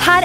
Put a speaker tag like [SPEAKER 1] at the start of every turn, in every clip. [SPEAKER 1] her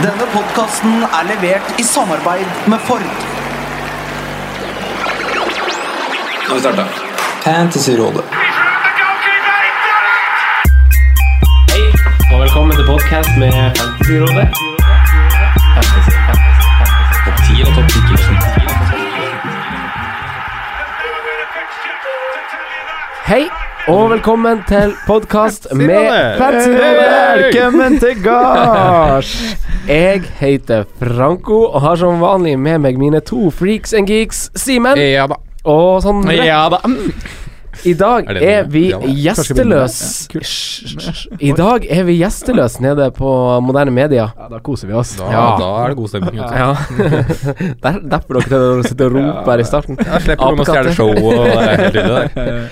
[SPEAKER 2] Denne podkasten er levert i samarbeid med Ford.
[SPEAKER 3] Kan vi starte?
[SPEAKER 2] Fantasyrådet.
[SPEAKER 4] Hei, og velkommen til podcast med Fantasyrådet. Fantasy, fantasy, fantasy. Topp 10 og topp 10. Hei, og velkommen til podcast med Fantasyrådet. Velkommen til gards. Jeg heter Franco og har som vanlig med meg mine to freaks and geeks, Simen
[SPEAKER 5] Ja da.
[SPEAKER 4] og Sondre.
[SPEAKER 5] Ja da.
[SPEAKER 4] I dag er,
[SPEAKER 5] Er det det?
[SPEAKER 4] vi
[SPEAKER 5] Ja, da. Kanskje vi begynner
[SPEAKER 4] gjesteløs Hysj. I dag er vi gjesteløs nede på moderne media.
[SPEAKER 6] Ja, da koser vi oss.
[SPEAKER 5] Da,
[SPEAKER 4] Ja.
[SPEAKER 5] da er det god stemning. vet du.
[SPEAKER 4] Ja. Der, derfor dere til å sitte og rope her i starten.
[SPEAKER 5] Da slipper noen å
[SPEAKER 4] Apekatter.
[SPEAKER 5] stjele showet. og det er helt ille der.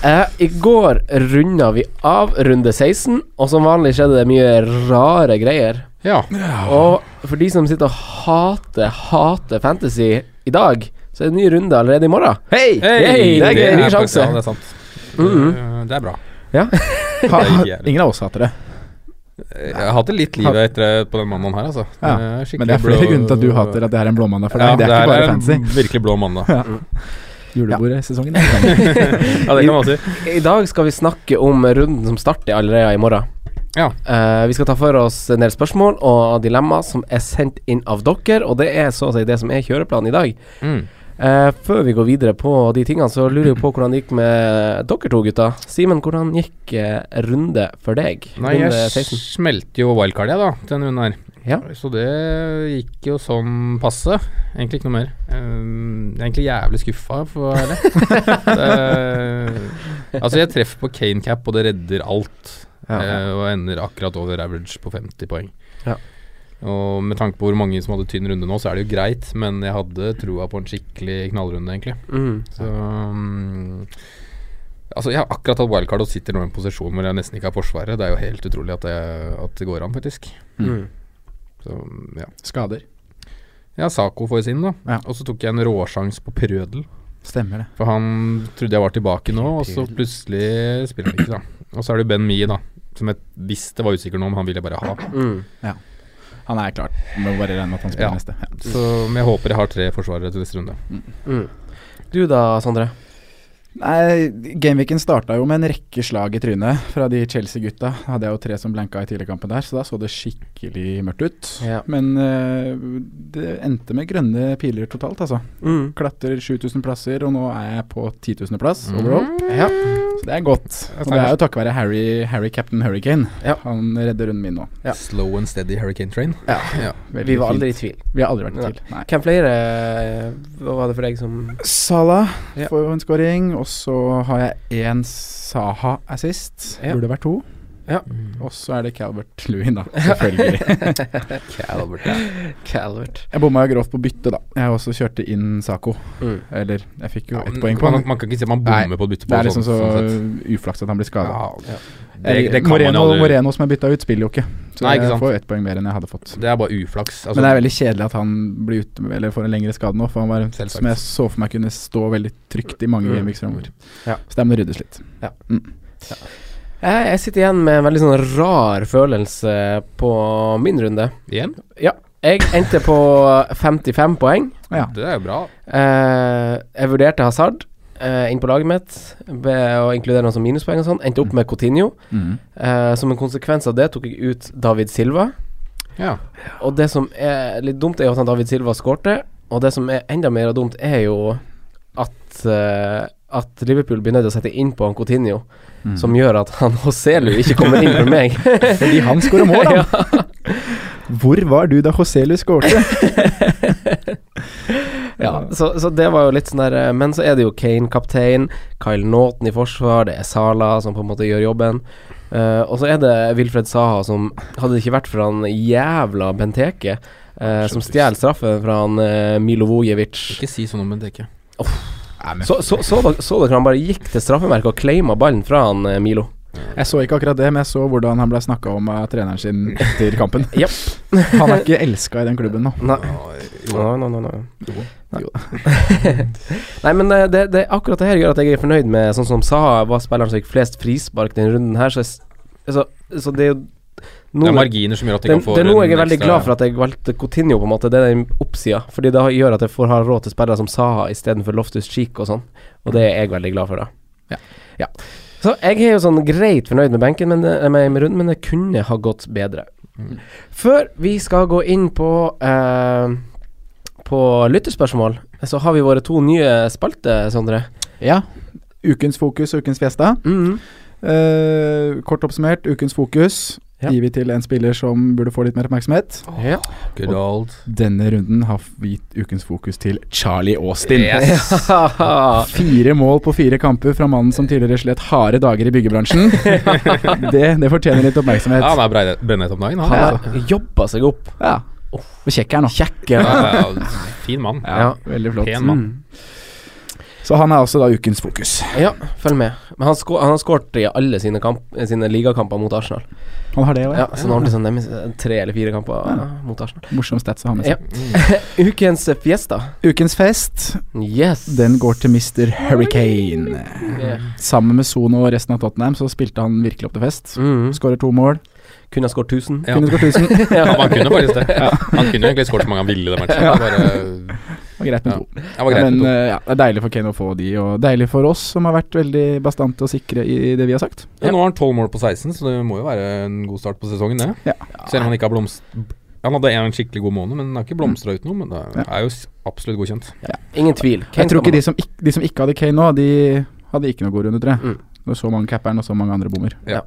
[SPEAKER 4] Eh, I går runda vi av runde 16, og som vanlig skjedde det mye rare greier.
[SPEAKER 5] Ja.
[SPEAKER 4] Og for de som sitter og hater, hater fantasy i dag, så er det ny runde allerede i morgen.
[SPEAKER 6] Hei!
[SPEAKER 4] Hey, det er gøy, ny sjanse. Mm-hmm.
[SPEAKER 5] Ja, det er sant. Eh, Det er bra.
[SPEAKER 4] Ja.
[SPEAKER 6] Ha,
[SPEAKER 5] Det er ikke jeg.
[SPEAKER 6] ingen av oss hater det.
[SPEAKER 5] Jeg hadde litt livet etter på den mannen her, altså.
[SPEAKER 6] Ja.
[SPEAKER 5] Den er skikkelig
[SPEAKER 6] Men det er flere
[SPEAKER 5] blå-
[SPEAKER 6] grunner til at du hater at det her er en blåmandag for deg.
[SPEAKER 5] Ja,
[SPEAKER 6] det er ikke bare
[SPEAKER 5] her en
[SPEAKER 6] fancy.
[SPEAKER 5] Virkelig blå mandag. Ja.
[SPEAKER 6] Julebordsesongen er i gang.
[SPEAKER 5] det kan man si.
[SPEAKER 4] I dag skal vi snakke om runden som starter allerede i morgen.
[SPEAKER 5] Ja.
[SPEAKER 4] Eh, vi skal ta for oss en del spørsmål og dilemmaer som er sendt inn av dere, og det er så å si det som er kjøreplanen i dag.
[SPEAKER 5] Mm.
[SPEAKER 4] Eh, før vi går videre på de tingene, så lurer jeg på hvordan det gikk med dere to gutta. Simen, hvordan gikk eh, runde for deg?
[SPEAKER 5] Nei,
[SPEAKER 4] runde
[SPEAKER 5] jeg smelte jo wildcard, jeg, da, til denne runden her.
[SPEAKER 4] Ja.
[SPEAKER 5] Så det gikk jo sånn passe. Egentlig ikke noe mer. Um, jeg er egentlig jævlig skuffa, for å være ærlig. Det- altså, jeg treffer på Kane cap, og det redder alt.
[SPEAKER 4] Ja.
[SPEAKER 5] eh, og ender akkurat over average på 50 poeng.
[SPEAKER 4] Ja.
[SPEAKER 5] Og med tanke på hvor mange som hadde tynn runde nå, så er det jo greit, men jeg hadde trua på en skikkelig knallrunde, egentlig.
[SPEAKER 4] Mm.
[SPEAKER 5] Så um, Altså, jeg har akkurat hatt wildcard og sitter nå i en posisjon hvor jeg nesten ikke har forsvaret. Det er jo helt utrolig at det, at det går an, faktisk.
[SPEAKER 4] Mm.
[SPEAKER 5] Så ja.
[SPEAKER 6] Skader.
[SPEAKER 5] Ja, Saco får sin, da.
[SPEAKER 6] Ja.
[SPEAKER 5] Og så tok jeg en råsjans på Prødel.
[SPEAKER 6] Stemmer det.
[SPEAKER 5] For han trodde jeg var tilbake nå, og så plutselig spiller han ikke, da. Og så er det Ben Mee, da. Som jeg visste var usikker nå, men han ville jeg bare ha.
[SPEAKER 4] Mm.
[SPEAKER 6] Han er klar. Må bare regne med at han spiller
[SPEAKER 5] Ja.
[SPEAKER 6] neste. Ja.
[SPEAKER 5] Så men jeg håper jeg har tre forsvarere til neste runde.
[SPEAKER 4] Du da, Sondre?
[SPEAKER 6] Nei, Gameweeken starta jo med en rekke slag i trynet fra de Chelsea-gutta. Hadde jeg jo tre som blanka i tidligere kampen der, så da så det skikkelig mørkt ut.
[SPEAKER 4] Ja.
[SPEAKER 6] Men eh, det endte med grønne piler totalt, altså.
[SPEAKER 4] Mm.
[SPEAKER 6] Klatrer 7000 plasser, og nå er jeg på 10 000 plass overall.
[SPEAKER 5] Mm.
[SPEAKER 4] Ja.
[SPEAKER 6] Så det er godt. Og det er jo takket være Harry, Harry Captain Hurricane.
[SPEAKER 4] Ja.
[SPEAKER 6] Han redder runden min nå.
[SPEAKER 4] Ja.
[SPEAKER 5] Slow and steady hurricane train.
[SPEAKER 4] Ja.
[SPEAKER 5] Ja.
[SPEAKER 6] Veldig
[SPEAKER 4] Vi var
[SPEAKER 6] fint.
[SPEAKER 4] aldri i tvil.
[SPEAKER 6] Vi har aldri vært
[SPEAKER 4] Nei.
[SPEAKER 6] i tvil. Nei.
[SPEAKER 4] Hvem flere eh, Hva var det for deg som
[SPEAKER 6] Salah
[SPEAKER 4] Ja.
[SPEAKER 6] får jo en scoring, og så har jeg én Saha assist.
[SPEAKER 4] Ja.
[SPEAKER 6] Burde vært to.
[SPEAKER 4] Ja.
[SPEAKER 6] Og så er det Calvert Lewin, da. Selvfølgelig.
[SPEAKER 5] Calvert, ja.
[SPEAKER 4] Calvert.
[SPEAKER 6] jeg bomma jo grovt på byttet, da. Jeg også kjørte inn Saco.
[SPEAKER 4] Mm.
[SPEAKER 6] Eller, jeg fikk jo
[SPEAKER 5] Ja,
[SPEAKER 6] ett
[SPEAKER 5] men
[SPEAKER 6] poeng på
[SPEAKER 5] man,
[SPEAKER 6] han.
[SPEAKER 5] man kan ikke si at man
[SPEAKER 6] Nei,
[SPEAKER 5] bommer på å bytte på
[SPEAKER 6] Det
[SPEAKER 5] sånn
[SPEAKER 6] er liksom så
[SPEAKER 5] sett.
[SPEAKER 6] uflaks at han blir skada.
[SPEAKER 5] Ja.
[SPEAKER 6] Eller
[SPEAKER 5] Det, det kan man
[SPEAKER 6] Moreno,
[SPEAKER 5] jo aldri
[SPEAKER 6] Moreno som er bytta ut, spiller jo ikke. Så
[SPEAKER 5] Nei, ikke
[SPEAKER 6] jeg
[SPEAKER 5] sant.
[SPEAKER 6] får jo ett poeng mer enn jeg hadde fått.
[SPEAKER 5] Det er bare uflaks. Altså,
[SPEAKER 6] Men det er veldig kjedelig at han blir ute med- Eller får en lengre skade nå, for han var
[SPEAKER 5] Selvsagt.
[SPEAKER 6] som jeg så for meg kunne stå veldig trygt i mange
[SPEAKER 4] Mm.
[SPEAKER 6] gameweeks framover.
[SPEAKER 4] Ja.
[SPEAKER 6] Så det må ryddes litt.
[SPEAKER 4] Jeg, jeg sitter igjen med en veldig sånn rar følelse på min runde.
[SPEAKER 5] Igjen,
[SPEAKER 4] Ja. Jeg endte på 55 poeng.
[SPEAKER 6] Ja.
[SPEAKER 5] det er jo bra.
[SPEAKER 4] Eh, jeg vurderte Hazard. eh, inn på laget mitt ved å inkludere noen som minuspoeng og sånn. Endte opp med Coutinho.
[SPEAKER 6] Mhm.
[SPEAKER 4] Eh, som en konsekvens av det tok jeg ut David Silva.
[SPEAKER 5] Ja.
[SPEAKER 4] Og det som er litt dumt, er jo at han David Silva skårte. Og det som er enda mer dumt, er jo at, eh, at Liverpool blir nødt til å sette inn på han Coutinho.
[SPEAKER 6] Mm.
[SPEAKER 4] Som gjør at han Hoselu ikke kommer inn for meg.
[SPEAKER 6] Fordi han skårer mål, da. Hvor var du da Joselu skårte?
[SPEAKER 4] Ja, så, så det var jo litt sånn der eh, Men så er det jo Kane kaptein, Kyle Naughton i forsvar, det er Sala som på en måte gjør jobben. Eh, og så er det Wilfred Saha som Hadde det ikke vært for han jævla Benteke, eh, som stjeler straffen fra han eh, Milovojevic
[SPEAKER 5] Ikke si sånn om en dekke.
[SPEAKER 4] Så, så, så, dere- så dere han bare gikk til straffemerket og claima ballen fra han eh, Milo?
[SPEAKER 6] Jeg så ikke akkurat det, men jeg så hvordan han ble snakka om av treneren sin etter kampen.
[SPEAKER 4] Japp.
[SPEAKER 6] Han er ikke elska i den klubben nå.
[SPEAKER 4] Nei. Nei, nei, nei, nei. Nei. Nei, men eh, det, det, akkurat det her gjør at jeg er fornøyd med Sånn som Saha var spilleren som fikk flest frispark denne runden her, så, jeg, s- så, så det er jo
[SPEAKER 5] Det
[SPEAKER 4] noe-
[SPEAKER 5] er marginer som gjør at de
[SPEAKER 4] det,
[SPEAKER 5] kan få
[SPEAKER 4] det er noe jeg er
[SPEAKER 5] en
[SPEAKER 4] veldig
[SPEAKER 5] ekstra-
[SPEAKER 4] glad for at jeg valgte Coutinho, på en måte. Det er den oppsida. Fordi det gjør at jeg får ha råd til spillere som Saha istedenfor Loftus Cheek og sånn. Og det er jeg veldig glad for, da. Ja. Så jeg er jo sånn greit fornøyd med benken, men, det- med, med runden, men det kunne ha gått bedre. Før vi skal gå inn på eh, På lytterspørsmål, så har vi våre to nye spalter, Sondre.
[SPEAKER 6] Ja. Ukens fokus, ukens fiesta.
[SPEAKER 4] Mm.
[SPEAKER 6] Eh, kort oppsummert, ukens fokus
[SPEAKER 4] Ja.
[SPEAKER 6] gir vi til en spiller som burde få litt mer oppmerksomhet.
[SPEAKER 4] Ja.
[SPEAKER 5] Good old.
[SPEAKER 6] Denne runden har vi gitt ukens fokus til Charlie Austin.
[SPEAKER 5] Yes.
[SPEAKER 6] Fire mål på fire kamper fra mannen som tidligere slet harde dager i byggebransjen. Det, det fortjener litt
[SPEAKER 5] Ja, han
[SPEAKER 6] oppmerksomhet.
[SPEAKER 5] er breide- brennhet om dagen, han.
[SPEAKER 4] Han
[SPEAKER 5] altså.
[SPEAKER 4] har jobba seg opp.
[SPEAKER 6] Ja. Og kjekk er nå.
[SPEAKER 4] Kjekk.
[SPEAKER 5] Ja,
[SPEAKER 4] Ja.
[SPEAKER 5] ja, ja, fin mann.
[SPEAKER 4] Ja.
[SPEAKER 6] Veldig flott. Mm.
[SPEAKER 5] Pen mann.
[SPEAKER 6] Så han er også da ukens fokus.
[SPEAKER 4] Ja, følg med. Men han, sko- han har skåret i alle sine, kamp, sine ligakamper mot Arsenal.
[SPEAKER 6] Han har det òg,
[SPEAKER 4] Ja, så nå har han blitt sånn nemis- tre eller fire kamper eh, mot Arsenal.
[SPEAKER 6] Morsom stats å ha med seg.
[SPEAKER 4] Ukens fiesta.
[SPEAKER 6] Ukens fest,
[SPEAKER 4] Yes.
[SPEAKER 6] den går til Mr. Hurricane.
[SPEAKER 4] Yeah.
[SPEAKER 6] Sammen med Sono og resten av Tottenham så spilte han virkelig opp til fest.
[SPEAKER 4] Mm.
[SPEAKER 6] Skårer to mål.
[SPEAKER 4] Kunne ha skåret 1000.
[SPEAKER 5] Mhm. Ja.
[SPEAKER 6] Kunne skåret 1000.
[SPEAKER 5] Ja, men han kunne faktisk det. Han kunne egentlig skåret så mange han ville i den matchen. Det var bare
[SPEAKER 6] Det var greit med
[SPEAKER 5] Ja.
[SPEAKER 6] to.
[SPEAKER 5] det var greit
[SPEAKER 6] Men
[SPEAKER 5] med to.
[SPEAKER 6] eh, ja, det er deilig for Kane å få de, og deilig for oss som har vært veldig bastante og sikre i det vi har sagt.
[SPEAKER 5] Ja, nå har han 12 mål på 16, så det må jo være en god start på sesongen, det.
[SPEAKER 6] Ja.
[SPEAKER 5] Selv om han ikke har blomst... Han hadde en skikkelig god måned, men han har ikke blomstra ut noe. Men det er jo s- absolutt godkjent.
[SPEAKER 4] Ingen tvil. Kane
[SPEAKER 6] Jeg tror ikke
[SPEAKER 4] kommer.
[SPEAKER 6] de som, ikk- de som ikke hadde Kane nå, de hadde ikke noe god runde, tror jeg.
[SPEAKER 4] Mm.
[SPEAKER 6] Det var så mange capperen og så mange andre bommer.
[SPEAKER 5] Ja.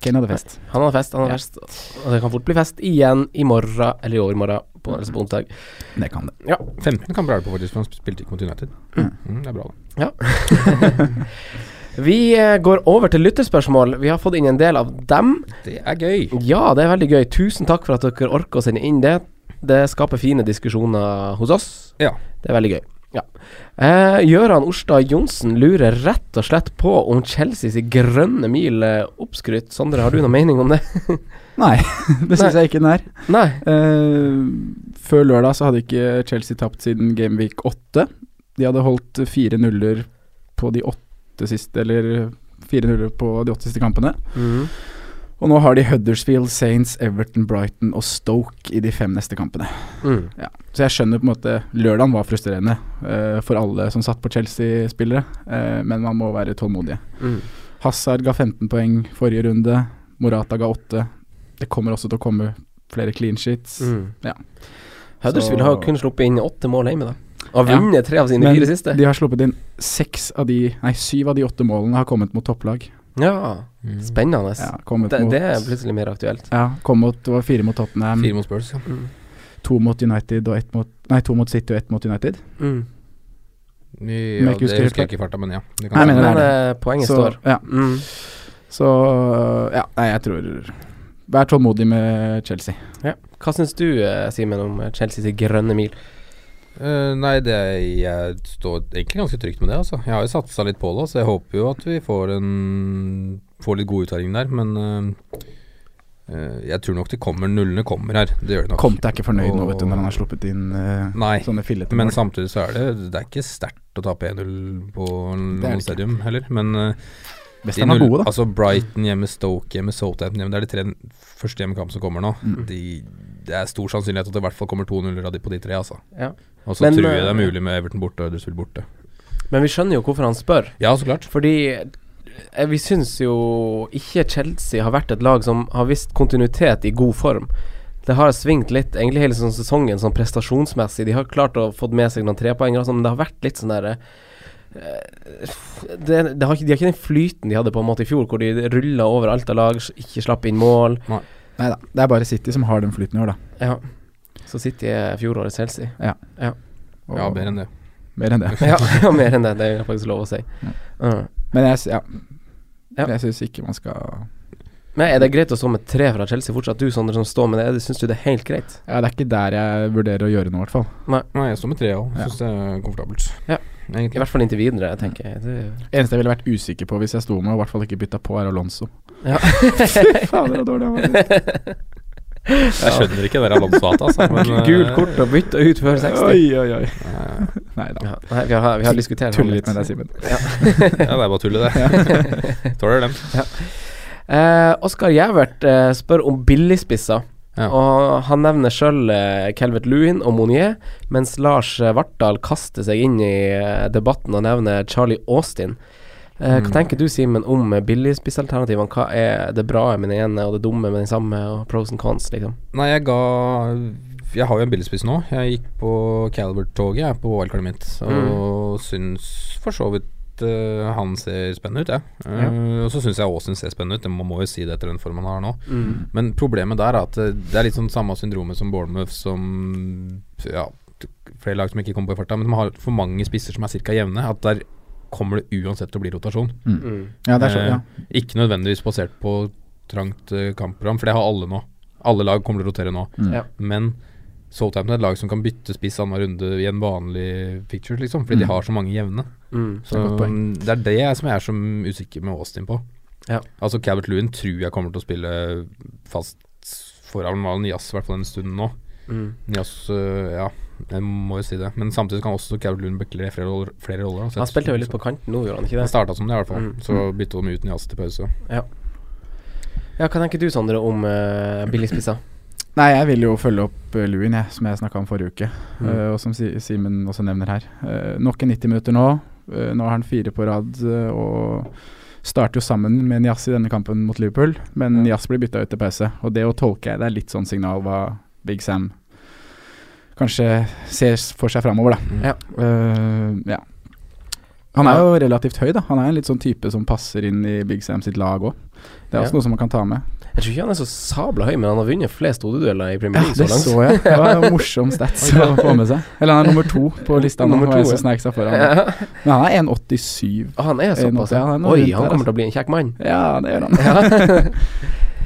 [SPEAKER 6] Kane hadde fest.
[SPEAKER 4] Han har fest, han har
[SPEAKER 6] Ja.
[SPEAKER 4] fest. Og det kan fort bli fest igjen i morgen, eller i overmorgen, på, altså på onsdag.
[SPEAKER 6] Det kan det.
[SPEAKER 5] 15 kan Braulo på, faktisk, for han spilte ikke mot United. Mm, det er bra, det.
[SPEAKER 4] Vi eh, går over til lytterspørsmål. Vi har fått inn en del av dem.
[SPEAKER 5] Det er gøy.
[SPEAKER 4] Ja, det er veldig gøy. Tusen takk for at dere orker å sende inn det. Det skaper fine diskusjoner hos oss.
[SPEAKER 5] Ja.
[SPEAKER 4] Det er veldig gøy. Ja. Eh, Gøran Orstad Johnsen lurer rett og slett på om Chelseas grønne mil er oppskrytt. Sondre, har du noen mening om det?
[SPEAKER 6] Nei, det syns
[SPEAKER 4] Nei.
[SPEAKER 6] jeg ikke den er.
[SPEAKER 4] Nei.
[SPEAKER 6] Eh, før lørdag så hadde ikke Chelsea tapt siden Gameweek 8. De hadde holdt fire nuller på de åtte siste, eller fire nuller på de åtte siste kampene. Mm. Og nå har de Huddersfield, Saints, Everton, Brighton og Stoke i de fem neste kampene.
[SPEAKER 4] Mm.
[SPEAKER 6] Så jeg skjønner på en måte Lørdagen var frustrerende eh, for alle som satt på Chelsea-spillere, eh, men man må være tålmodige.
[SPEAKER 4] Mm.
[SPEAKER 6] Hazard ga 15 poeng forrige runde, Morata ga 8. Det kommer også til å komme flere clean sheets.
[SPEAKER 4] Mm.
[SPEAKER 6] Ja.
[SPEAKER 4] Huddersfield
[SPEAKER 6] Så-
[SPEAKER 4] har jo kun sluppet inn åtte mål hjemme, da. Og
[SPEAKER 6] Ja.
[SPEAKER 4] vunnet tre av sine
[SPEAKER 6] Men
[SPEAKER 4] fire siste.
[SPEAKER 6] de har sluppet inn seks av de Nei, syv av de åtte målene har kommet mot topplag.
[SPEAKER 4] Ja, spennende.
[SPEAKER 6] Ja, kommet
[SPEAKER 4] Det,
[SPEAKER 6] mot,
[SPEAKER 4] det er plutselig mer aktuelt.
[SPEAKER 6] ja, kom mot, det var fire mot Tottenham,
[SPEAKER 5] Fire mot Spurs, ja.
[SPEAKER 6] to mot United og ett mot Nei, to mot City og ett mot United.
[SPEAKER 4] Mm.
[SPEAKER 5] ja
[SPEAKER 6] ikke husker
[SPEAKER 5] det husker
[SPEAKER 6] helt
[SPEAKER 5] jeg ikke i farta, men ja.
[SPEAKER 6] Nei,
[SPEAKER 5] Det stemme.
[SPEAKER 6] men det er
[SPEAKER 4] Men eh, poenget
[SPEAKER 6] Så,
[SPEAKER 4] står.
[SPEAKER 6] ja,
[SPEAKER 4] Mm.
[SPEAKER 6] så Ja, nei, jeg tror Vær tålmodig med Chelsea.
[SPEAKER 4] Hva syns du, eh, Simen, om eh, Chelseas grønne mil?
[SPEAKER 5] Eh, nei, det, jeg står egentlig ganske trygt med det. Altså. Jeg har jo satsa litt på det, så jeg håper jo at vi får, en, får litt god uttelling der. Men eh, eh, jeg tror nok det kommer. Nullene kommer her. Det gjør de nok.
[SPEAKER 6] Comte er ikke fornøyd nå, vet du, når han
[SPEAKER 5] Og-
[SPEAKER 6] har sluppet inn eh,
[SPEAKER 5] Nei,
[SPEAKER 6] sånne fillete
[SPEAKER 5] Men
[SPEAKER 6] mål.
[SPEAKER 5] samtidig så er det Det er ikke sterkt å tape 1-0 på
[SPEAKER 6] Det er det
[SPEAKER 5] noe
[SPEAKER 6] ikke.
[SPEAKER 5] stadium heller. Men eh, de
[SPEAKER 6] Westham er
[SPEAKER 5] null-
[SPEAKER 6] gode, da.
[SPEAKER 5] altså Brighton hjemme, Stoke hjemme, Southampton hjemme. Det er de tre første hjemmekampene som kommer nå.
[SPEAKER 6] Mm.
[SPEAKER 5] De, det er stor sannsynlighet at det i hvert fall kommer to nuller av de på de tre, altså.
[SPEAKER 4] Ja.
[SPEAKER 5] Og så
[SPEAKER 4] Men,
[SPEAKER 5] tror
[SPEAKER 4] eh,
[SPEAKER 5] jeg det er mulig med Everton borte og Huddersfield borte.
[SPEAKER 4] Men vi skjønner jo hvorfor han spør.
[SPEAKER 5] Ja, så klart.
[SPEAKER 4] Fordi eh, vi syns jo ikke Chelsea har vært et lag som har vist kontinuitet i god form. Det har svingt litt egentlig hele sånn sesongen, sånn prestasjonsmessig. De har klart å få med seg noen trepoengere, og sånn, men det har vært litt sånn derre det, det har ikke, De har ikke den flyten de hadde på en måte i fjor, hvor de rulla over alt av lag, ikke slapp inn mål.
[SPEAKER 6] Nei da, det er bare City som har den flyten i år, da.
[SPEAKER 4] Ja. Så City er fjorårets Chelsea.
[SPEAKER 6] Ja.
[SPEAKER 4] Ja.
[SPEAKER 5] Ja, mer enn det.
[SPEAKER 6] Mer enn det.
[SPEAKER 4] ja, ja, mer enn det. Det er faktisk lov å si. Ja.
[SPEAKER 6] Men jeg, s- ja. jeg syns ikke man skal
[SPEAKER 4] Men Er det greit å stå med tre fra Chelsea fortsatt? Du Sander som står med det, det syns du det er helt greit?
[SPEAKER 6] Ja, Det er ikke der jeg vurderer å gjøre noe, i hvert fall.
[SPEAKER 4] Nei.
[SPEAKER 5] jeg står med tre òg. Syns det er komfortabelt.
[SPEAKER 4] Ja. I hvert fall inntil videre, tenker jeg. Det...
[SPEAKER 6] Eneste jeg ville vært usikker på hvis jeg sto med, og i hvert fall ikke bytta på, er Alonso.
[SPEAKER 4] Ja.
[SPEAKER 6] Fy faen, det var dårlig han var.
[SPEAKER 5] Jeg skjønner ikke det der Alonso-hatet, altså. men,
[SPEAKER 4] Gult
[SPEAKER 5] eh,
[SPEAKER 4] kort og bytte ut før 60.
[SPEAKER 6] Oi, oi, oi.
[SPEAKER 5] eh,
[SPEAKER 6] Nei da.
[SPEAKER 4] Ja, nei, vi har, vi har diskutert
[SPEAKER 6] Tuller litt med deg, Simen.
[SPEAKER 4] Ja.
[SPEAKER 5] Ja, det er bare tullet, det. Tåler dem.
[SPEAKER 4] Eh, Oskar Gjævert eh, spør om billigspisser.
[SPEAKER 5] Ja.
[SPEAKER 4] Og han nevner sjøl eh, Calvert Lewin og Monier, mens Lars eh, Vartdal kaster seg inn i eh, debatten og nevner Charlie Austin. Eh, Hva tenker du, Simen, om eh, billigspissalternativene? Hva er det bra med den ene, og det dumme med den samme, og pros and cons, liksom?
[SPEAKER 5] Nei, jeg ga Jeg har jo en billigspiss nå. Jeg gikk på Calvert-toget jeg, på OL-kartet mitt, og syns for så vidt eh, han ser spennende ut, jeg. Eh, og så syns jeg Aasen ser spennende ut, det- man må jo si det etter den formen han har nå. Men problemet der er at eh, det er litt sånn samme syndromet som Bournemouth, som ja, t- flere lag som ikke kommer på i farta, men de har for mange spisser som er ca. jevne. At der kommer det uansett til å bli rotasjon.
[SPEAKER 6] Ja, det er sånn, ja.
[SPEAKER 5] Eh, Ikke nødvendigvis basert på trangt eh, kampprogram, for det har alle nå. Alle lag kommer til å rotere nå.
[SPEAKER 4] Ja.
[SPEAKER 5] Men Southampton er et lag som kan bytte spiss annenhver runde i en vanlig picture, liksom, fordi
[SPEAKER 4] Mm.
[SPEAKER 5] de har så mange jevne. Så mm,
[SPEAKER 6] godt poeng.
[SPEAKER 5] det er det jeg som jeg er som usikker med Austin på.
[SPEAKER 4] Ja.
[SPEAKER 5] Altså Cabert Lewin tror jeg kommer til å spille fast foran Malen Nias, i hvert fall en stund nå.
[SPEAKER 4] Mm.
[SPEAKER 5] Nias, øh, ja, jeg må jo si det. Men samtidig kan også Cabert Lewin bekle flere, roller- flere roller. da, så
[SPEAKER 4] Han
[SPEAKER 5] jeg
[SPEAKER 4] spilte
[SPEAKER 5] tror-
[SPEAKER 4] jo litt på kanten nå, gjorde han ikke
[SPEAKER 5] han
[SPEAKER 4] det?
[SPEAKER 5] starta som det, i hvert fall.
[SPEAKER 4] Mm.
[SPEAKER 5] Så bytta de ut Nias til pause.
[SPEAKER 4] Ja, Hva tenker du, Sondre, om uh, billigspisser?
[SPEAKER 6] Nei, jeg vil jo følge opp eh, Lewin, jeg, som jeg snakka om forrige uke.
[SPEAKER 4] Mm.
[SPEAKER 6] eh, og som Si- Simen også nevner her. Eh, nok en 90 minutter nå. Eh, nå har han fire på rad eh, og starter jo sammen med Nias i denne kampen mot Liverpool. Men Nias blir bytta ut til pause, og det å tolke jeg, det er litt sånn signal hva Big Sam kanskje ser s- for seg framover, da.
[SPEAKER 4] Ja.
[SPEAKER 6] Eh, ja. Han er jo relativt høy, da. Han er en litt sånn type som passer inn i Big Sam sitt lag òg. Det er også
[SPEAKER 4] Ja.
[SPEAKER 6] noe som man kan ta med.
[SPEAKER 4] Jeg tror ikke han er så sabla høy, men han har vunnet flest hodedueller i Premier League
[SPEAKER 6] Det
[SPEAKER 4] så langt.
[SPEAKER 6] så jeg. Det var en morsom stats å få med seg. Eller han er nummer to på lista nå,
[SPEAKER 4] Nummer
[SPEAKER 6] var jeg
[SPEAKER 4] to, ja.
[SPEAKER 6] som snek seg foran. Men han er 1,87.
[SPEAKER 4] Ah, Han er såpass,
[SPEAKER 6] Ja, han er
[SPEAKER 4] Oi, han
[SPEAKER 6] rundt der,
[SPEAKER 4] kommer
[SPEAKER 6] altså.
[SPEAKER 4] til å bli en kjekk mann.
[SPEAKER 6] Ja, det gjør han.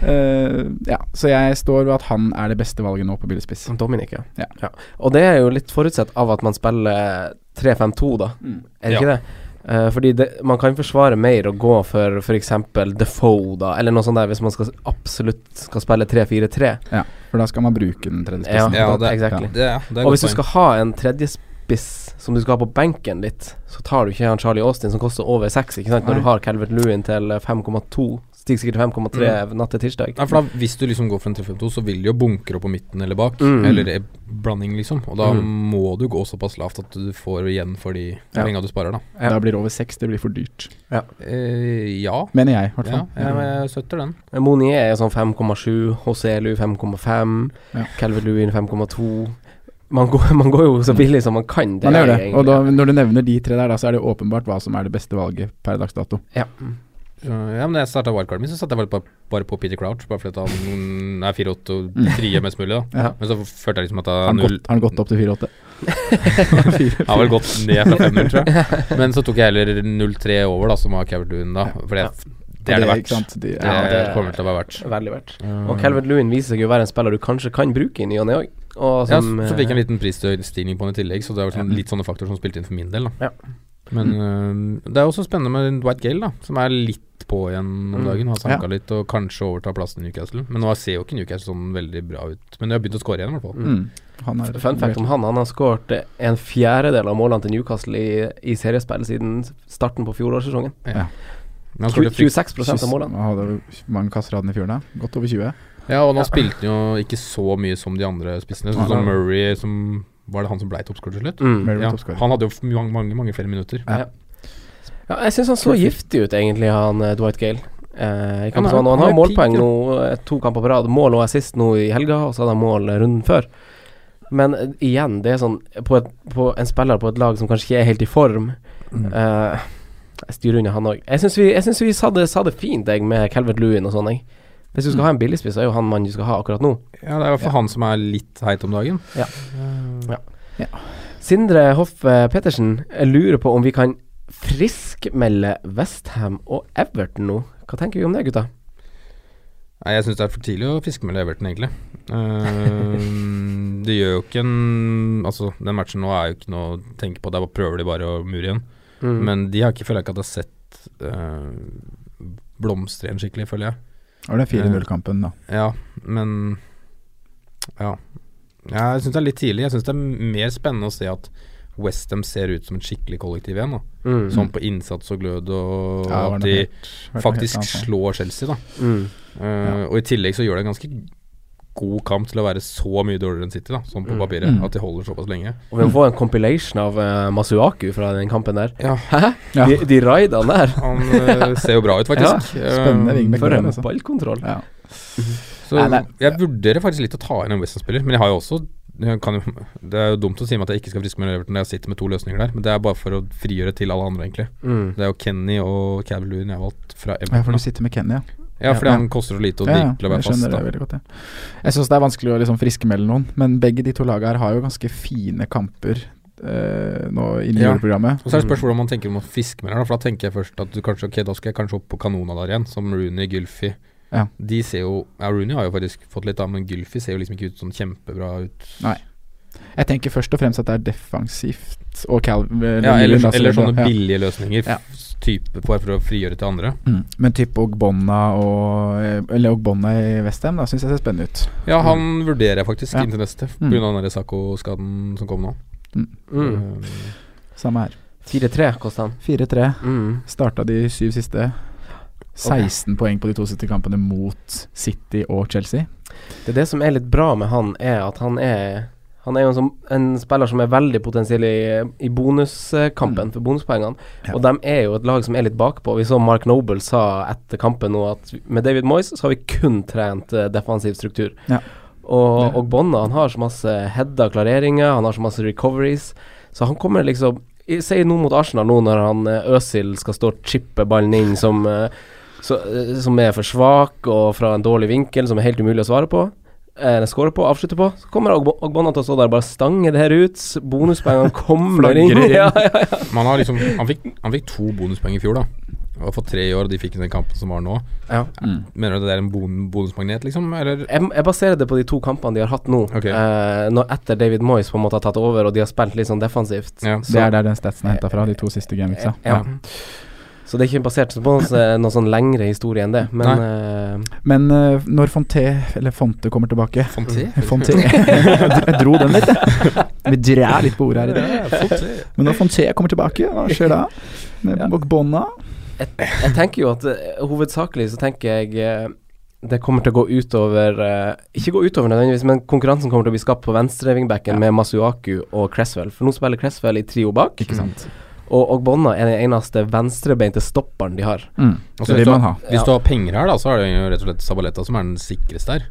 [SPEAKER 6] Eh, ja, så jeg står ved at han er det beste valget nå på billigspiss.
[SPEAKER 4] Som Dominic, ja.
[SPEAKER 6] Ja.
[SPEAKER 4] Og det er jo litt forutsett av at man spiller 3-5-2, da.
[SPEAKER 6] Mm.
[SPEAKER 4] Er det
[SPEAKER 5] Ja.
[SPEAKER 4] ikke det? Eh, fordi det, man kan forsvare mer å gå for f.eks. Defoe, da, eller noe sånt der, hvis man skal, absolutt skal spille 3-4-3.
[SPEAKER 6] Ja, for da skal man bruke den tredje
[SPEAKER 4] Ja,
[SPEAKER 6] spissen.
[SPEAKER 5] Ja,
[SPEAKER 4] det,
[SPEAKER 5] det-
[SPEAKER 4] exactly.
[SPEAKER 5] Det, er- det er
[SPEAKER 4] Og
[SPEAKER 5] godt
[SPEAKER 4] hvis du
[SPEAKER 5] poeng.
[SPEAKER 4] skal ha en tredjespiss som du skal ha på benken litt, så tar du ikke han Charlie Austin som koster over 6, ikke sant, når du har Calvert Lewin til 5,2. Stiger sikkert til 5,3
[SPEAKER 6] Mm.
[SPEAKER 4] natt til tirsdag.
[SPEAKER 5] Nei, for da, Hvis du liksom går for en 3-5-2, så vil de jo bunkre opp på midten eller bak.
[SPEAKER 4] Mm.
[SPEAKER 5] Eller i blanding, liksom. Og da
[SPEAKER 4] Mm.
[SPEAKER 5] må du gå såpass lavt at du får igjen for de
[SPEAKER 4] Ja.
[SPEAKER 5] penga du sparer, da.
[SPEAKER 4] Ja.
[SPEAKER 6] Da blir det over seks, det blir for dyrt.
[SPEAKER 5] Eh, ja.
[SPEAKER 6] Mener jeg, i hvert
[SPEAKER 5] ja
[SPEAKER 6] fall.
[SPEAKER 5] jeg, jeg støtter den.
[SPEAKER 4] Men Monier er jo sånn 5,7, Hoselu 5,5,
[SPEAKER 6] Ja.
[SPEAKER 4] Calvert Lewin 5,2. Man, går- man går jo så billig som man kan.
[SPEAKER 6] Man gjør det.
[SPEAKER 4] egentlig-
[SPEAKER 6] Og da, når du nevner de tre der, da, så er det åpenbart hva som er det beste valget per dags dato.
[SPEAKER 4] ja.
[SPEAKER 5] Så, ja, men da jeg starta wildcarden min, så satte jeg bare på, bare på Peter Crouch. Bare fordi at han er 4-8 og frier mest mulig, da.
[SPEAKER 6] Ja.
[SPEAKER 5] Men så følte jeg liksom at jeg
[SPEAKER 6] Har han
[SPEAKER 5] null-
[SPEAKER 6] gått, har han gått opp til 4-8?
[SPEAKER 5] Jeg har vel gått ned fra 500, tror jeg. Men så tok jeg heller 0-3 over, da, som var Caverdoon, da. For det, det er det
[SPEAKER 6] ikke
[SPEAKER 5] verdt.
[SPEAKER 6] sant? De,
[SPEAKER 5] Det,
[SPEAKER 4] Ja, det-
[SPEAKER 5] kommer til å være verdt.
[SPEAKER 4] Veldig verdt. Og Calvert Lewin viser seg jo å være en spiller du kanskje kan bruke i ny og ne òg.
[SPEAKER 5] Ja, så, så fikk jeg
[SPEAKER 4] eh,
[SPEAKER 5] en liten prisstigning på den i tillegg, så det var sånn, litt sånne faktorer som spilte inn for min del. Da.
[SPEAKER 4] Ja.
[SPEAKER 5] Men øh, det er også spennende med Dwight Gale, da, som er litt på igjen
[SPEAKER 4] Mm.
[SPEAKER 5] om dagen. Har sanka litt og kanskje overtar plassen i Newcastle. Men nå ser jo ikke Newcastle sånn veldig bra ut. Men de har begynt å score igjen, i hvert fall.
[SPEAKER 6] mm. han er,
[SPEAKER 4] eh, Fun fact om han, han har skåret en fjerdedel av målene til Newcastle i, i seriespill siden starten på fjorårssesongen.
[SPEAKER 5] Men han
[SPEAKER 4] Tju-
[SPEAKER 5] skårte frykt-
[SPEAKER 4] 26 av målene.
[SPEAKER 6] Hadde du mange kasser hadde han i fjor, da? Godt over 20?
[SPEAKER 5] Ja, og nå spilte han jo ikke så mye som de andre spissene. Sånn som Murray, som Var det han som ble toppskårer til slutt?
[SPEAKER 4] Mm. Murray ble
[SPEAKER 5] Ja,
[SPEAKER 4] toppskårer.
[SPEAKER 5] han hadde jo f- mange, mange, mange flere minutter.
[SPEAKER 4] Ja. Ja, jeg syns han så giftig ut, egentlig, han eh, Dwight Gale. Eh, i kampen
[SPEAKER 5] Han er-
[SPEAKER 4] som han, han har
[SPEAKER 5] han er
[SPEAKER 4] målpoeng
[SPEAKER 5] peak, ja.
[SPEAKER 4] nå, eh, to kamper på rad. Mål og assist nå i helga, og så hadde han mål eh, runden før. Men eh, igjen, det er sånn på, et, på en spiller på et lag som kanskje ikke er helt i form eh, Jeg styrer unna han òg. Jeg syns vi, jeg synes vi sa, det, sa det fint, jeg, med Calvert Lewin og sånn, jeg. Hvis du skal ha en billigspiss, er jo han mannen du skal ha akkurat nå.
[SPEAKER 5] Ja, det er i hvert fall han som er litt heit om dagen.
[SPEAKER 4] Ja. Sindre Hoff eh, Petersen, jeg lurer på om vi kan friskmelde Westham og Everton nå. Hva tenker vi om det, gutta?
[SPEAKER 5] Nei, jeg syns det er for tidlig å fiske med Leverton, egentlig. Eh, det gjør jo ikke en Altså, den matchen nå er jo ikke noe å tenke på, der prøver de bare å mure igjen.
[SPEAKER 4] Mm.
[SPEAKER 5] Men de har ikke føler jeg ikke at jeg har sett eh, blomstre igjen skikkelig, føler jeg.
[SPEAKER 6] Det var den 4-0-kampen, da.
[SPEAKER 5] Ja, men Ja. Ja, Jeg syns det er litt tidlig. Jeg syns det er mer spennende å se at Westham ser ut som et skikkelig kollektiv igjen. Da.
[SPEAKER 4] Mm.
[SPEAKER 5] Sånn på innsats og glød,
[SPEAKER 6] Ja,
[SPEAKER 5] og
[SPEAKER 6] det var
[SPEAKER 5] at
[SPEAKER 6] noe
[SPEAKER 5] de
[SPEAKER 6] helt- det var noe helt
[SPEAKER 5] faktisk
[SPEAKER 6] annet, da.
[SPEAKER 5] slår Chelsea, da.
[SPEAKER 4] Mm.
[SPEAKER 5] Eh, Og i tillegg så gjør det en ganske god kamp til å være så mye dårligere enn City, da, sånn på
[SPEAKER 4] Mm.
[SPEAKER 5] papiret.
[SPEAKER 6] Mm.
[SPEAKER 5] At de holder såpass lenge.
[SPEAKER 4] Og vi må få en compilation av eh, Masuaku fra den kampen der.
[SPEAKER 5] Ja.
[SPEAKER 4] Hæ?
[SPEAKER 6] Ja.
[SPEAKER 4] De, de raida han der.
[SPEAKER 5] Han eh, ser jo bra ut, faktisk.
[SPEAKER 6] Ja, spennende
[SPEAKER 5] Eh,
[SPEAKER 6] wingback.
[SPEAKER 4] For
[SPEAKER 6] der,
[SPEAKER 4] en
[SPEAKER 6] altså.
[SPEAKER 4] ballkontroll.
[SPEAKER 6] Ja.
[SPEAKER 5] Så
[SPEAKER 6] Nei, nei.
[SPEAKER 5] jeg vurderer faktisk litt å ta inn en Westham-spiller, men jeg har jo også jeg kan jo, Det er jo dumt å si meg at jeg ikke skal friske med Everton, jeg sitter med to løsninger der, men det er bare for å frigjøre til alle andre, egentlig.
[SPEAKER 4] Mm.
[SPEAKER 5] Det er jo Kenny og Cavaloon jeg har valgt fra
[SPEAKER 6] Ja, for
[SPEAKER 5] Everton.
[SPEAKER 6] du sitter med Kenny, ja.
[SPEAKER 5] da. Ja, fordi
[SPEAKER 6] ja.
[SPEAKER 5] han koster så lite og
[SPEAKER 6] Ja,
[SPEAKER 5] digg
[SPEAKER 6] ja,
[SPEAKER 5] til å være
[SPEAKER 6] jeg skjønner
[SPEAKER 5] fast.
[SPEAKER 6] det
[SPEAKER 5] Da.
[SPEAKER 6] veldig godt, ja. Jeg syns det er vanskelig å liksom friskmelde noen, men begge de to lagene her har jo ganske fine kamper eh, nå inni
[SPEAKER 5] Ja.
[SPEAKER 6] juleprogrammet.
[SPEAKER 5] Og så er det spørsmålet hvordan man tenker om å fiske med det, da, for da tenker jeg først at du kanskje Ok, da skal jeg kanskje opp på kanona der igjen, som Rooney, Gylfi.
[SPEAKER 6] Ja.
[SPEAKER 5] De ser jo Ja, Rooney har jo faktisk fått litt, da, men Gylfi ser jo liksom ikke ut sånn kjempebra ut.
[SPEAKER 6] Jeg tenker først og fremst at det er defensivt og Cal...
[SPEAKER 5] Ja, eller,
[SPEAKER 6] Lewin, altså,
[SPEAKER 5] eller sånne
[SPEAKER 6] ja.
[SPEAKER 5] billige løsninger,
[SPEAKER 6] Ja.
[SPEAKER 5] f- type bare for å frigjøre til andre.
[SPEAKER 6] Mm. Men type Ogbonna og eh, Eller Ogbonna i Westham, da syns jeg ser spennende ut.
[SPEAKER 5] Ja, han vurderer jeg faktisk
[SPEAKER 6] Ja.
[SPEAKER 5] inntil neste,
[SPEAKER 6] Mm.
[SPEAKER 5] pga. den der Sako-skaden som kom nå.
[SPEAKER 4] Mm.
[SPEAKER 5] Eh,
[SPEAKER 6] Samme her.
[SPEAKER 4] 4-3 kosta han.
[SPEAKER 6] 4-3.
[SPEAKER 4] Mm.
[SPEAKER 6] Starta de syv siste. 16 poeng på de to siste kampene mot City og Chelsea.
[SPEAKER 4] Det er det som er litt bra med han, er at han er han er jo en, som, en spiller som er veldig potensiell i, i bonuskampen, for bonuspoengene.
[SPEAKER 6] Mm. Ja.
[SPEAKER 4] Og de er jo et lag som er litt bakpå. Vi så Mark Noble sa etter kampen nå at med David Moyes så har vi kun trent eh, defensiv struktur.
[SPEAKER 6] Ja.
[SPEAKER 4] Og, og Bonna han har så masse heada klareringer, han har så masse recoveries. Så han kommer liksom i- Si nå mot Arsenal, nå når han eh, Øsil skal stå og chippe ballen inn som, eh, så, eh, som er for svak og fra en dårlig vinkel, som er helt umulig å svare på. eh, Skåre på, avslutte på. Så kommer Ogbo- Ogbonna til å stå der og bare stange det her ut. s- Bonuspengene kommer inn.
[SPEAKER 6] Flagrer inn.
[SPEAKER 4] Ja, ja, ja.
[SPEAKER 5] Men han, har liksom, han, fikk, han fikk to bonuspoeng i fjor, da. Og har fått tre i år, og de fikk i den kampen som var nå.
[SPEAKER 4] Ja.
[SPEAKER 6] Mm.
[SPEAKER 5] Mener du det er en bon bonusmagnet, liksom? Eller
[SPEAKER 4] Jeg, jeg baserer det på de to kampene de har hatt nå.
[SPEAKER 5] Ok.
[SPEAKER 4] Eh, når etter David Moyes på en måte har tatt over og de har spilt litt sånn defensivt.
[SPEAKER 5] Ja.
[SPEAKER 6] Det er der den statsen er henta fra, de to siste gameweeksa.
[SPEAKER 4] Ja. Så det er ikke basert på noen, sånn- noen sånn lengre historie enn det. Men eh,
[SPEAKER 6] Men eh, når Fonte, eller Fonte kommer tilbake
[SPEAKER 5] Fonté?
[SPEAKER 4] Mm.
[SPEAKER 6] Fonte Jeg dro den litt, jeg. Vi drar litt på ordet her i dag.
[SPEAKER 5] Ja, Fonté.
[SPEAKER 6] Men når Fonte kommer tilbake, hva skjer da? Med Bogbonna?
[SPEAKER 4] jeg tenker jo at eh, hovedsakelig så tenker jeg eh, det kommer til å gå utover eh, Ikke gå utover nødvendigvis, men konkurransen kommer til å bli skapt på venstre wingbacken med Masuaku og Cresswell. For nå spiller Cresswell i trio bak, Mm.
[SPEAKER 6] Ikke sant.
[SPEAKER 4] og Ogbonna er den eneste venstrebeinte stopperen de har.
[SPEAKER 6] Mm.
[SPEAKER 5] Og så
[SPEAKER 6] Det
[SPEAKER 5] Altså, hvis,
[SPEAKER 6] vil
[SPEAKER 5] du
[SPEAKER 6] man
[SPEAKER 5] har,
[SPEAKER 6] ha.
[SPEAKER 5] hvis du har penger her, da, så er det jo rett og slett Sabaleta som er den sikreste her.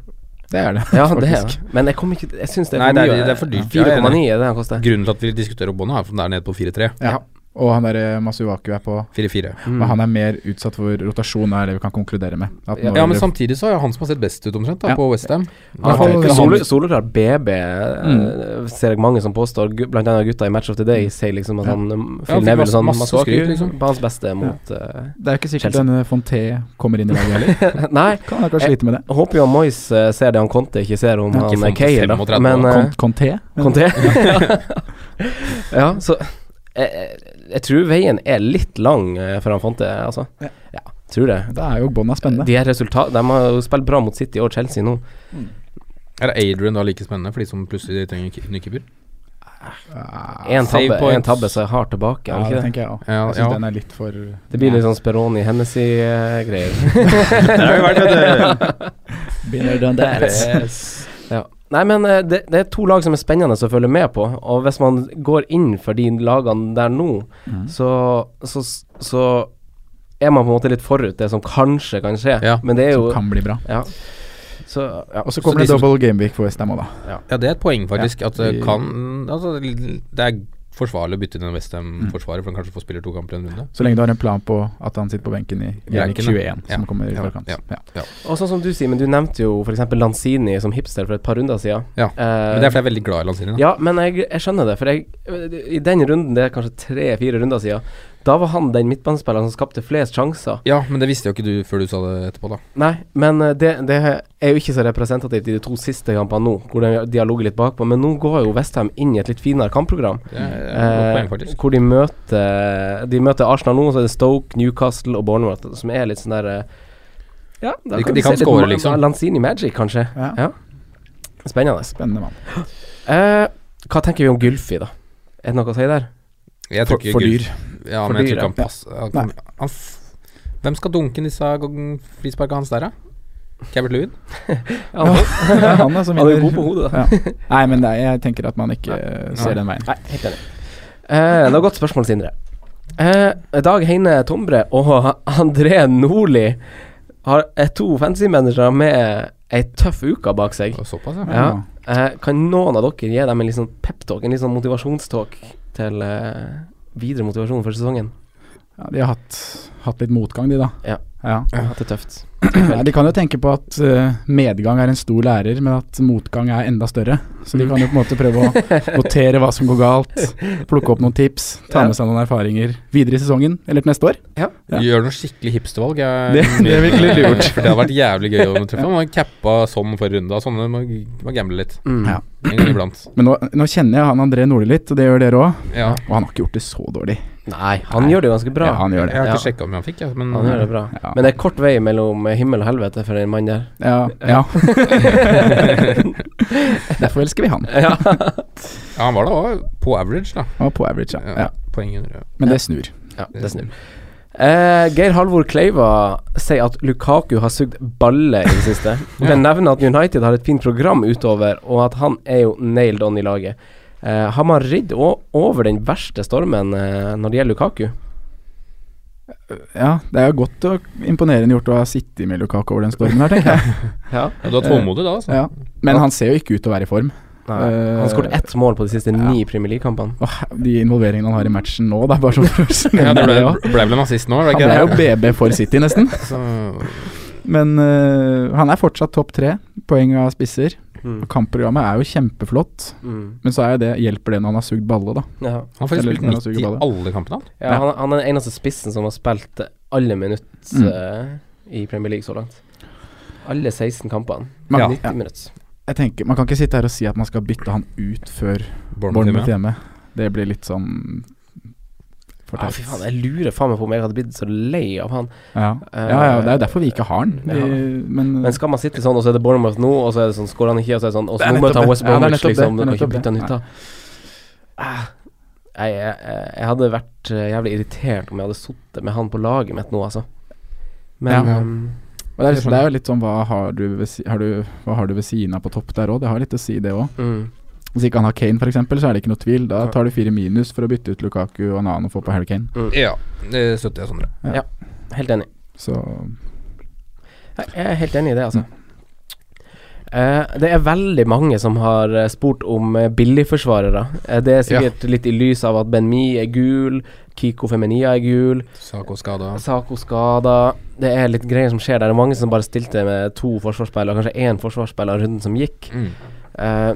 [SPEAKER 6] Det er det.
[SPEAKER 4] Ja, det er
[SPEAKER 6] faktisk.
[SPEAKER 4] Men jeg kommer ikke Jeg syns det er
[SPEAKER 5] Nei,
[SPEAKER 4] for
[SPEAKER 5] det er-
[SPEAKER 4] mye. eh,
[SPEAKER 5] det er for dyrt. Ja, jeg er
[SPEAKER 4] 4,9
[SPEAKER 5] enig.
[SPEAKER 4] er det han koster.
[SPEAKER 5] Grunnen til at vi diskuterer Obbona, er at den er nede på 4-3.
[SPEAKER 6] Ja. Mm. Og han derre Masuaku er på
[SPEAKER 5] 4-4.
[SPEAKER 4] Mm.
[SPEAKER 6] Men han er mer utsatt for rotasjon, er det vi kan konkludere med. At
[SPEAKER 4] Ja,
[SPEAKER 6] når-
[SPEAKER 5] Ja, men samtidig så er det han som har sett best ut, omtrent, da,
[SPEAKER 6] Ja.
[SPEAKER 5] på Westham.
[SPEAKER 6] Ja,
[SPEAKER 4] Ja,
[SPEAKER 6] han-
[SPEAKER 4] Sole- Soleklar BB eh,
[SPEAKER 5] Mm.
[SPEAKER 4] ser jeg mange som påstår, gu- blant annet gutta i Match of the Day, sier liksom at han mm,
[SPEAKER 5] Ja, han
[SPEAKER 4] Phil
[SPEAKER 5] fikk
[SPEAKER 4] Neville
[SPEAKER 5] masse-
[SPEAKER 4] sånn
[SPEAKER 5] masse
[SPEAKER 4] Masuaku
[SPEAKER 5] skryt, liksom.
[SPEAKER 4] på hans beste mot eh,
[SPEAKER 6] Det er ikke sikkert
[SPEAKER 4] Chelsea.
[SPEAKER 6] denne Fonte kommer inn i laget heller.
[SPEAKER 4] Nei,
[SPEAKER 6] Kan han kanskje slite med det.
[SPEAKER 4] jeg håper jo han Moyes eh, ser det han Conte ikke ser om
[SPEAKER 6] Ja,
[SPEAKER 5] ikke
[SPEAKER 4] han
[SPEAKER 5] Fonte,
[SPEAKER 4] eh, Cahill, da.
[SPEAKER 5] 35
[SPEAKER 4] Men
[SPEAKER 5] år.
[SPEAKER 4] eh,
[SPEAKER 6] Kon- Conte?
[SPEAKER 4] Conte Ja, så jeg, jeg, jeg tror veien er litt lang eh, for han Fonte, altså. Ja, tror det.
[SPEAKER 6] Da er jo bånda spennende.
[SPEAKER 4] De, er resultat, de har jo spilt bra mot City og Chelsea nå.
[SPEAKER 5] Er Adrian da like spennende for de som plutselig trenger ki- ny keeper?
[SPEAKER 4] Én
[SPEAKER 5] save
[SPEAKER 4] tabbe,
[SPEAKER 5] points.
[SPEAKER 4] en tabbe så jeg har tilbake.
[SPEAKER 6] Ja,
[SPEAKER 4] er det
[SPEAKER 6] det
[SPEAKER 4] ikke det?
[SPEAKER 6] tenker jeg òg.
[SPEAKER 5] Ja,
[SPEAKER 6] Jeg syns
[SPEAKER 5] ja.
[SPEAKER 6] den er litt for
[SPEAKER 4] Det blir litt sånn Speroni Hennessy-greier.
[SPEAKER 6] Begynner den der.
[SPEAKER 4] ja. Nei, men eh, det, det er to lag som er spennende å følge med på. Og hvis man går inn for de lagene der nå,
[SPEAKER 6] Mm.
[SPEAKER 4] så, så, så er man på en måte litt forut det som kanskje kan skje. Men det er jo
[SPEAKER 6] Som kan bli bra.
[SPEAKER 4] Ja. Så, ja.
[SPEAKER 6] Og så kommer det double gameweek for Westham òg, da.
[SPEAKER 4] Ja.
[SPEAKER 5] Ja, det er et poeng, faktisk.
[SPEAKER 6] Ja.
[SPEAKER 5] At det
[SPEAKER 6] Vi-
[SPEAKER 5] kan altså, Det er forsvarlig å bytte inn en
[SPEAKER 6] Mm.
[SPEAKER 5] Westham-forsvarer, for han kanskje får spille to kamper i en runde.
[SPEAKER 6] Så lenge du har en plan på at han sitter på benken i Gameweek
[SPEAKER 5] Benken,
[SPEAKER 6] 21,
[SPEAKER 5] ja.
[SPEAKER 6] som
[SPEAKER 5] Ja.
[SPEAKER 6] kommer i
[SPEAKER 5] Ja.
[SPEAKER 6] forkant.
[SPEAKER 5] Ja.
[SPEAKER 6] Ja.
[SPEAKER 5] Ja.
[SPEAKER 4] Og sånn som du sier, men du nevnte jo f.eks. Lanzini som hipster for et par runder siden.
[SPEAKER 5] Ja.
[SPEAKER 4] Eh,
[SPEAKER 5] Men det er fordi jeg er veldig glad i Lanzini. da.
[SPEAKER 4] Ja, men jeg, jeg skjønner det, for jeg, i den runden, det er kanskje tre-fire runder siden, da var han den midtbanespilleren som skapte flest sjanser.
[SPEAKER 5] Ja, men det visste jo ikke du før du sa det etterpå, da.
[SPEAKER 4] Nei, men eh, det, det er jo ikke så representativt i de to siste kampene nå, hvor de, de har ligget litt bakpå. Men nå går jo Westham inn i et litt finere kampprogram,
[SPEAKER 5] Det er et godt poeng,
[SPEAKER 4] eh,
[SPEAKER 5] faktisk.
[SPEAKER 4] hvor de møter, de møter Arsenal nå, og så er det Stoke, Newcastle og Bournemouth, som er litt sånn der eh, Ja, da
[SPEAKER 5] De-
[SPEAKER 4] kan
[SPEAKER 5] de
[SPEAKER 4] vi
[SPEAKER 5] kan
[SPEAKER 4] se litt
[SPEAKER 5] score,
[SPEAKER 4] Ma-
[SPEAKER 5] liksom.
[SPEAKER 4] Lanzini Magic, kanskje.
[SPEAKER 6] Ja.
[SPEAKER 4] ja. Spennende.
[SPEAKER 6] Spennende mann.
[SPEAKER 4] Eh, hva tenker vi om Gylfi, da? Er det noe å si der?
[SPEAKER 5] Jeg
[SPEAKER 6] For,
[SPEAKER 5] tror ikke
[SPEAKER 6] for
[SPEAKER 5] Gud-
[SPEAKER 6] dyr.
[SPEAKER 5] Ja,
[SPEAKER 4] For
[SPEAKER 5] men jeg
[SPEAKER 4] dyr,
[SPEAKER 5] tror ikke han
[SPEAKER 6] ja.
[SPEAKER 5] passer han, han, f- Hvem skal dunke disse g- frisparka hans der, da? Cabert Lewin?
[SPEAKER 4] Ja,
[SPEAKER 6] Ja, han er som
[SPEAKER 4] Han er
[SPEAKER 6] vinner.
[SPEAKER 4] god på hodet, da.
[SPEAKER 6] Ja. Nei, men det, er- jeg tenker at man ikke eh, ser den veien.
[SPEAKER 4] Nei, helt enig. Eh, det var godt spørsmål, Sindre. Eh, Dag Heine Tombre og André Nordli har, er to fancy-managere med ei tøff uke bak seg.
[SPEAKER 5] Og Såpass, ja.
[SPEAKER 4] Ja. Eh, kan noen av dere gi dem en litt sånn peptalk, en litt sånn motivasjonstalk til eh, videre motivasjon for sesongen?
[SPEAKER 6] Ja, de har hatt, hatt litt motgang, de da.
[SPEAKER 4] Ja.
[SPEAKER 6] Ja.
[SPEAKER 4] At det er tøft.
[SPEAKER 6] Nei, de kan jo tenke på at eh, medgang er en stor lærer, men at motgang er enda større. Så
[SPEAKER 4] Mm.
[SPEAKER 6] de kan jo på en måte prøve å notere hva som går galt, plukke opp noen tips, ta
[SPEAKER 4] Ja.
[SPEAKER 6] med seg noen erfaringer videre i sesongen, eller til neste år. Ja.
[SPEAKER 5] Gjør noe skikkelig hipstervalg. jeg-
[SPEAKER 6] Det- det er virkelig lurt.
[SPEAKER 5] For det hadde vært jævlig gøy å treffe. Han var cappa sånn for runde og sånne. Må, må gamble litt.
[SPEAKER 4] Mm.
[SPEAKER 6] Ja.
[SPEAKER 5] En gang iblant.
[SPEAKER 6] Men nå, nå kjenner jeg han André Nordli litt, og det gjør dere òg.
[SPEAKER 5] Ja.
[SPEAKER 6] Og han har ikke gjort det så dårlig.
[SPEAKER 4] Nei, han gjør det ganske bra.
[SPEAKER 6] Ja, han gjør
[SPEAKER 5] Jeg
[SPEAKER 6] det.
[SPEAKER 5] har ikke
[SPEAKER 4] Ja.
[SPEAKER 5] sjekka om han fikk, jeg. Men
[SPEAKER 4] Han gjør det bra.
[SPEAKER 6] Ja.
[SPEAKER 4] Men det er kort vei mellom himmel og helvete for en mann der.
[SPEAKER 6] Ja, ja. Derfor elsker vi han.
[SPEAKER 5] ja, han var da også på average, da.
[SPEAKER 6] Han var på average, ja. ja.
[SPEAKER 5] Poeng under. ja.
[SPEAKER 6] Men det snur.
[SPEAKER 4] Ja, det snur. Eh, Geir Halvor Kleiva sier at Lukaku har sugd balle i det siste. Men nevner at United har et fint program utover, og at han er jo nailed on i laget. Eh, har man ridd o- over den verste stormen eh, når det gjelder Lukaku?
[SPEAKER 6] Ja, det er jo godt og imponerende gjort å ha sittet med Lukaku over den stormen her, tenker jeg.
[SPEAKER 4] Ja.
[SPEAKER 5] Ja, du er tålmodig da, altså.
[SPEAKER 6] Ja. Men han ser jo ikke ut til å være i form. Eh,
[SPEAKER 4] Han skåret ett mål på de siste ni Premier League-kampene.
[SPEAKER 6] Og de involveringene han har i matchen nå, det er bare sånn for oss.
[SPEAKER 5] Ja, det ble, ble vel en assist nå, var det
[SPEAKER 6] Han
[SPEAKER 5] ikke
[SPEAKER 6] ble
[SPEAKER 5] det?
[SPEAKER 6] jo BB for City, nesten.
[SPEAKER 5] Så-
[SPEAKER 6] Men eh, han er fortsatt topp tre poeng av spisser.
[SPEAKER 4] Mm.
[SPEAKER 6] Kampprogrammet er jo kjempeflott,
[SPEAKER 4] Mm.
[SPEAKER 6] men så er jo det, hjelper det når han har sugd balle, da.
[SPEAKER 4] Ja.
[SPEAKER 5] Han har faktisk
[SPEAKER 6] Eller
[SPEAKER 5] spilt
[SPEAKER 6] når han
[SPEAKER 5] midt
[SPEAKER 6] suger
[SPEAKER 5] i
[SPEAKER 6] ballen.
[SPEAKER 5] alle kampene, han.
[SPEAKER 4] Ja, han, han er den eneste spissen som har spilt alle minutt eh, i Premier League så langt. Alle 16 kampene.
[SPEAKER 6] Man,
[SPEAKER 4] 90
[SPEAKER 6] ja,
[SPEAKER 4] minutter.
[SPEAKER 6] jeg tenker, man kan ikke sitte her og si at man skal bytte han ut før Bournemouth
[SPEAKER 5] hjemme.
[SPEAKER 6] hjemme. Det blir litt sånn for
[SPEAKER 4] Ja,
[SPEAKER 6] teit.
[SPEAKER 4] fy faen, jeg lurer faen meg på om jeg hadde blitt så lei av han.
[SPEAKER 6] Ja. ja, ja, det er jo derfor vi ikke har han. Vi, Eh, men,
[SPEAKER 4] Men skal man sitte sånn, og så er det Bournemouth nå, og så er det sånn skårer han ikke, og så er det sånn Og
[SPEAKER 6] Det
[SPEAKER 4] så
[SPEAKER 6] er
[SPEAKER 4] nå møter
[SPEAKER 6] nettopp
[SPEAKER 4] han
[SPEAKER 6] det.
[SPEAKER 4] West
[SPEAKER 6] Ja, det er
[SPEAKER 4] Bromwich,
[SPEAKER 6] nettopp det.
[SPEAKER 4] liksom. Du
[SPEAKER 6] Det er
[SPEAKER 4] kan ikke
[SPEAKER 6] nettopp
[SPEAKER 4] bytte han
[SPEAKER 6] det.
[SPEAKER 4] ut, da. Ah, Jeg, jeg, jeg hadde vært eh, jævlig irritert om jeg hadde sittet med han på laget mitt nå, altså. Men
[SPEAKER 6] Ja.
[SPEAKER 4] ehm,
[SPEAKER 6] og det, er liksom, det er jo litt sånn hva har du ved, si- har du, hva har du ved siden av på topp der òg? Det har litt å si, det òg.
[SPEAKER 4] mm,
[SPEAKER 6] Hvis ikke han har Kane, f.eks., så er det ikke noe tvil. Da tar du fire minus for å bytte ut Lukaku og en annen og få på Harry Kane.
[SPEAKER 5] Ja, det støtter jeg, Sondre.
[SPEAKER 4] helt enig.
[SPEAKER 6] Så
[SPEAKER 4] Jeg jeg er helt enig i det, altså. Eh, det er veldig mange som har eh, spurt om eh, billigforsvarere. Eh, det er sikkert litt i lys av at Ben Mi er gul, Kiko Feminia er gul,
[SPEAKER 5] Sako skada.
[SPEAKER 4] Sako skada. Det er litt greier som skjer der. Det er mange som bare stilte med to forsvarsspillere, kanskje én forsvarsspiller runden som gikk.
[SPEAKER 5] Mm.
[SPEAKER 4] Eh,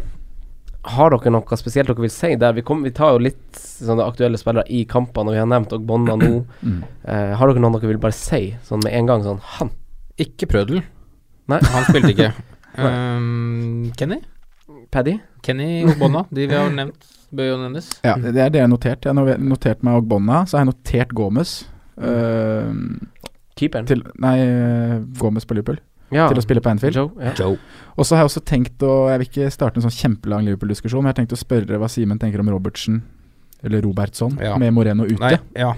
[SPEAKER 4] har dere noe spesielt dere vil si der? Vi, kom, vi tar jo litt sånne aktuelle spillere i kampene, og vi har nevnt Ogbonna nå.
[SPEAKER 6] Mm.
[SPEAKER 4] Eh, har dere noen dere vil bare si sånn med en gang? Sånn han.
[SPEAKER 5] Ikke Prødel.
[SPEAKER 4] Nei.
[SPEAKER 5] Han spilte ikke. um, Kenny?
[SPEAKER 4] Paddy?
[SPEAKER 5] Kenny og Bonna, de vi har nevnt, bør jo nevnes.
[SPEAKER 6] ja, det er det jeg har notert. Jeg har no- notert meg Ogbonna, så har jeg notert Gomez. eh,
[SPEAKER 4] Keeperen?
[SPEAKER 6] til, nei, eh, Gomez på Liverpool,
[SPEAKER 4] ja.
[SPEAKER 6] til å spille på Anfield.
[SPEAKER 4] Joe, ja.
[SPEAKER 5] Joe.
[SPEAKER 6] Og så har jeg også tenkt å Jeg vil ikke starte en sånn kjempelang Liverpool-diskusjon, men jeg har tenkt å spørre hva Simen tenker om Robertsen eller Robertson,
[SPEAKER 5] Ja.
[SPEAKER 6] med Moreno ute.
[SPEAKER 5] Nei, ja.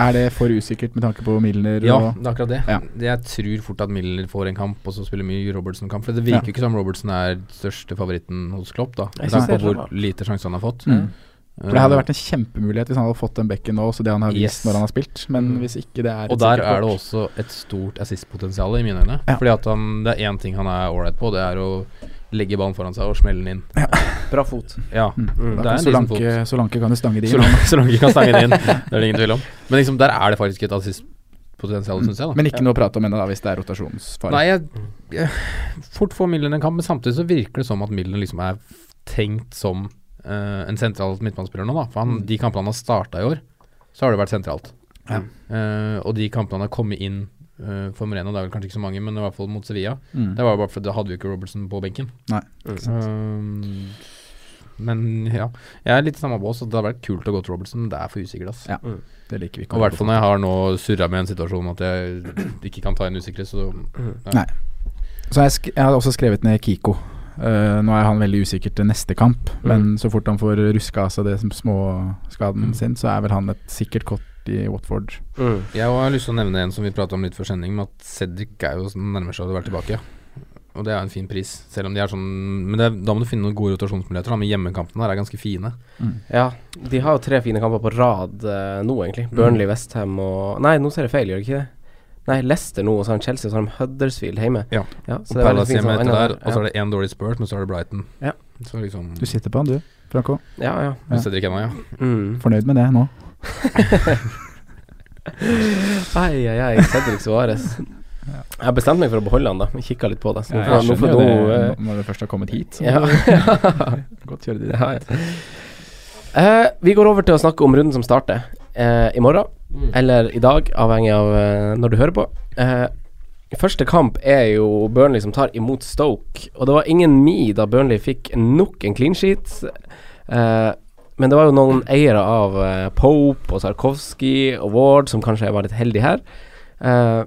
[SPEAKER 6] Er det for usikkert med tanke på Milner?
[SPEAKER 5] Ja,
[SPEAKER 6] og,
[SPEAKER 5] det er akkurat det.
[SPEAKER 6] Ja.
[SPEAKER 5] Jeg tror fort at Miller får en kamp, og så spiller mye Robertson-kamp. For det
[SPEAKER 6] Ja.
[SPEAKER 5] virker jo ikke som Robertson er største favoritten hos Klopp, da.
[SPEAKER 6] Jeg
[SPEAKER 5] Med tanke
[SPEAKER 6] synes
[SPEAKER 5] på
[SPEAKER 6] det er
[SPEAKER 5] hvor lite sjanse han har fått.
[SPEAKER 6] Mm. For Det hadde
[SPEAKER 5] Eh,
[SPEAKER 6] vært en kjempemulighet hvis han hadde fått den bekken nå, så det han har vist
[SPEAKER 5] Yes. Mm.
[SPEAKER 6] når han har spilt. Men hvis ikke det er et
[SPEAKER 5] og der
[SPEAKER 6] sikkert
[SPEAKER 5] er det
[SPEAKER 6] kort.
[SPEAKER 5] også et stort assist-potensial i mine øyne. Fordi at han, det er én ting han er ålreit på, det er å legge ballen foran seg og smelle den inn.
[SPEAKER 4] Bra fot.
[SPEAKER 5] Ja,
[SPEAKER 6] Mm.
[SPEAKER 5] det
[SPEAKER 6] Da
[SPEAKER 5] er
[SPEAKER 6] kan
[SPEAKER 5] en decent
[SPEAKER 6] Solanke,
[SPEAKER 5] fot.
[SPEAKER 6] Solanke kan jo stange det inn.
[SPEAKER 5] Solanke, Solanke kan stange den inn, det er det ingen tvil om. Men liksom, der er det faktisk et assist-potensial,
[SPEAKER 6] Mm.
[SPEAKER 5] syns jeg. Da.
[SPEAKER 6] Men ikke noe å prate om ennå, da, hvis det er rotasjonsfare.
[SPEAKER 5] Nei, jeg, jeg fort får Millen en kamp, men samtidig så virker det som at Millen liksom er tenkt som eh, en sentral midtbanespiller nå, da. For han, de kampene han har starta i år, så har det vært sentralt.
[SPEAKER 6] Mm. Ja.
[SPEAKER 5] Eh, og de kampene han har kommet inn eh, for Moreno, det er vel kanskje ikke så mange, men i hvert fall mot Sevilla,
[SPEAKER 6] Mm.
[SPEAKER 5] det var jo bare fordi da hadde jo ikke Robertson på benken.
[SPEAKER 6] Nei,
[SPEAKER 5] Eh, men ja, jeg er litt samme bås, så det hadde vært kult å gå til Robertson, men det er for usikkert, ass.
[SPEAKER 6] Ja, det liker vi ikke.
[SPEAKER 5] Og i hvert fall når jeg har nå surra med en situasjon at jeg ikke kan ta en usikkerhet, så ja.
[SPEAKER 6] Mm. Nei. Så jeg, sk jeg har også skrevet ned Kiko. Eh, nå er han veldig usikker til neste kamp, men så fort han får ruska av seg det som småskaden sin, så er vel han et sikkert kort i Watford.
[SPEAKER 5] Jeg har lyst til å nevne en som vi prata om litt før sending, med at Cedric er jo sånn nærmer seg å være tilbake. Og det er jo en fin pris, selv om de er sånn Men det, er- da må du finne noen gode rotasjonsmuligheter, da, men hjemmekampene her er ganske fine.
[SPEAKER 4] Ja, de har jo tre fine kamper på rad eh, nå, egentlig.
[SPEAKER 5] Mm.
[SPEAKER 4] Burnley, Westham og Nei, nå ser jeg feil, gjør jeg ikke det? Nei, Leicester nå, og så har de Chelsea, og så har de Huddersfield hjemme.
[SPEAKER 5] Ja.
[SPEAKER 4] så
[SPEAKER 5] Og
[SPEAKER 4] det er veldig
[SPEAKER 5] Palace
[SPEAKER 4] fint
[SPEAKER 5] hjemme
[SPEAKER 4] sånn,
[SPEAKER 5] etter
[SPEAKER 4] enda
[SPEAKER 5] der,
[SPEAKER 4] der,
[SPEAKER 5] og så er det én dårlig spurt, men så er det Brighton.
[SPEAKER 4] Ja.
[SPEAKER 5] Så liksom
[SPEAKER 6] Du sitter på han du, Franco.
[SPEAKER 4] Ja, ja.
[SPEAKER 5] Men Cedric ennå, ja.
[SPEAKER 4] Mm.
[SPEAKER 6] Fornøyd med det nå?
[SPEAKER 4] Ai, ai, ai, Cedric Suárez. Jeg bestemte meg for å beholde han, da. Jeg Kikka litt på det. Så nå
[SPEAKER 6] Jeg
[SPEAKER 4] får- nå
[SPEAKER 6] skjønner
[SPEAKER 4] får
[SPEAKER 6] jo
[SPEAKER 4] nå,
[SPEAKER 6] det,
[SPEAKER 4] eh,
[SPEAKER 6] nå- når du først har kommet hit. Så
[SPEAKER 4] Ja.
[SPEAKER 6] Godt gjøre det.
[SPEAKER 4] Ja, ja. Eh, vi går over til å snakke om runden som starter eh, i morgen,
[SPEAKER 6] Mm.
[SPEAKER 4] eller i dag, avhengig av eh, når du hører på. Eh, første kamp er jo Burnley som tar imot Stoke, og det var ingen mi da Burnley fikk nok en clean sheet. Eh, men det var jo noen eiere av eh, Pope og Sarkovsky og Ward som kanskje var litt heldige her. Eh,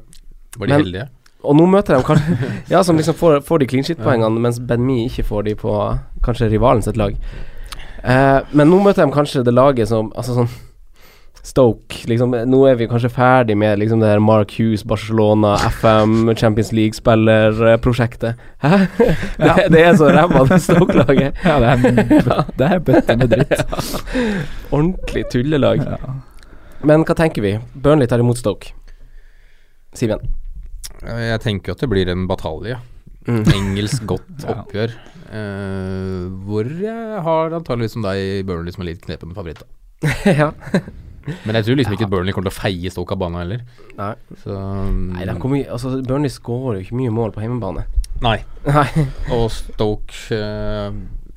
[SPEAKER 5] Var de
[SPEAKER 4] Men-
[SPEAKER 5] heldige?
[SPEAKER 4] og nå møter de kanskje Ja, som liksom får, får de clean shit-poengene, mens Ben-Mi ikke får de på kanskje rivalen sitt lag. Eh, men nå møter de kanskje det laget som Altså sånn Stoke, liksom Nå er vi kanskje ferdig med liksom det her Mark Hughes, Barcelona, FM, Champions League-spillerprosjektet. Hæ? Det, det er så ræva, det Stoke-laget.
[SPEAKER 6] Ja, det er, det er bøtta med dritt.
[SPEAKER 4] Ordentlig tullelag. Men hva tenker vi? Burnley tar imot Stoke. Siv igjen.
[SPEAKER 5] Eh, Jeg tenker at det blir en batalje.
[SPEAKER 4] Mm.
[SPEAKER 5] Engelsk godt
[SPEAKER 6] Ja.
[SPEAKER 5] oppgjør. eh, hvor jeg har antageligvis som deg Burnley som er litt knepen favoritt. da.
[SPEAKER 4] ja.
[SPEAKER 5] Men jeg tror liksom ikke Burnley kommer til å feie Stoke av banen heller.
[SPEAKER 4] Nei.
[SPEAKER 5] Så, um,
[SPEAKER 4] Nei, de kommer, jo- altså, Burnley skårer jo ikke mye mål på hjemmebane.
[SPEAKER 5] Nei.
[SPEAKER 4] Nei.
[SPEAKER 5] Og Stoke eh,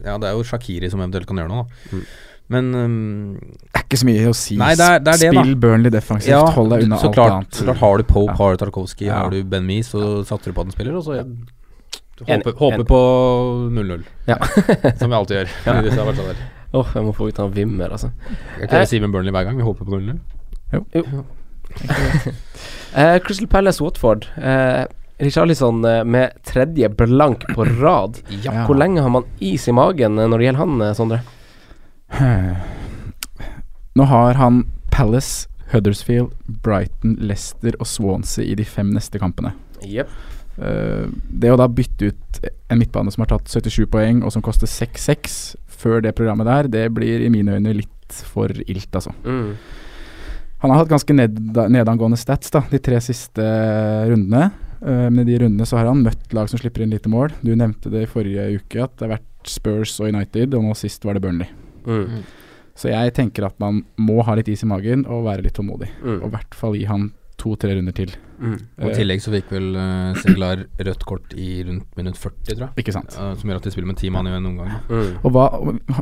[SPEAKER 5] Ja, det er jo Shakiri som eventuelt kan gjøre noe, da.
[SPEAKER 4] Mm.
[SPEAKER 5] Men ehm,
[SPEAKER 6] Det er ikke så mye å si.
[SPEAKER 5] Nei, det er- det er det, da.
[SPEAKER 6] Spill Burnley defensivt, hold deg unna
[SPEAKER 5] eh, så
[SPEAKER 6] alt
[SPEAKER 5] klart,
[SPEAKER 6] annet.
[SPEAKER 5] så klart har du Pope,
[SPEAKER 6] Ja.
[SPEAKER 5] har du Tarkovskij,
[SPEAKER 6] Ja.
[SPEAKER 5] har du Ben Mee, så satser du på at han spiller, og så ja,
[SPEAKER 4] Enig,
[SPEAKER 5] håper, håper
[SPEAKER 4] enig.
[SPEAKER 5] på 0-0.
[SPEAKER 4] Ja.
[SPEAKER 5] som vi alltid gjør. i disse hverdager.
[SPEAKER 4] Åh, jeg må få ut han Wimmer, altså.
[SPEAKER 5] sånn Jeg klarer å si med Burnley hver gang, vi håper på 0-0.
[SPEAKER 4] Eh, Crystal Palace Watford. Eh, Richarlison eh, med tredje blank på rad.
[SPEAKER 6] Ja.
[SPEAKER 4] Hvor lenge har man is i magen eh, når det gjelder han, eh, Sondre?
[SPEAKER 6] Nå har han Palace, Huddersfield, Brighton, Leicester og Swansea i de fem neste kampene.
[SPEAKER 4] Jepp.
[SPEAKER 6] Eh, det å da bytte ut en midtbane som har tatt 77 poeng, og som koster 6-6 før det programmet der, det blir i mine øyne litt for ilt, altså.
[SPEAKER 4] Mm.
[SPEAKER 6] Han har hatt ganske ned, nedangående stats da, de tre siste rundene. Eh, men i de rundene så har han møtt lag som slipper inn lite mål. Du nevnte det i forrige uke at det har vært Spurs og United, og nå sist var det Burnley.
[SPEAKER 4] Mm.
[SPEAKER 6] Så jeg tenker at man må ha litt is i magen og være litt tålmodig. Og i
[SPEAKER 4] Mm.
[SPEAKER 6] hvert fall gi han to-tre runder til.
[SPEAKER 4] Mm.
[SPEAKER 5] Og I
[SPEAKER 6] Eh,
[SPEAKER 5] tillegg så fikk vel uh, Singlar rødt kort i rundt minutt 40, tror jeg.
[SPEAKER 6] ikke sant.
[SPEAKER 5] Eh, som gjør at de spiller med ti mann i en omgang.
[SPEAKER 4] Mm.
[SPEAKER 6] Og hva,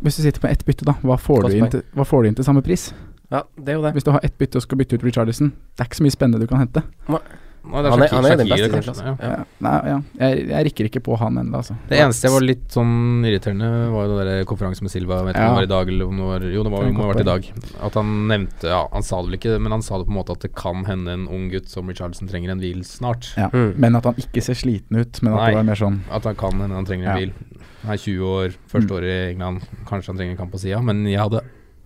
[SPEAKER 6] hvis du sitter med ett bytte, da, hva får,
[SPEAKER 4] Godt
[SPEAKER 6] du inn
[SPEAKER 4] poeng.
[SPEAKER 6] til, hva får du inn til samme pris?
[SPEAKER 4] Ja, det er jo det.
[SPEAKER 6] Hvis du har ett bytte og skal bytte ut Richarlison, det er ikke så mye spennende du kan hente.
[SPEAKER 5] Nei,
[SPEAKER 4] Han er, han er jo den
[SPEAKER 5] Shakiri,
[SPEAKER 4] beste i sin
[SPEAKER 5] kanskje.
[SPEAKER 4] klasse.
[SPEAKER 5] Ja.
[SPEAKER 4] Ja.
[SPEAKER 6] Ja. Nei, ja. Jeg, jeg rikker ikke på han ennå, altså.
[SPEAKER 5] Det eneste jeg var litt sånn irriterende, var jo den der konferansen med Silva. Jeg Vet ikke om
[SPEAKER 6] Ja.
[SPEAKER 5] det var i dag, eller om det var Jo, det var,
[SPEAKER 6] Det er
[SPEAKER 5] må ha
[SPEAKER 6] godt
[SPEAKER 5] vært i dag. At han nevnte Ja, han sa det vel ikke, men han sa det på en måte at det kan hende en ung gutt som Richardson trenger en hvil snart.
[SPEAKER 6] Ja.
[SPEAKER 4] Mm.
[SPEAKER 6] Men at han ikke ser sliten ut, men at
[SPEAKER 5] Nei.
[SPEAKER 6] det var mer sånn
[SPEAKER 5] At han kan hende han trenger
[SPEAKER 6] Ja. Mm.
[SPEAKER 5] en hvil. Han er 20 år, første år i England, kanskje han trenger en kamp på sida, men jeg hadde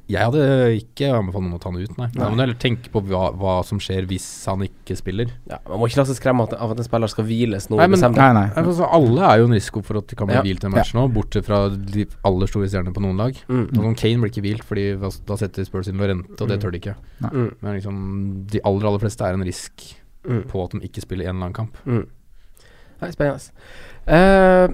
[SPEAKER 5] Jeg hadde ikke anbefalt noen å ta han ut, nei. Da må du heller tenke på hva, hva som skjer hvis han ikke spiller.
[SPEAKER 4] Man må ikke la seg skremme at- av at en spiller skal hviles nå
[SPEAKER 5] Nei,
[SPEAKER 4] i
[SPEAKER 5] men,
[SPEAKER 4] desember.
[SPEAKER 5] Altså, alle er jo en risiko for at de kan bli
[SPEAKER 4] Ja.
[SPEAKER 5] hvilt en match nå, bortsett fra de aller store stjernene på noen lag.
[SPEAKER 4] Mm.
[SPEAKER 5] Og sånn Kane blir ikke hvilt, Fordi hva- da setter Spurs inn Lorente, og det tør de ikke.
[SPEAKER 6] Nei.
[SPEAKER 4] Mm.
[SPEAKER 5] Men liksom, de aller, aller fleste er en risk
[SPEAKER 4] Mm.
[SPEAKER 5] på at de ikke spiller en lang kamp.
[SPEAKER 4] Mm. Nei, spennende. Eh,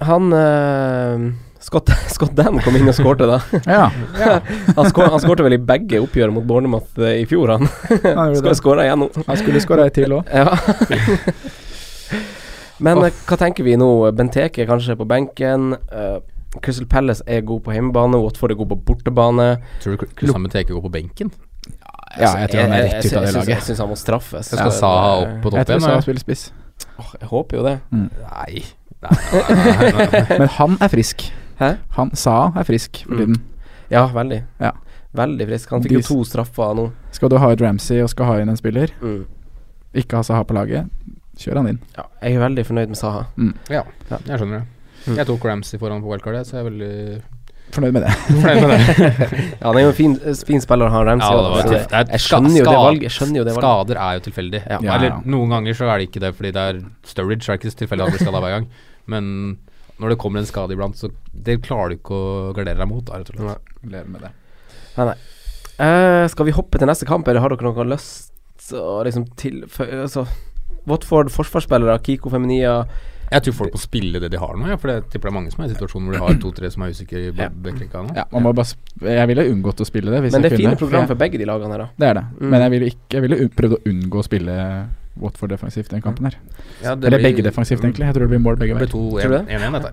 [SPEAKER 4] han eh, Scott, Scott Dan kom inn og skårte, da.
[SPEAKER 6] Ja.
[SPEAKER 4] han, skår, han skårte vel i begge oppgjør mot Bornermoth eh, i fjor, han.
[SPEAKER 6] Han gjorde
[SPEAKER 4] Skal
[SPEAKER 6] det.
[SPEAKER 4] skåre igjen nå.
[SPEAKER 6] Han skulle skåra ei til òg.
[SPEAKER 4] Ja. Men eh, hva tenker vi nå? Benteke er kanskje på benken. eh, Crystal Palace er god på hjemmebane. Watford er god på bortebane.
[SPEAKER 5] Tror du Kristian Teke går på benken?
[SPEAKER 6] Ja, jeg tror han er
[SPEAKER 4] Jeg-
[SPEAKER 6] rett ut av det
[SPEAKER 4] jeg syns- Jeg
[SPEAKER 6] laget.
[SPEAKER 4] syns han må straffes.
[SPEAKER 5] Jeg skal Saha opp på
[SPEAKER 6] Jeg
[SPEAKER 5] topp
[SPEAKER 6] tror
[SPEAKER 5] igjen.
[SPEAKER 6] Saha
[SPEAKER 5] da.
[SPEAKER 6] spiller spiss.
[SPEAKER 4] Åh, Jeg håper jo det.
[SPEAKER 5] Nei. Nei, nei, nei, nei, nei.
[SPEAKER 6] Men han er frisk.
[SPEAKER 4] Hæ? Mm.
[SPEAKER 6] Han Saha er frisk for tiden.
[SPEAKER 4] Ja, veldig.
[SPEAKER 6] Ja.
[SPEAKER 4] Veldig frisk. Han fikk jo
[SPEAKER 6] De-
[SPEAKER 4] to straffer nå.
[SPEAKER 6] Skal du ha ut Ramsey og skal ha inn en spiller,
[SPEAKER 4] Mm.
[SPEAKER 6] ikke ha Saha på laget, kjør han inn.
[SPEAKER 4] Ja, jeg er veldig fornøyd med Saha.
[SPEAKER 5] Ja,
[SPEAKER 4] Ja.
[SPEAKER 5] jeg skjønner det.
[SPEAKER 4] Mm.
[SPEAKER 5] Jeg tok Ramsey foran på wildcard, jeg, så jeg er veldig
[SPEAKER 6] Fornøyd med det.
[SPEAKER 5] fornøyd med det.
[SPEAKER 4] Ja, han er jo en fin, eh, fin spiller, han Ramsey.
[SPEAKER 5] Ja, det
[SPEAKER 4] også,
[SPEAKER 5] var
[SPEAKER 4] så
[SPEAKER 5] tøft. Det er
[SPEAKER 4] jeg skjønner jo det
[SPEAKER 5] ska-
[SPEAKER 4] valget. Jeg skjønner jo det valget.
[SPEAKER 5] Skader er jo tilfeldig.
[SPEAKER 4] Ja.
[SPEAKER 6] Ja,
[SPEAKER 5] Eller
[SPEAKER 6] ja.
[SPEAKER 5] noen ganger så er det ikke det, fordi det er Sturridge er ikke så tilfeldig at han blir skada hver gang. Men når det kommer en skade iblant, så det klarer du ikke å gardere deg mot. da, Rett og slett.
[SPEAKER 6] Lever med det.
[SPEAKER 4] Eh, skal vi hoppe til neste kamp, eller har dere noe lyst å liksom til fø- altså, Watford, forsvarsspillere, Kiko Feminia
[SPEAKER 5] Jeg tror folk må spille det de har nå, ja, for jeg tipper det er mange som er i situasjonen hvor de har to-tre som er usikre i
[SPEAKER 4] Ja.
[SPEAKER 5] ja. backrekka nå.
[SPEAKER 6] Ja, man må bare sp jeg ville unngått å spille det hvis
[SPEAKER 4] Men det
[SPEAKER 6] jeg
[SPEAKER 4] er
[SPEAKER 6] kunne.
[SPEAKER 4] fine program
[SPEAKER 6] for
[SPEAKER 4] for begge de lagene her, da.
[SPEAKER 6] jeg- Det er det.
[SPEAKER 4] Mm.
[SPEAKER 6] Men jeg ville, ikke, jeg ville un- prøvd å unngå å spille Watford defensivt den kampen her.
[SPEAKER 5] Ja,
[SPEAKER 6] Eller
[SPEAKER 5] blir-
[SPEAKER 6] begge defensivt, egentlig. Jeg tror det blir mål
[SPEAKER 5] Det
[SPEAKER 6] begge
[SPEAKER 5] blir
[SPEAKER 6] veier.
[SPEAKER 5] 2-1 1-1, dette.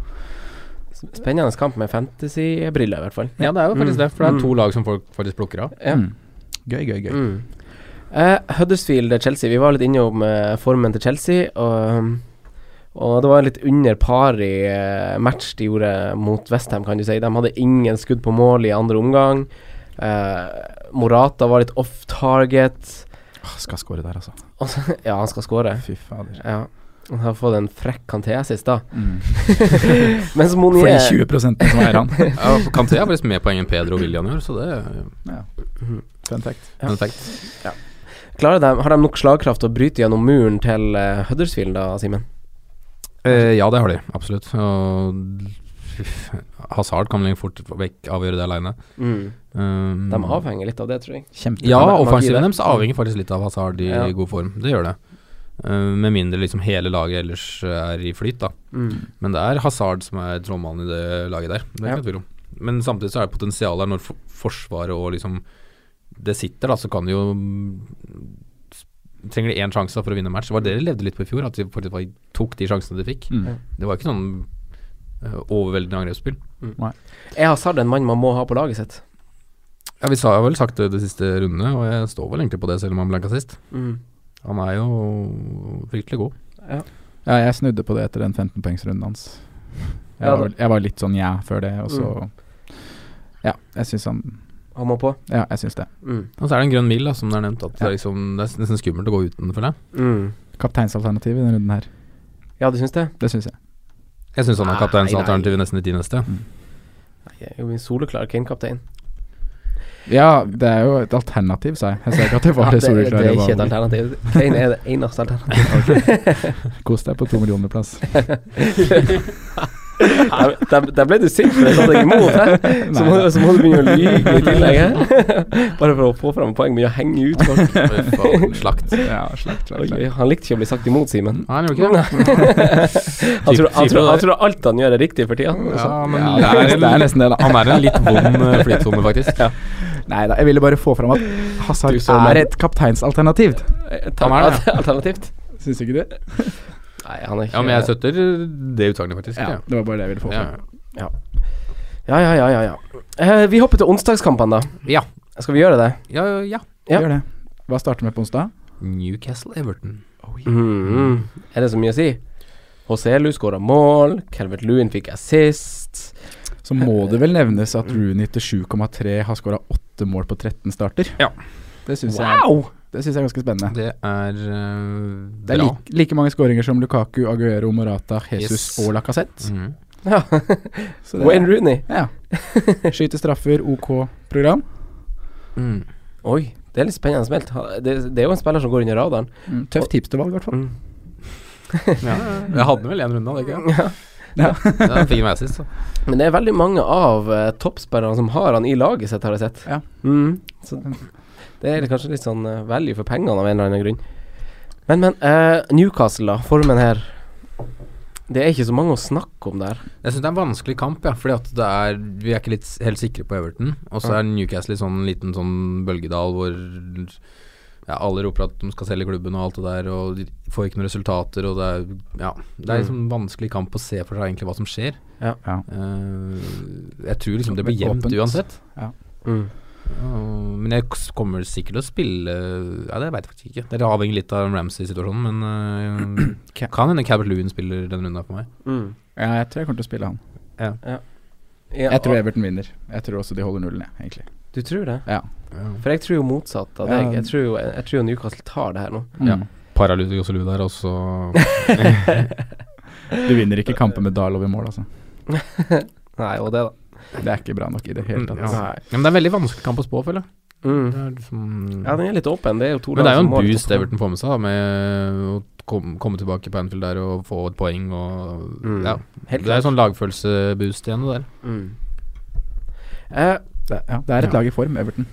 [SPEAKER 4] Spennende kamp med fantasy-briller, i hvert fall.
[SPEAKER 5] Ja, det er jo faktisk det, for det er to lag som folk faktisk plukker av.
[SPEAKER 4] Ja.
[SPEAKER 6] Mm. Gøy, gøy, gøy.
[SPEAKER 4] Mm. Eh, Huddersfield-Chelsea. Vi var litt innom eh, formen til Chelsea. Og, um, og det var en litt under par i eh, match de gjorde mot Westham, kan du si. De hadde ingen skudd på mål i andre omgang. Eh, Morata var litt off target.
[SPEAKER 6] Åh, skal skåre der, altså.
[SPEAKER 4] Og så, ja, han skal skåre.
[SPEAKER 6] Fy fader.
[SPEAKER 4] Ja. Han har fått en frekk kanté sist, da.
[SPEAKER 6] Mm.
[SPEAKER 4] Mens
[SPEAKER 6] For de
[SPEAKER 4] Monier
[SPEAKER 6] 20 som eier han.
[SPEAKER 5] Ja, Kanté er faktisk mer poeng enn Pedro og William i år, så det er jo
[SPEAKER 6] Fun fact.
[SPEAKER 5] en effekt.
[SPEAKER 4] klarer de, Har de nok slagkraft til å bryte gjennom muren til eh, Huddersfield, da, Simen?
[SPEAKER 5] Eh, ja, det har de, absolutt. Og Hazard kan vel fort vekk avgjøre det aleine. Um,
[SPEAKER 4] Mm.
[SPEAKER 6] Mm.
[SPEAKER 4] De avhenger litt av det, tror jeg.
[SPEAKER 6] Kjempe.
[SPEAKER 5] Ja,
[SPEAKER 4] magi der.
[SPEAKER 5] offensiven deres avhenger faktisk litt av Hazard i
[SPEAKER 4] Ja.
[SPEAKER 5] god form. Det gjør det. Uh, med mindre liksom hele laget ellers er i flyt, da. Men det er Hazard som er trollmannen i det laget der. Det er
[SPEAKER 4] Mm. Ja.
[SPEAKER 5] ikke noe tvil om. Men samtidig så er det potensial der når for Forsvaret og liksom det sitter, da, så kan det jo Trenger de én sjanse da for å vinne match. Det var det de levde litt på i fjor, at de faktisk bare tok de sjansene de fikk.
[SPEAKER 6] Mm.
[SPEAKER 5] Det var ikke sånn eh, overveldende angrepsspill.
[SPEAKER 4] Er Hazard en mann man må ha på laget sitt?
[SPEAKER 5] Ja, Vi sa, jeg har vel sagt det de siste rundene, og jeg står vel egentlig på det, selv om han blanka sist.
[SPEAKER 4] Mm.
[SPEAKER 5] Han er jo fryktelig god.
[SPEAKER 6] Ja, jeg snudde på det etter den 15-poengsrunden hans. Jeg
[SPEAKER 4] Ja,
[SPEAKER 6] var,
[SPEAKER 4] det- Mm.
[SPEAKER 6] jeg var litt sånn ja før det, og så Ja, jeg syns han
[SPEAKER 4] Han må på?
[SPEAKER 6] Ja, jeg syns det.
[SPEAKER 4] Mm.
[SPEAKER 5] Og så er det en grønn mil, da, som det er nevnt. At det,
[SPEAKER 6] Ja.
[SPEAKER 5] er liksom, det er nesten skummelt å gå uten, føler jeg.
[SPEAKER 6] Kapteinsalternativ i denne runden her.
[SPEAKER 4] Mm. Ja, du syns det?
[SPEAKER 6] Det syns jeg.
[SPEAKER 5] Jeg syns han er
[SPEAKER 4] Nei,
[SPEAKER 5] kapteinsalternativet nesten i de neste.
[SPEAKER 4] Jeg er jo en soleklar Kane-kaptein.
[SPEAKER 6] Ja, det er jo et alternativ, sa jeg. Jeg sa ikke at det var
[SPEAKER 4] Ja,
[SPEAKER 6] det
[SPEAKER 4] det,
[SPEAKER 6] store
[SPEAKER 4] det er ikke et
[SPEAKER 6] klare.
[SPEAKER 4] alternativ. Kane er det eneste alternativet.
[SPEAKER 6] Kos deg på to millioner plass.
[SPEAKER 4] Der, der, der ble du sint for det, sa deg imot. hæ? Så må, så må du begynne å lyge i tillegg. hæ? Bare for å få fram poeng, men å henge ut folk.
[SPEAKER 5] Faen, Slakt.
[SPEAKER 6] Ja, slakt, slakt,
[SPEAKER 4] Oi,
[SPEAKER 6] slakt.
[SPEAKER 4] oi, han likte ikke å bli sagt imot, Simen.
[SPEAKER 5] Nei, han gjorde
[SPEAKER 4] Nei.
[SPEAKER 5] ikke det.
[SPEAKER 4] Han tror, han, tror, han tror alt han gjør er riktig for tida.
[SPEAKER 5] Ja, men
[SPEAKER 6] Ja, det er, det er nesten det, da.
[SPEAKER 5] han er en litt vond eh, flytsone, faktisk.
[SPEAKER 6] Nei da, jeg ville bare få fram at Hazard
[SPEAKER 4] Du så meg.
[SPEAKER 6] er et kapteinsalternativ.
[SPEAKER 4] Han
[SPEAKER 5] er
[SPEAKER 4] er
[SPEAKER 5] det,
[SPEAKER 4] Alternativt.
[SPEAKER 6] Syns ikke du?
[SPEAKER 4] Nei, han er ikke
[SPEAKER 5] Ja, men jeg støtter det utsagnet, faktisk.
[SPEAKER 6] Ja,
[SPEAKER 5] Ja.
[SPEAKER 6] det var bare det jeg ville få
[SPEAKER 5] Ja.
[SPEAKER 6] fram.
[SPEAKER 4] Ja, ja, ja, ja. ja. Eh, vi hopper til onsdagskampene, da.
[SPEAKER 5] Ja.
[SPEAKER 4] Skal vi gjøre det?
[SPEAKER 5] ja, ja.
[SPEAKER 4] Ja.
[SPEAKER 6] Gjør det. Hva starter med på onsdag?
[SPEAKER 5] Newcastle Everton. Mhm.
[SPEAKER 4] Mm. Er det så mye å si? Hoselu skåra mål, Calvert Lewin fikk assist.
[SPEAKER 6] Så må det vel nevnes at Rooney til 7,3 har skåra 8 mål på 13 starter.
[SPEAKER 5] Ja.
[SPEAKER 6] Det syns jeg, det synes jeg er ganske spennende.
[SPEAKER 5] Det er eh,
[SPEAKER 6] Det er
[SPEAKER 5] bra.
[SPEAKER 6] like, like mange skåringer som Lukaku, Aguero, Morata, Jesus
[SPEAKER 5] Yes.
[SPEAKER 6] og Lacassette.
[SPEAKER 5] Mhm.
[SPEAKER 4] Ja.
[SPEAKER 6] Så det-
[SPEAKER 4] Wayne Rooney.
[SPEAKER 6] Ja. Skyte straffer, OK program.
[SPEAKER 5] Mm.
[SPEAKER 4] Oi, det er litt spennende smelt. Ha- Det, det er jo en spiller som går under radaren.
[SPEAKER 6] Mm, tøft tipstervalg, i hvert fall.
[SPEAKER 5] Ja, jeg hadde vel én runde, hadde jeg ikke?
[SPEAKER 6] Ja.
[SPEAKER 5] Den fikk meg sist, så.
[SPEAKER 4] Men det er veldig mange av eh, toppspillerne som har han i laget sitt, har jeg sett.
[SPEAKER 6] Ja.
[SPEAKER 4] Mm, så det er kanskje litt sånn eh, value for pengene av en eller annen grunn. Men, men. eh, Newcastle, da. Formen her. Det er ikke så mange å snakke om der.
[SPEAKER 5] Jeg syns det er en vanskelig kamp, ja, fordi at det er Vi er ikke litt, s- helt sikre på Everton. Og så
[SPEAKER 4] Ja.
[SPEAKER 5] er Newcastle i sånn liten sånn bølgedal hvor ja, alle roper at de skal selge klubben og alt det der, og de får ikke noen resultater, og det er Ja. Det er liksom en vanskelig kamp å se for seg egentlig hva som skjer.
[SPEAKER 4] Mm. Ja.
[SPEAKER 6] Ja.
[SPEAKER 5] Eh, jeg tror liksom det blir
[SPEAKER 6] Det er
[SPEAKER 5] jevnt
[SPEAKER 6] åpent.
[SPEAKER 5] uansett.
[SPEAKER 4] Mm.
[SPEAKER 5] Og- men jeg s- kommer sikkert til å spille Ja, det veit jeg faktisk ikke. Det avhenger litt av Ramsey-situasjonen, men eh,
[SPEAKER 6] Ca-
[SPEAKER 5] kan hende Cabert Lewin spiller denne runden her for meg.
[SPEAKER 4] Mm.
[SPEAKER 6] Ja, jeg tror jeg kommer til å spille han.
[SPEAKER 4] Ja,
[SPEAKER 6] Jeg tror
[SPEAKER 4] og-
[SPEAKER 6] Everton vinner. Jeg tror også de holder nullen, jeg, egentlig.
[SPEAKER 4] Du tror det?
[SPEAKER 6] Ja.
[SPEAKER 4] For jeg tror jo motsatt av deg.
[SPEAKER 6] Ja.
[SPEAKER 4] Jeg tror jo, jeg tror jo Newcastle tar det her nå.
[SPEAKER 6] Mm.
[SPEAKER 5] Ja. Paralytic også Lou der, og så
[SPEAKER 6] Du vinner ikke kampen med Darlow i mål, altså.
[SPEAKER 4] Nei, og det, da.
[SPEAKER 6] Det er ikke bra nok i det hele tatt.
[SPEAKER 5] Mm,
[SPEAKER 6] altså.
[SPEAKER 5] Ja. Ja, men det er en veldig vanskelig kamp å spå, føler jeg.
[SPEAKER 4] Mm.
[SPEAKER 5] Det er liksom,
[SPEAKER 4] Ja, den er litt åpen. Det er jo to
[SPEAKER 5] men det er jo
[SPEAKER 4] som
[SPEAKER 5] en
[SPEAKER 4] har litt
[SPEAKER 5] boost
[SPEAKER 4] opp-
[SPEAKER 5] Everton får med seg, da, med å kom, komme tilbake på Anfield der og få et poeng og
[SPEAKER 4] Mm.
[SPEAKER 5] Ja.
[SPEAKER 4] Helt
[SPEAKER 5] det er jo sånn lagfølelseboost igjen, det der.
[SPEAKER 4] Mm. Eh,
[SPEAKER 6] Det, ja, det er et lag i form, Everton.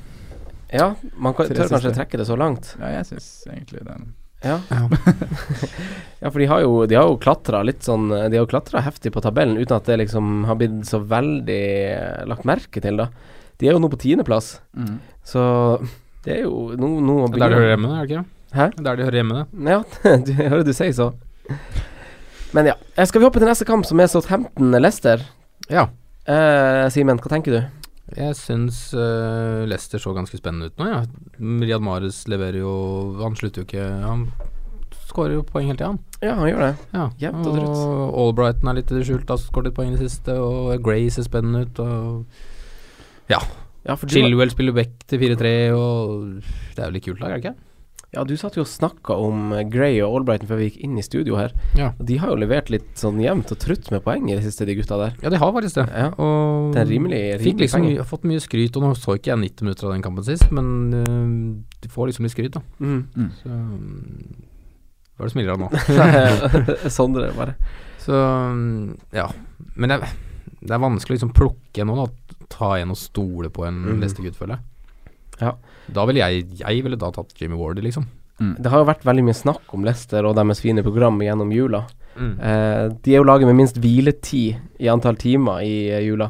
[SPEAKER 4] ja, man kan,
[SPEAKER 6] Tre
[SPEAKER 4] tør kanskje
[SPEAKER 6] siste.
[SPEAKER 4] trekke det så langt.
[SPEAKER 6] Ja, jeg syns egentlig det. er-
[SPEAKER 4] Ja. ja, for de har jo, de har jo klatra litt sånn De har jo klatra heftig på tabellen uten at det liksom har blitt så veldig eh, lagt merke til, da. De er jo nå på tiendeplass, så det er jo Nå, nå
[SPEAKER 5] Det er Mm. der de hører hjemme, er det ikke?
[SPEAKER 4] Hæ?
[SPEAKER 5] Det er der de hører hjemme, det.
[SPEAKER 4] Ja, du, jeg hører du sier så. Men ja. Eh, Skal vi hoppe til neste kamp, som er Southampton-Lester?
[SPEAKER 5] Ja.
[SPEAKER 4] Eh, Simen, hva tenker du?
[SPEAKER 5] Jeg syns eh, Leicester så ganske spennende ut nå, ja. Riyad Mahrez leverer jo Han slutter jo ikke Han skårer jo poeng hele tida, han.
[SPEAKER 4] Ja, han gjør det.
[SPEAKER 5] Ja.
[SPEAKER 4] Jevnt og trutt.
[SPEAKER 5] Albrighton er litt i det skjulte, har skåret litt poeng i det siste, og Gray ser spennende ut, og
[SPEAKER 4] Ja, for du,
[SPEAKER 5] Chilwell spiller back til 4-3, og det er vel et kult lag, er det ikke?
[SPEAKER 4] ja, du satt jo og snakka om eh, Gray og Albrighton før vi gikk inn i studio her.
[SPEAKER 5] Ja.
[SPEAKER 4] Og De har jo levert litt sånn jevnt og trutt med poeng i det siste, de gutta der.
[SPEAKER 5] Ja, de har faktisk det.
[SPEAKER 4] Ja.
[SPEAKER 5] Og
[SPEAKER 4] Det er rimelig,
[SPEAKER 5] fikk
[SPEAKER 4] rimelig
[SPEAKER 5] liksom,
[SPEAKER 4] poeng.
[SPEAKER 5] mye- fått mye skryt, og nå så ikke jeg 90 minutter av den kampen sist, men øh, de får liksom litt skryt, da.
[SPEAKER 4] Mm.
[SPEAKER 5] Så øh, Hva er det som smiler av nå?
[SPEAKER 4] Sondre, bare.
[SPEAKER 5] Så øh, ja. Men det er, det er vanskelig å liksom plukke noen og ta en og stole på en
[SPEAKER 4] Mhm.
[SPEAKER 5] neste gutt, føler jeg.
[SPEAKER 4] Ja.
[SPEAKER 5] Da ville jeg Jeg ville da tatt Jimmy Wardy, liksom.
[SPEAKER 4] Det har jo vært veldig mye snakk om Lester og deres fine program gjennom jula. Eh, de er jo laget med minst hviletid i antall timer i eh, jula,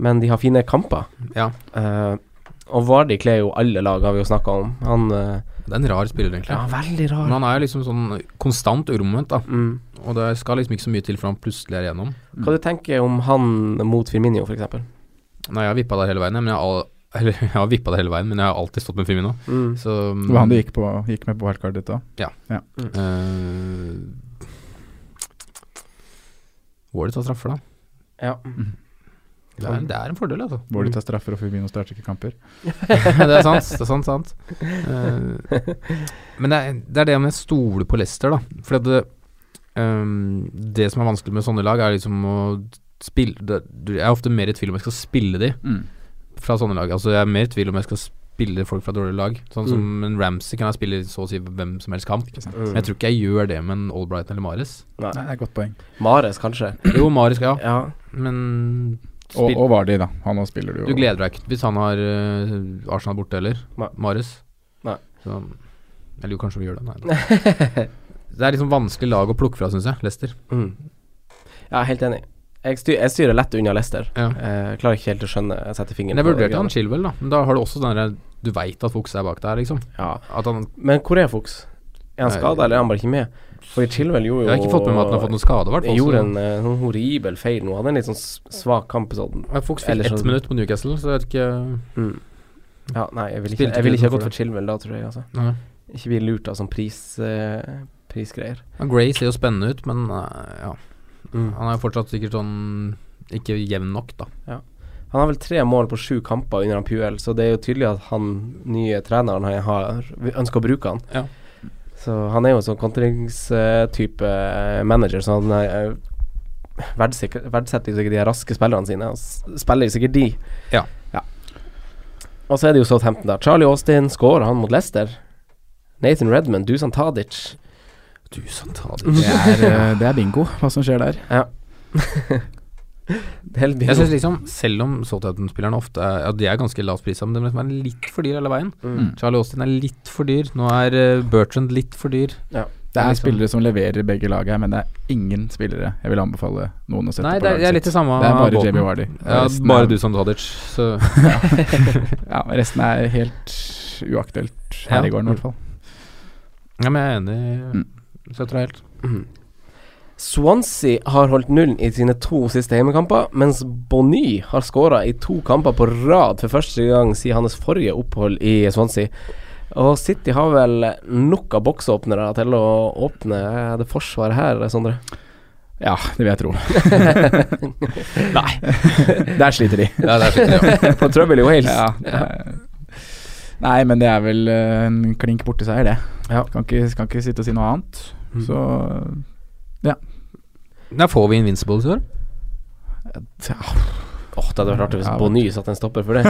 [SPEAKER 4] men de har fine kamper.
[SPEAKER 5] Ja.
[SPEAKER 4] Eh, og Vardi kler jo alle lag, har vi jo snakka om. Han eh,
[SPEAKER 5] Det er en rar spiller, egentlig.
[SPEAKER 4] Ja, veldig rar.
[SPEAKER 5] Men han er jo liksom sånn konstant uromoment, da.
[SPEAKER 4] Mm.
[SPEAKER 5] Og det skal liksom ikke så mye til før han plutselig er igjennom.
[SPEAKER 4] Hva du tenker om han mot Firminio, f.eks.?
[SPEAKER 5] Nei, jeg har vippa der hele veien, men jeg har, al- eller, jeg har vippet der hele veien, men jeg har alltid stått med Firmino.
[SPEAKER 4] Mm.
[SPEAKER 5] Så mm,
[SPEAKER 6] Det var han du gikk, på, gikk med på wildcardet ditt òg?
[SPEAKER 5] eh, Wardy tar straffer, da.
[SPEAKER 4] Ja.
[SPEAKER 5] Det er, det er en fordel, altså.
[SPEAKER 6] Hvor de tar straffer og Firmino starter ikke kamper?
[SPEAKER 5] det er sant. Det er sant, sant. Eh, men det er, det er det med å stole på Leicester, da. For det, ehm, det som er vanskelig med sånne lag, er liksom å spille det, du- Jeg er ofte mer i tvil om jeg skal spille de fra sånne lag. Altså Jeg er mer i tvil om jeg skal spille folk fra dårlige lag. Sånn som en Ramsey kan jeg spille så å si hvem som helst kamp. Men jeg tror ikke jeg gjør det med en Albrighton eller Mares.
[SPEAKER 6] Nei, det er et godt poeng.
[SPEAKER 4] Mares, kanskje.
[SPEAKER 5] Jo, Mares skal Mm. ja,
[SPEAKER 4] Ja.
[SPEAKER 5] men
[SPEAKER 6] Og,
[SPEAKER 5] spill-
[SPEAKER 6] og Vardy, da. Han også spiller du jo.
[SPEAKER 5] du gleder deg ikke hvis han har eh, Arsenal borte, eller?
[SPEAKER 4] Nei.
[SPEAKER 5] Marius?
[SPEAKER 4] Nei.
[SPEAKER 5] Så, eller jo, kanskje vi gjør det. Nei, da. det er liksom vanskelig lag å plukke fra, syns jeg. Leicester.
[SPEAKER 4] Mm. Ja, helt enig. Jeg, styr, jeg styrer lett unna Lester.
[SPEAKER 5] Ja.
[SPEAKER 4] Eh, klarer ikke helt å skjønne sette fingeren
[SPEAKER 5] Men jeg
[SPEAKER 4] på det
[SPEAKER 5] vurderte han
[SPEAKER 4] greiene.
[SPEAKER 5] Chilwell, da. Men da har du også den derre Du veit at Fuchs er bak der, liksom.
[SPEAKER 4] Ja.
[SPEAKER 5] At han
[SPEAKER 4] Men hvor er Fuchs? Er han
[SPEAKER 5] Nei.
[SPEAKER 4] skada, eller er han bare ikke med? For Chilwell gjorde jo
[SPEAKER 5] Jeg har ikke fått med meg at han har fått noe skade, i hvert
[SPEAKER 4] Han
[SPEAKER 5] fall.
[SPEAKER 4] gjorde
[SPEAKER 5] så-
[SPEAKER 4] en eh, sånn horribel feil nå. Han hadde en litt sånn s- svak kamp. Sånn.
[SPEAKER 5] Ja, Fuchs fikk
[SPEAKER 4] Ellers
[SPEAKER 5] ett
[SPEAKER 4] så-
[SPEAKER 5] minutt på Newcastle, så jeg vet ikke
[SPEAKER 4] Ja, nei, jeg ville
[SPEAKER 5] Spilte
[SPEAKER 4] ikke, jeg ville
[SPEAKER 5] ikke
[SPEAKER 4] ikke ha gått
[SPEAKER 5] for
[SPEAKER 4] for Chilwell da, tror jeg. Altså.
[SPEAKER 5] Nei.
[SPEAKER 4] Ikke bli lurt av sånn pris, eh, prisgreier.
[SPEAKER 5] Ja, Gray ser jo spennende ut, men eh, ja.
[SPEAKER 4] Mm.
[SPEAKER 5] Han er jo fortsatt sikkert sånn ikke jevn nok, da.
[SPEAKER 4] Han har vel tre mål på sju kamper under han Puel, så det er jo tydelig at han nye treneren han har ønsker å bruke han.
[SPEAKER 5] Ja.
[SPEAKER 4] Så han er jo en sånn kontringstype manager, så han eh, verdsetter, verdsetter jo sikkert de her raske spillerne sine. Og s- spiller jo sikkert de.
[SPEAKER 5] Ja.
[SPEAKER 4] Og så er det jo Southampton der. Charlie Austin scorer han mot Leicester. Nathan Redman, Dusan Tadic. Dusan Tadic
[SPEAKER 6] Det er, eh, det er bingo, hva som skjer der.
[SPEAKER 4] Ja. det er helt
[SPEAKER 5] Jeg
[SPEAKER 4] bingo.
[SPEAKER 5] synes liksom, Selv om Southampton-spillerne ofte er, ja, de er ganske lavt prisa, men de liksom er litt for dyr hele veien.
[SPEAKER 4] Mm.
[SPEAKER 5] Charlie Austin er litt for dyr. Nå er eh, Bertrand litt for dyr.
[SPEAKER 6] Det er
[SPEAKER 5] Liksom.
[SPEAKER 6] spillere som leverer begge lag her, men det er ingen spillere jeg vil anbefale noen å sette
[SPEAKER 5] Nei,
[SPEAKER 6] på
[SPEAKER 5] det
[SPEAKER 6] laget
[SPEAKER 5] er, det er
[SPEAKER 6] sitt.
[SPEAKER 5] litt det samme.
[SPEAKER 6] Det er bare
[SPEAKER 5] båten.
[SPEAKER 6] Jamie Vardy.
[SPEAKER 5] Ja,
[SPEAKER 6] Resten
[SPEAKER 5] bare
[SPEAKER 6] er-
[SPEAKER 5] du som Tadic. Så
[SPEAKER 6] Ja, men resten er helt uaktuelt her
[SPEAKER 5] Ja.
[SPEAKER 6] i gården, i hvert fall.
[SPEAKER 5] ja, men jeg er enig.
[SPEAKER 6] Mm.
[SPEAKER 5] Støtter deg helt.
[SPEAKER 4] Swansea har holdt nullen i sine to siste hjemmekamper, mens Bonny har skåra i to kamper på rad for første gang siden hans forrige opphold i Swansea. Og City har vel nok av boksåpnere til å åpne det forsvaret her, Sondre.
[SPEAKER 6] Ja, det vil jeg tro.
[SPEAKER 4] Nei.
[SPEAKER 6] Der sliter de.
[SPEAKER 5] Ja, det er fint, ja.
[SPEAKER 4] på trøbbel i Wales.
[SPEAKER 6] Ja, det er- Nei, men det er vel eh, en klink borti seier, det.
[SPEAKER 4] Ja.
[SPEAKER 6] Kan, ikke, kan ikke sitte og si noe annet. Så
[SPEAKER 5] Da får vi Invincibles i år.
[SPEAKER 6] ja,
[SPEAKER 4] Åh, det hadde vært artig hvis
[SPEAKER 6] Ja,
[SPEAKER 4] Bonny satte en stopper for det.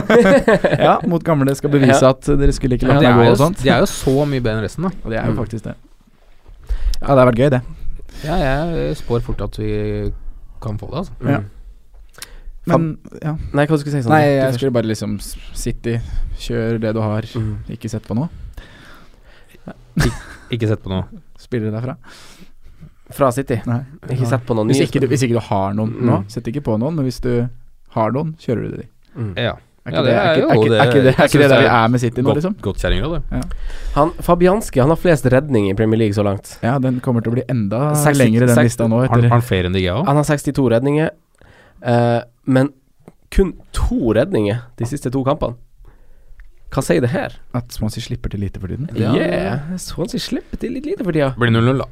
[SPEAKER 6] ja, mot gamle skal bevise
[SPEAKER 4] Ja.
[SPEAKER 6] at dere skulle ikke
[SPEAKER 5] Ja,
[SPEAKER 6] latt
[SPEAKER 5] de,
[SPEAKER 6] meg gå
[SPEAKER 5] er
[SPEAKER 6] og
[SPEAKER 5] jo,
[SPEAKER 6] sånt.
[SPEAKER 5] de er jo så mye bedre enn resten, da.
[SPEAKER 6] Og det er jo faktisk det. Ja, det har vært gøy, det.
[SPEAKER 5] Ja, jeg spår fort at vi kan få det, altså.
[SPEAKER 6] Ja. Men ja.
[SPEAKER 4] Mm. Nei, hva skulle du si, Sondre?
[SPEAKER 6] Nei,
[SPEAKER 4] Du
[SPEAKER 6] jeg
[SPEAKER 4] sånn først.
[SPEAKER 6] skulle bare liksom s- City, kjør det du har.
[SPEAKER 4] Mm.
[SPEAKER 6] Ikke sett på noe.
[SPEAKER 5] Ikke sett på noe.
[SPEAKER 6] Spillere derfra.
[SPEAKER 4] Fra City.
[SPEAKER 6] Nei.
[SPEAKER 4] Ikke sett på noen
[SPEAKER 6] Hvis
[SPEAKER 4] nye
[SPEAKER 6] ikke, du, hvis ikke du har noen
[SPEAKER 4] Mm.
[SPEAKER 6] nå, sett ikke på noen. Men hvis du har noen, kjører du de.
[SPEAKER 5] Ja.
[SPEAKER 6] Mm. Er
[SPEAKER 5] Ja,
[SPEAKER 6] ikke
[SPEAKER 5] det
[SPEAKER 6] det er
[SPEAKER 5] er
[SPEAKER 6] ikke-
[SPEAKER 5] jo-
[SPEAKER 6] er ikke- er ikke det- er
[SPEAKER 5] jeg
[SPEAKER 6] ikke
[SPEAKER 5] synes
[SPEAKER 6] det der
[SPEAKER 5] det
[SPEAKER 6] vi
[SPEAKER 5] er
[SPEAKER 6] er med City nå, liksom?
[SPEAKER 5] Godt, godt kjerringråd, du.
[SPEAKER 4] Han, Fabianski han har flest redninger i Premier League så langt.
[SPEAKER 6] Ja, den kommer til å bli enda
[SPEAKER 4] Seks-
[SPEAKER 6] lengre, den
[SPEAKER 4] seks-
[SPEAKER 6] lista nå.
[SPEAKER 5] Har
[SPEAKER 6] Etter.
[SPEAKER 5] han flere enn de òg?
[SPEAKER 4] Han har 62 redninger, eh, men kun to redninger de siste to kampene. Hva sier det her? Eh,
[SPEAKER 6] At Swansea slipper til lite for tiden.
[SPEAKER 5] Ja.
[SPEAKER 4] Yeah, Swansea slipper til litt lite for tida.
[SPEAKER 5] Blir 0-0, da.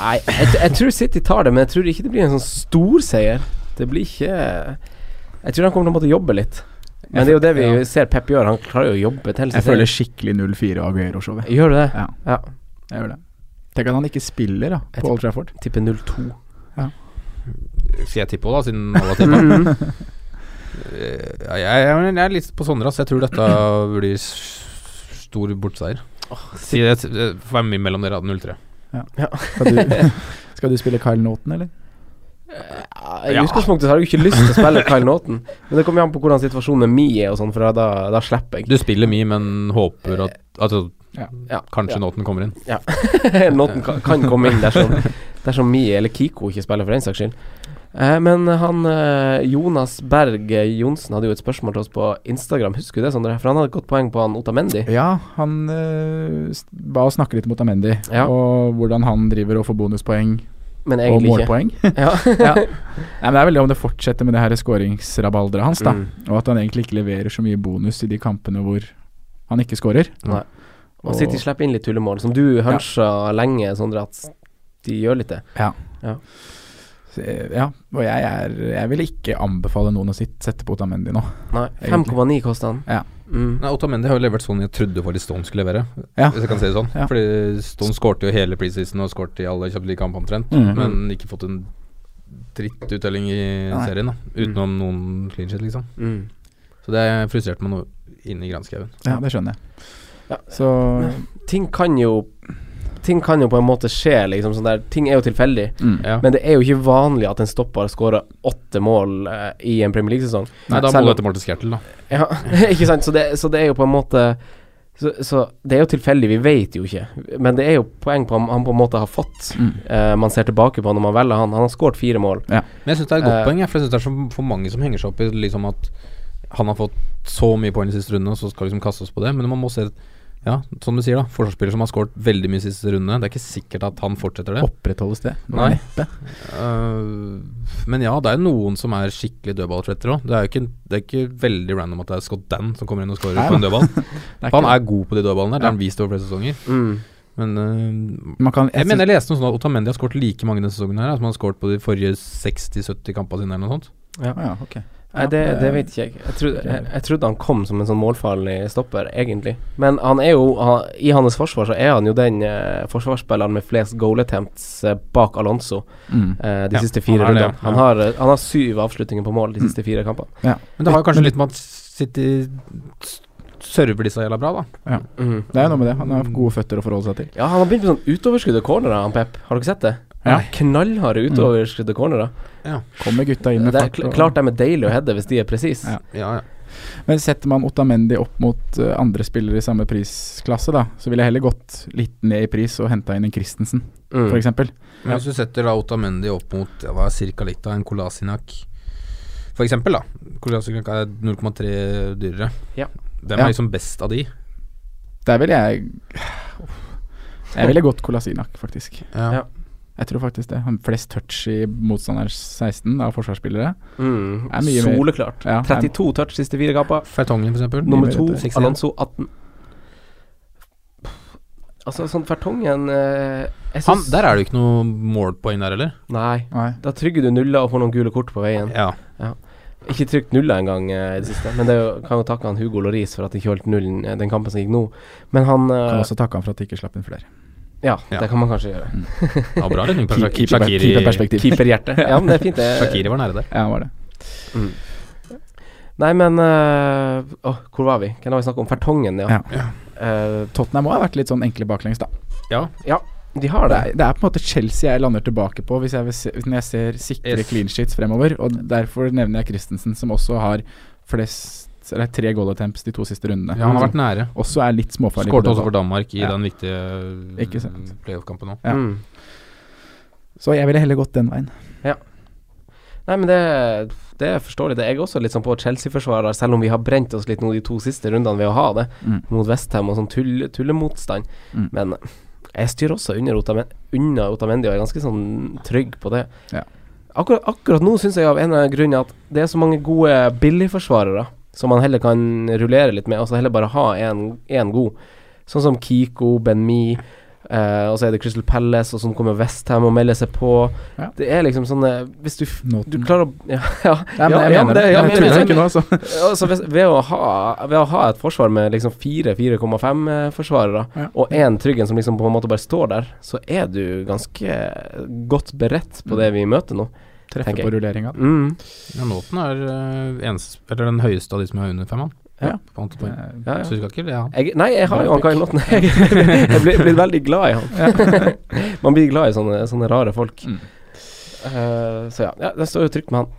[SPEAKER 4] Nei, jeg, jeg tror City tar det, men jeg tror ikke det blir en sånn stor seier. Det blir ikke Jeg tror han kommer til å måtte jobbe litt. Men det er jo det vi
[SPEAKER 6] Ja.
[SPEAKER 4] ser Pep gjør, han klarer jo å jobbe til
[SPEAKER 6] Jeg
[SPEAKER 4] seg
[SPEAKER 6] føler
[SPEAKER 4] selv.
[SPEAKER 6] skikkelig 0-4 Aguero-showet.
[SPEAKER 4] Gjør du det?
[SPEAKER 6] Ja.
[SPEAKER 4] Ja.
[SPEAKER 6] Jeg gjør det. Tenk at han ikke spiller da
[SPEAKER 4] Jeg
[SPEAKER 6] på Old Trafford.
[SPEAKER 4] Tipper 0-2.
[SPEAKER 5] Skal jeg tippe òg, da, siden alle har tippa?
[SPEAKER 6] Mm.
[SPEAKER 5] jeg, jeg, jeg er litt på Sondre, ass. Jeg tror dette blir s- stor bortseier. Si det eh, Vær med mellom dere, da. 0-3.
[SPEAKER 6] Skal du, skal du spille Kyle Naughton, eller?
[SPEAKER 4] I utgangspunktet har jeg jo ikke lyst til å spille Kyle Naughton, men det kommer jo an på hvordan situasjonen med Mi er og sånn, for da, da slipper jeg.
[SPEAKER 5] Du spiller mye, men håper at altså,
[SPEAKER 4] Ja,
[SPEAKER 5] kanskje
[SPEAKER 4] ja.
[SPEAKER 5] Nåten kommer inn.
[SPEAKER 4] Nåten kan, kan komme inn dersom, dersom Mi eller Kiko ikke spiller, for den saks skyld. Eh, men han eh, Jonas Berg eh, Johnsen hadde jo et spørsmål til oss på Instagram, husker du det, Sondre? For han hadde et godt poeng på han Otamendi.
[SPEAKER 6] Ja, han eh, s- ba oss snakke litt mot Amendi,
[SPEAKER 4] Ja.
[SPEAKER 6] og hvordan han driver og får bonuspoeng
[SPEAKER 4] Men
[SPEAKER 6] og
[SPEAKER 4] egentlig ikke.
[SPEAKER 6] målpoeng.
[SPEAKER 4] Ja.
[SPEAKER 6] ja. Nei, men Det er veldig om det fortsetter med det her skåringsrabalderet hans, da.
[SPEAKER 4] Mm.
[SPEAKER 6] Og at han egentlig ikke leverer så mye bonus i de kampene hvor han ikke skårer.
[SPEAKER 4] Nei. Og City slipper inn litt tullemål, som du huncha lenge, Sondre, at de gjør litt det.
[SPEAKER 6] Så, eh, Ja, og jeg, er, jeg vil ikke anbefale noen å sitt- sette på Otamendi nå.
[SPEAKER 4] Nei,
[SPEAKER 6] Egentlig.
[SPEAKER 4] 5,9 koster han.
[SPEAKER 6] Ja.
[SPEAKER 4] Mm.
[SPEAKER 5] Nei, Otamendi har jo levert sånn jeg trodde faktisk Stone skulle levere.
[SPEAKER 6] Ja.
[SPEAKER 5] Hvis jeg kan si det sånn.
[SPEAKER 6] Ja.
[SPEAKER 5] Fordi Stone skårte jo hele preseason og skårte i alle kjappe kamper omtrent.
[SPEAKER 6] Mhm.
[SPEAKER 5] Men ikke fått en drittuttelling i
[SPEAKER 6] Nei.
[SPEAKER 5] serien, da. Utenom noen clean shit, liksom.
[SPEAKER 4] Mm.
[SPEAKER 5] Så det frustrerte meg noe inni granskauen.
[SPEAKER 6] Ja, det skjønner jeg.
[SPEAKER 4] Ja.
[SPEAKER 6] Så
[SPEAKER 4] Ting kan jo Ting kan jo på en måte skje, liksom. Sånn der. Ting er jo tilfeldig.
[SPEAKER 6] mm.
[SPEAKER 5] Ja.
[SPEAKER 4] Men det er jo ikke vanlig at en stopper skårer åtte mål eh, i en Premier League-sesong.
[SPEAKER 5] Nei, da
[SPEAKER 4] Selv om-
[SPEAKER 5] må du etter Morten Skertel, da.
[SPEAKER 4] Ja, ikke sant? Så det, så det er jo på en måte så, så det er jo tilfeldig, vi vet jo ikke. Men det er jo poeng på om han på en måte har fått. eh, man ser tilbake på når man velger han. Han har skåret fire mål.
[SPEAKER 5] Men jeg syns det er et
[SPEAKER 4] Eh.
[SPEAKER 5] godt poeng, jeg, for jeg syns det er så for mange som henger seg opp i liksom at han har fått så mye poeng i siste runde, og så skal liksom kaste oss på det. Men man må se Ja, som du sier, da. Forsvarsspiller som har skåret veldig mye i siste runde. Det er ikke sikkert at han fortsetter det.
[SPEAKER 6] opprettholdes det?
[SPEAKER 5] Nei.
[SPEAKER 6] Neppe.
[SPEAKER 5] Eh, men ja, det er jo noen som er skikkelig dødballtrettere òg. Det er jo ikke, det er ikke veldig random at det er Scott Dan som kommer inn og skårer
[SPEAKER 6] Nei,
[SPEAKER 5] på en dødball.
[SPEAKER 6] Det er
[SPEAKER 5] For han
[SPEAKER 6] ikke-
[SPEAKER 5] er god på de dødballene der. Det har han vist over flere sesonger.
[SPEAKER 4] Mm.
[SPEAKER 5] Men eh,
[SPEAKER 6] man kan,
[SPEAKER 5] Jeg
[SPEAKER 6] jeg
[SPEAKER 5] mener jeg leste noe sånn at Otamendi har skåret like mange denne sesongen her som han har skåret på de forrige 60-70 kampene sine, eller noe sånt.
[SPEAKER 6] synes- ja, ok.
[SPEAKER 4] Nei, det, det vet ikke jeg. Jeg trodde, jeg, jeg trodde han kom som en sånn målfarlig stopper, egentlig. Men han er jo han, i hans forsvar så er han jo den eh, forsvarsspilleren med flest goal attempts eh, bak Alonso
[SPEAKER 6] Mm.
[SPEAKER 4] eh, de
[SPEAKER 5] Ja,
[SPEAKER 4] siste fire
[SPEAKER 5] han er det,
[SPEAKER 4] rundene.
[SPEAKER 5] ja.
[SPEAKER 4] Han, har, eh, han har syv avslutninger på mål de siste fire kampene.
[SPEAKER 5] Men det har jo kanskje litt med at City server disse jævla bra, da.
[SPEAKER 6] Ja. Det er jo noe med det. Han har gode føtter å forholde seg til.
[SPEAKER 4] Ja, han har begynt med sånn utoverskudd og cornerer, han Pep. Har dere sett det?
[SPEAKER 6] Ja.
[SPEAKER 4] Ja. Knallharde utoverskudd og cornerer.
[SPEAKER 6] Kommer gutta inn Mm. med
[SPEAKER 4] Det er
[SPEAKER 6] fart.
[SPEAKER 4] kl
[SPEAKER 6] og-
[SPEAKER 4] klart de er deilige å heade hvis de er presise.
[SPEAKER 6] Ja. Men setter man Otamendi opp mot eh, andre spillere i samme prisklasse, da, så ville jeg heller gått litt ned i pris og henta inn en Christensen,
[SPEAKER 5] Mm.
[SPEAKER 6] for f.eks.
[SPEAKER 5] Men hvis du setter da Otamendi opp mot ja, hva er cirka likt av en Kolasinak, for eksempel, da. Kolasinak er 0,3 dyrere.
[SPEAKER 4] Ja.
[SPEAKER 5] Hvem
[SPEAKER 6] Ja.
[SPEAKER 5] er liksom best av de?
[SPEAKER 6] Der ville jeg Jeg ville gått Kolasinak, faktisk.
[SPEAKER 5] Ja. Ja.
[SPEAKER 6] Jeg tror faktisk det. Han flest touch i motstanders 16 av forsvarsspillere.
[SPEAKER 4] Mm,
[SPEAKER 6] Er mye mer-
[SPEAKER 4] soleklart.
[SPEAKER 6] Ja, er-
[SPEAKER 4] 32 touch siste fire kamper.
[SPEAKER 5] Fertongen, for eksempel.
[SPEAKER 4] Nummer
[SPEAKER 6] Mye
[SPEAKER 4] to,
[SPEAKER 6] mer etter.
[SPEAKER 4] Alonso 18. Altså, sånn Fertongen eh, jeg
[SPEAKER 5] Han,
[SPEAKER 4] synes-
[SPEAKER 5] der er det jo ikke noe målpoeng der, eller?
[SPEAKER 4] Nei.
[SPEAKER 6] Nei.
[SPEAKER 4] Da trygger du nuller og får noen gule kort på veien.
[SPEAKER 5] Ja.
[SPEAKER 4] Ikke trykt nuller engang eh, i det siste, men det er jo, kan jo takke han Hugo Loris for at de ikke holdt nullen eh, den kampen som gikk nå. Men han eh,
[SPEAKER 6] Kan også takke han for at de ikke slapp inn flere.
[SPEAKER 4] ja,
[SPEAKER 5] Ja.
[SPEAKER 4] det kan man kanskje
[SPEAKER 6] Mm.
[SPEAKER 4] gjøre.
[SPEAKER 5] ja bra redning. på Shak-
[SPEAKER 6] Keeper-
[SPEAKER 5] Shakiri-
[SPEAKER 6] keeperperspektiv.
[SPEAKER 4] Keeperhjerte. Ja, men det er fint, det.
[SPEAKER 5] Shakiri var nære der.
[SPEAKER 6] Ja, var det.
[SPEAKER 4] Nei, men eh, åh, Hvor var vi? Hvem var vi snakket om? Fertongen, ja.
[SPEAKER 6] Ja.
[SPEAKER 4] Eh,
[SPEAKER 6] Tottenham òg har vært litt sånn enkle baklengs, da.
[SPEAKER 5] Ja.
[SPEAKER 4] de har
[SPEAKER 6] Det
[SPEAKER 4] det.
[SPEAKER 6] er, det er på en måte Chelsea jeg lander tilbake på hvis jeg vil se, når jeg ser sikre
[SPEAKER 5] Yes.
[SPEAKER 6] clean sheets fremover. Og derfor nevner jeg Christensen, som også har flest eller tre goal attempts de to siste rundene.
[SPEAKER 5] ja, han har vært nære.
[SPEAKER 6] Også er litt småfarlig. på
[SPEAKER 5] Skårte også
[SPEAKER 6] dødball.
[SPEAKER 5] for Danmark i
[SPEAKER 6] Ja.
[SPEAKER 5] den viktige eh,
[SPEAKER 6] Ikke sant.
[SPEAKER 5] playoff-kampen nå.
[SPEAKER 6] Ja.
[SPEAKER 4] Mm.
[SPEAKER 6] Så jeg ville heller gått den veien.
[SPEAKER 4] Nei, men det, det forstår jeg. Det er jeg også litt sånn på Chelsea-forsvarer, selv om vi har brent oss litt nå de to siste rundene ved å ha det,
[SPEAKER 6] Mm.
[SPEAKER 4] mot Westham og sånn tulle, tullemotstand.
[SPEAKER 6] Mm.
[SPEAKER 4] Men jeg styrer også under Otamen- unna Otamendi og er ganske sånn trygg på det.
[SPEAKER 6] Ja.
[SPEAKER 4] Akkurat, akkurat nå syns jeg av en eller annen grunn at det er så mange gode billigforsvarere som man heller kan rullere litt med, altså heller bare ha én god. Sånn som Kiko, Ben-Mi, eh, og så er det Crystal Palace, og så kommer Westham og melder seg på.
[SPEAKER 6] Ja.
[SPEAKER 4] Det er liksom sånne Hvis du f-
[SPEAKER 6] Nåten.
[SPEAKER 4] du klarer å Ja, ja,
[SPEAKER 6] Nei, men
[SPEAKER 4] ja,
[SPEAKER 6] jeg
[SPEAKER 4] ja, men
[SPEAKER 6] mener
[SPEAKER 4] det-
[SPEAKER 6] det.
[SPEAKER 4] ja,
[SPEAKER 6] Jeg
[SPEAKER 4] men jeg
[SPEAKER 6] tuller
[SPEAKER 4] mener
[SPEAKER 6] ikke
[SPEAKER 4] det.
[SPEAKER 6] nå, altså.
[SPEAKER 4] Altså, hvis- ved, å ha, ved å ha et forsvar med liksom 4-4,5 eh, forsvarere,
[SPEAKER 6] Ja.
[SPEAKER 4] og én Tryggen som liksom på en måte bare står der, så er du ganske godt beredt på det vi møter nå.
[SPEAKER 6] Mm. Treffer
[SPEAKER 4] tenker jeg.
[SPEAKER 6] på rulleringa.
[SPEAKER 4] Mm.
[SPEAKER 5] Ja, Nåten er eh, eneste, eller den høyeste av de som er under fem, han.
[SPEAKER 4] Ja.
[SPEAKER 5] På antall poeng.
[SPEAKER 6] Eh,
[SPEAKER 4] Ja,
[SPEAKER 5] Så
[SPEAKER 4] ja.
[SPEAKER 5] du skal ikke le av han.
[SPEAKER 4] Jeg, nei, jeg har jo han Kai Lotten. Jeg jeg blir, blir veldig glad i han. Man blir glad i sånne, sånne rare folk.
[SPEAKER 6] Mm.
[SPEAKER 4] Eh, så ja, ja, det står jo trygt med han.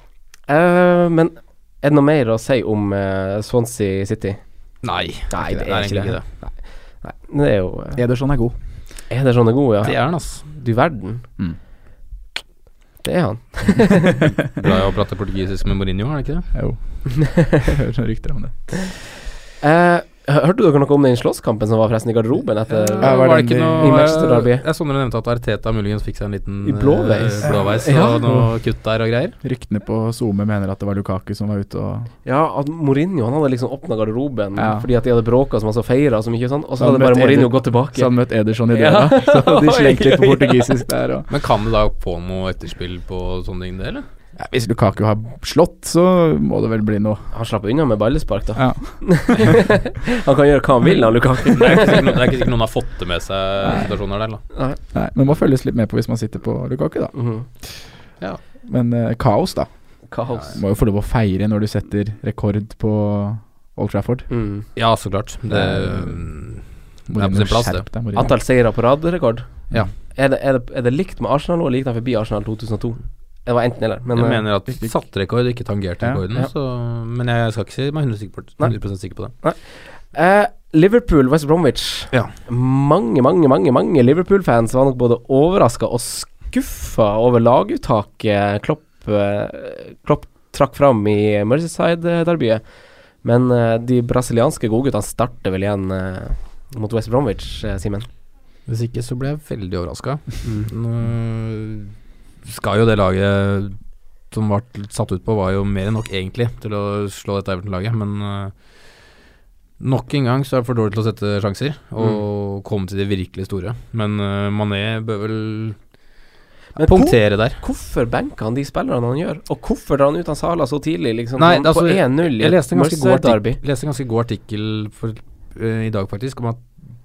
[SPEAKER 4] Eh, men er det noe mer å si om eh, Swansea City?
[SPEAKER 5] Nei,
[SPEAKER 4] Nei,
[SPEAKER 5] det er egentlig ikke det.
[SPEAKER 4] Nei, men det er jo eh,
[SPEAKER 6] Ederson er god.
[SPEAKER 4] Er det sånne gode, ja?
[SPEAKER 5] Det er han, ass.
[SPEAKER 4] Du verden.
[SPEAKER 6] Mm.
[SPEAKER 4] Det er han.
[SPEAKER 5] Bra å prate portugisisk med Mourinho, er det ikke det?
[SPEAKER 6] Jo. Hører noen rykter om det.
[SPEAKER 4] Eh, hø- hørte dere noe om den slåsskampen som var forresten i garderoben etter
[SPEAKER 6] Ja, var
[SPEAKER 5] var det
[SPEAKER 6] den
[SPEAKER 5] ikke
[SPEAKER 6] i-
[SPEAKER 5] noe
[SPEAKER 4] i Manchester Derby?
[SPEAKER 5] Jeg så dere nevnte at Arteta muligens fikk seg en liten
[SPEAKER 4] I blåveis.
[SPEAKER 5] eh, blåveis
[SPEAKER 4] Ja.
[SPEAKER 5] og noe kutt der og greier.
[SPEAKER 6] Ryktene på SoMe mener at det var Lukaku som var ute og
[SPEAKER 4] Ja, at Mourinho han hadde liksom åpna garderoben
[SPEAKER 6] Ja.
[SPEAKER 4] fordi at de hadde bråka så masse og feira så mye, og sånn, og så
[SPEAKER 6] Han
[SPEAKER 4] hadde bare
[SPEAKER 6] møtte
[SPEAKER 4] Mourinho
[SPEAKER 6] Eder-
[SPEAKER 4] gått tilbake.
[SPEAKER 6] Så han møtte Ederson i
[SPEAKER 4] Ja.
[SPEAKER 6] døra. Så de slengte litt på
[SPEAKER 4] Oi, oi, oi.
[SPEAKER 6] portugisisk der. Og.
[SPEAKER 5] Men kan det da få noe etterspill på sånne ting, det, eller?
[SPEAKER 6] Ja, hvis Lukaku har slått, så må det vel bli noe.
[SPEAKER 4] Han slapp unna med ballespark, da.
[SPEAKER 6] Ja.
[SPEAKER 4] Han kan gjøre hva han vil, han Lukaku.
[SPEAKER 5] Det er ikke sikkert noen, det er ikke sikkert noen har fått det med seg situasjoner der, da.
[SPEAKER 6] Nei, men må følges litt med på hvis man sitter på Lukaku, da.
[SPEAKER 4] Mhm.
[SPEAKER 6] Men eh, kaos, da.
[SPEAKER 4] Kaos.
[SPEAKER 6] Må jo få lov å feire når du setter rekord på Old Trafford.
[SPEAKER 4] Mm.
[SPEAKER 5] Ja, så klart. Det, eh, Det er på
[SPEAKER 6] Mourinho,
[SPEAKER 5] sin plass, det.
[SPEAKER 6] skjerp deg, Mourinho.
[SPEAKER 4] Antall seire på rad, rekord.
[SPEAKER 5] Ja.
[SPEAKER 4] Er det, er, det, er det likt med Arsenal og likt forbi Arsenal 2002? Det var enten eller. Men,
[SPEAKER 5] jeg
[SPEAKER 4] eh,
[SPEAKER 5] mener at satt rekord ikke tangerte
[SPEAKER 6] Ja,
[SPEAKER 5] rekorden,
[SPEAKER 4] ja.
[SPEAKER 5] Så, men jeg skal ikke si meg 100 sikker på, 100 sikker på det.
[SPEAKER 4] Eh, Liverpool, West Bromwich.
[SPEAKER 5] Ja.
[SPEAKER 4] Mange, mange, mange mange Liverpool-fans var nok både overraska og skuffa over laguttaket Klopp, eh, Klopp trakk fram i Merseyside-derbyet. Men eh, de brasilianske godguttene starter vel igjen eh, mot West Bromwich, eh, Simen.
[SPEAKER 5] Hvis ikke så ble jeg veldig overraska. Nå Mm. skal jo det laget som var satt ut på, var jo mer enn nok egentlig til å slå dette Everton-laget, men øh, nok en gang så er det for dårlig til å sette sjanser og komme til de virkelig store. Men øh, Mané bør vel
[SPEAKER 4] Men
[SPEAKER 5] punktere der.
[SPEAKER 4] Hvorfor benker han de spillerne han gjør? Og hvorfor drar han ut han Sala så tidlig, liksom?
[SPEAKER 5] Nei,
[SPEAKER 4] sånn
[SPEAKER 5] altså,
[SPEAKER 4] på 1-0 i
[SPEAKER 5] Jeg leste en ganske god
[SPEAKER 4] Merseyside-derby.
[SPEAKER 5] artikkel, leste en ganske god artikkel for, eh, i dag faktisk om at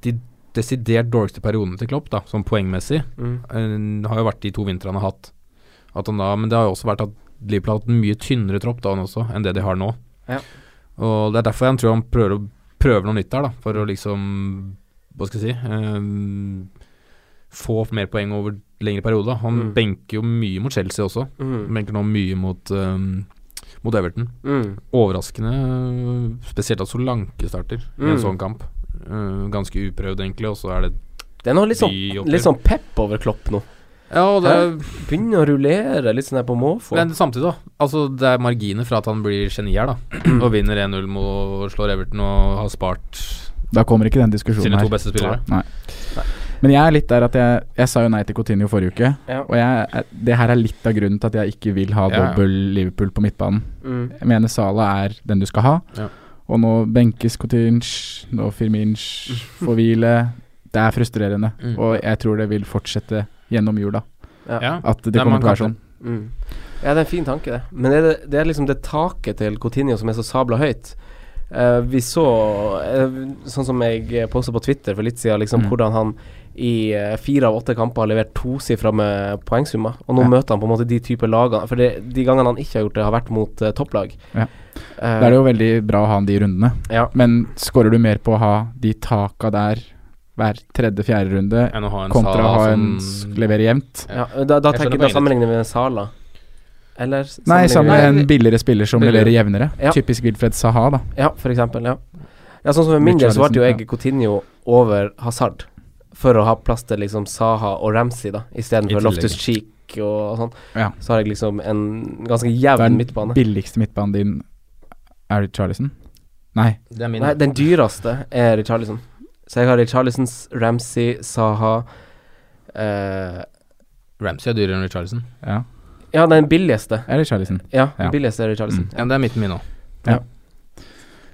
[SPEAKER 5] de desidert dårligste periodene til Klopp, da, sånn poengmessig,
[SPEAKER 4] Mm.
[SPEAKER 5] eh, har jo vært de to vintrene han har hatt. At han da, men det har jo også vært at Liverpool har hatt en mye tynnere tropp da han også, enn det de har nå.
[SPEAKER 4] Ja.
[SPEAKER 5] Og Det er derfor jeg tror han prøver å prøver noe nytt der, da, for å liksom Hva skal jeg si eh, Få mer poeng over lengre perioder. da. Han
[SPEAKER 4] Mm.
[SPEAKER 5] benker jo mye mot Chelsea også.
[SPEAKER 4] Mm.
[SPEAKER 5] Benker nå mye mot, eh, mot Everton.
[SPEAKER 4] Mm.
[SPEAKER 5] Overraskende, eh, spesielt at Solanke starter i
[SPEAKER 4] Mm.
[SPEAKER 5] en sånn kamp. Eh, ganske uprøvd, egentlig, og så er det
[SPEAKER 4] Det er noe litt sånn,
[SPEAKER 5] de oppgjør.
[SPEAKER 4] litt sånn pep over Klopp nå.
[SPEAKER 5] Ja, og det er
[SPEAKER 4] Hæ? Begynner å rullere litt sånn her på måfå.
[SPEAKER 5] Men samtidig, da. Altså, det er marginer fra at han blir geni her, da. Og vinner 1-0 mot- og slår Everton og har spart
[SPEAKER 6] Da kommer ikke den diskusjonen
[SPEAKER 5] sine
[SPEAKER 6] her.
[SPEAKER 5] to beste spillere.
[SPEAKER 6] Nei. Men jeg er litt der at jeg, jeg sa jo nei til Coutinho forrige uke.
[SPEAKER 4] Ja.
[SPEAKER 6] Og jeg, er- det her er litt av grunnen til at jeg ikke vil ha
[SPEAKER 5] Ja, ja.
[SPEAKER 6] dobbel Liverpool på midtbanen.
[SPEAKER 4] Mm.
[SPEAKER 6] Jeg mener Sala er den du skal ha.
[SPEAKER 5] Ja.
[SPEAKER 6] Og nå benkes Coutinho, nå Firminch får hvile. Det er frustrerende.
[SPEAKER 5] Mm.
[SPEAKER 6] Og jeg tror det vil fortsette gjennom jula.
[SPEAKER 4] Ja.
[SPEAKER 5] Ja.
[SPEAKER 6] At det
[SPEAKER 5] Nei,
[SPEAKER 6] kommer
[SPEAKER 5] man
[SPEAKER 6] til å være
[SPEAKER 5] kan
[SPEAKER 6] sånn.
[SPEAKER 4] Mm. Ja, det er en fin tanke, det. Men er det, det er liksom det taket til Coutinho som er så sabla høyt. Eh, vi så, eh, sånn som jeg posta på Twitter for litt siden, liksom,
[SPEAKER 6] Mm.
[SPEAKER 4] hvordan han i eh, fire av åtte kamper har levert tosifra med poengsummer. Og nå
[SPEAKER 6] Ja.
[SPEAKER 4] møter han på en måte de typer lagene For det, de gangene han ikke har gjort det, har vært mot eh, topplag.
[SPEAKER 6] Ja.
[SPEAKER 4] Eh,
[SPEAKER 6] Da er det jo veldig bra å ha han de rundene.
[SPEAKER 4] Ja.
[SPEAKER 6] Men scorer du mer på å ha de taka der hver tredje-fjerde runde,
[SPEAKER 5] Enn å ha en
[SPEAKER 6] kontra å
[SPEAKER 5] Salah
[SPEAKER 6] ha
[SPEAKER 5] som-
[SPEAKER 6] en s- levere jevnt?
[SPEAKER 4] ja, da, da,
[SPEAKER 5] Jeg
[SPEAKER 4] tenker, da
[SPEAKER 5] skjønner poenget ditt.
[SPEAKER 4] sammenligner vi med Sala. Eller s-
[SPEAKER 6] Nei, sammen
[SPEAKER 4] vi-
[SPEAKER 6] med en billigere spiller som
[SPEAKER 5] Billigere.
[SPEAKER 6] leverer jevnere.
[SPEAKER 4] Ja.
[SPEAKER 6] Typisk Wilfred Saha, da.
[SPEAKER 4] Ja, for eksempel, ja. ja sånn som for min del så valgte jo jeg Coutinho over Hazard for å ha plass til liksom Saha og Ramsey, da,
[SPEAKER 5] I
[SPEAKER 4] istedenfor
[SPEAKER 5] tillegg.
[SPEAKER 4] Loftus Cheek og sånn.
[SPEAKER 6] Ja.
[SPEAKER 4] Så har jeg liksom en ganske
[SPEAKER 6] Da
[SPEAKER 4] jevn
[SPEAKER 6] er den
[SPEAKER 4] midtbane.
[SPEAKER 6] billigste midtbanen din Er det Charlison? Nei.
[SPEAKER 5] Det er min.
[SPEAKER 4] Nei, den dyreste er Richarlison. Så jeg har Richarlisons, Ramsey, Saha eh,
[SPEAKER 5] Ramsey er dyrere enn Richarlison.
[SPEAKER 6] Ja.
[SPEAKER 4] Ja, den billigste.
[SPEAKER 6] Er det Charlison?
[SPEAKER 4] Ja, den
[SPEAKER 6] Ja.
[SPEAKER 4] billigste er
[SPEAKER 6] Mm.
[SPEAKER 4] Richarlison.
[SPEAKER 5] Ja, det er midten min nå.
[SPEAKER 6] Ja,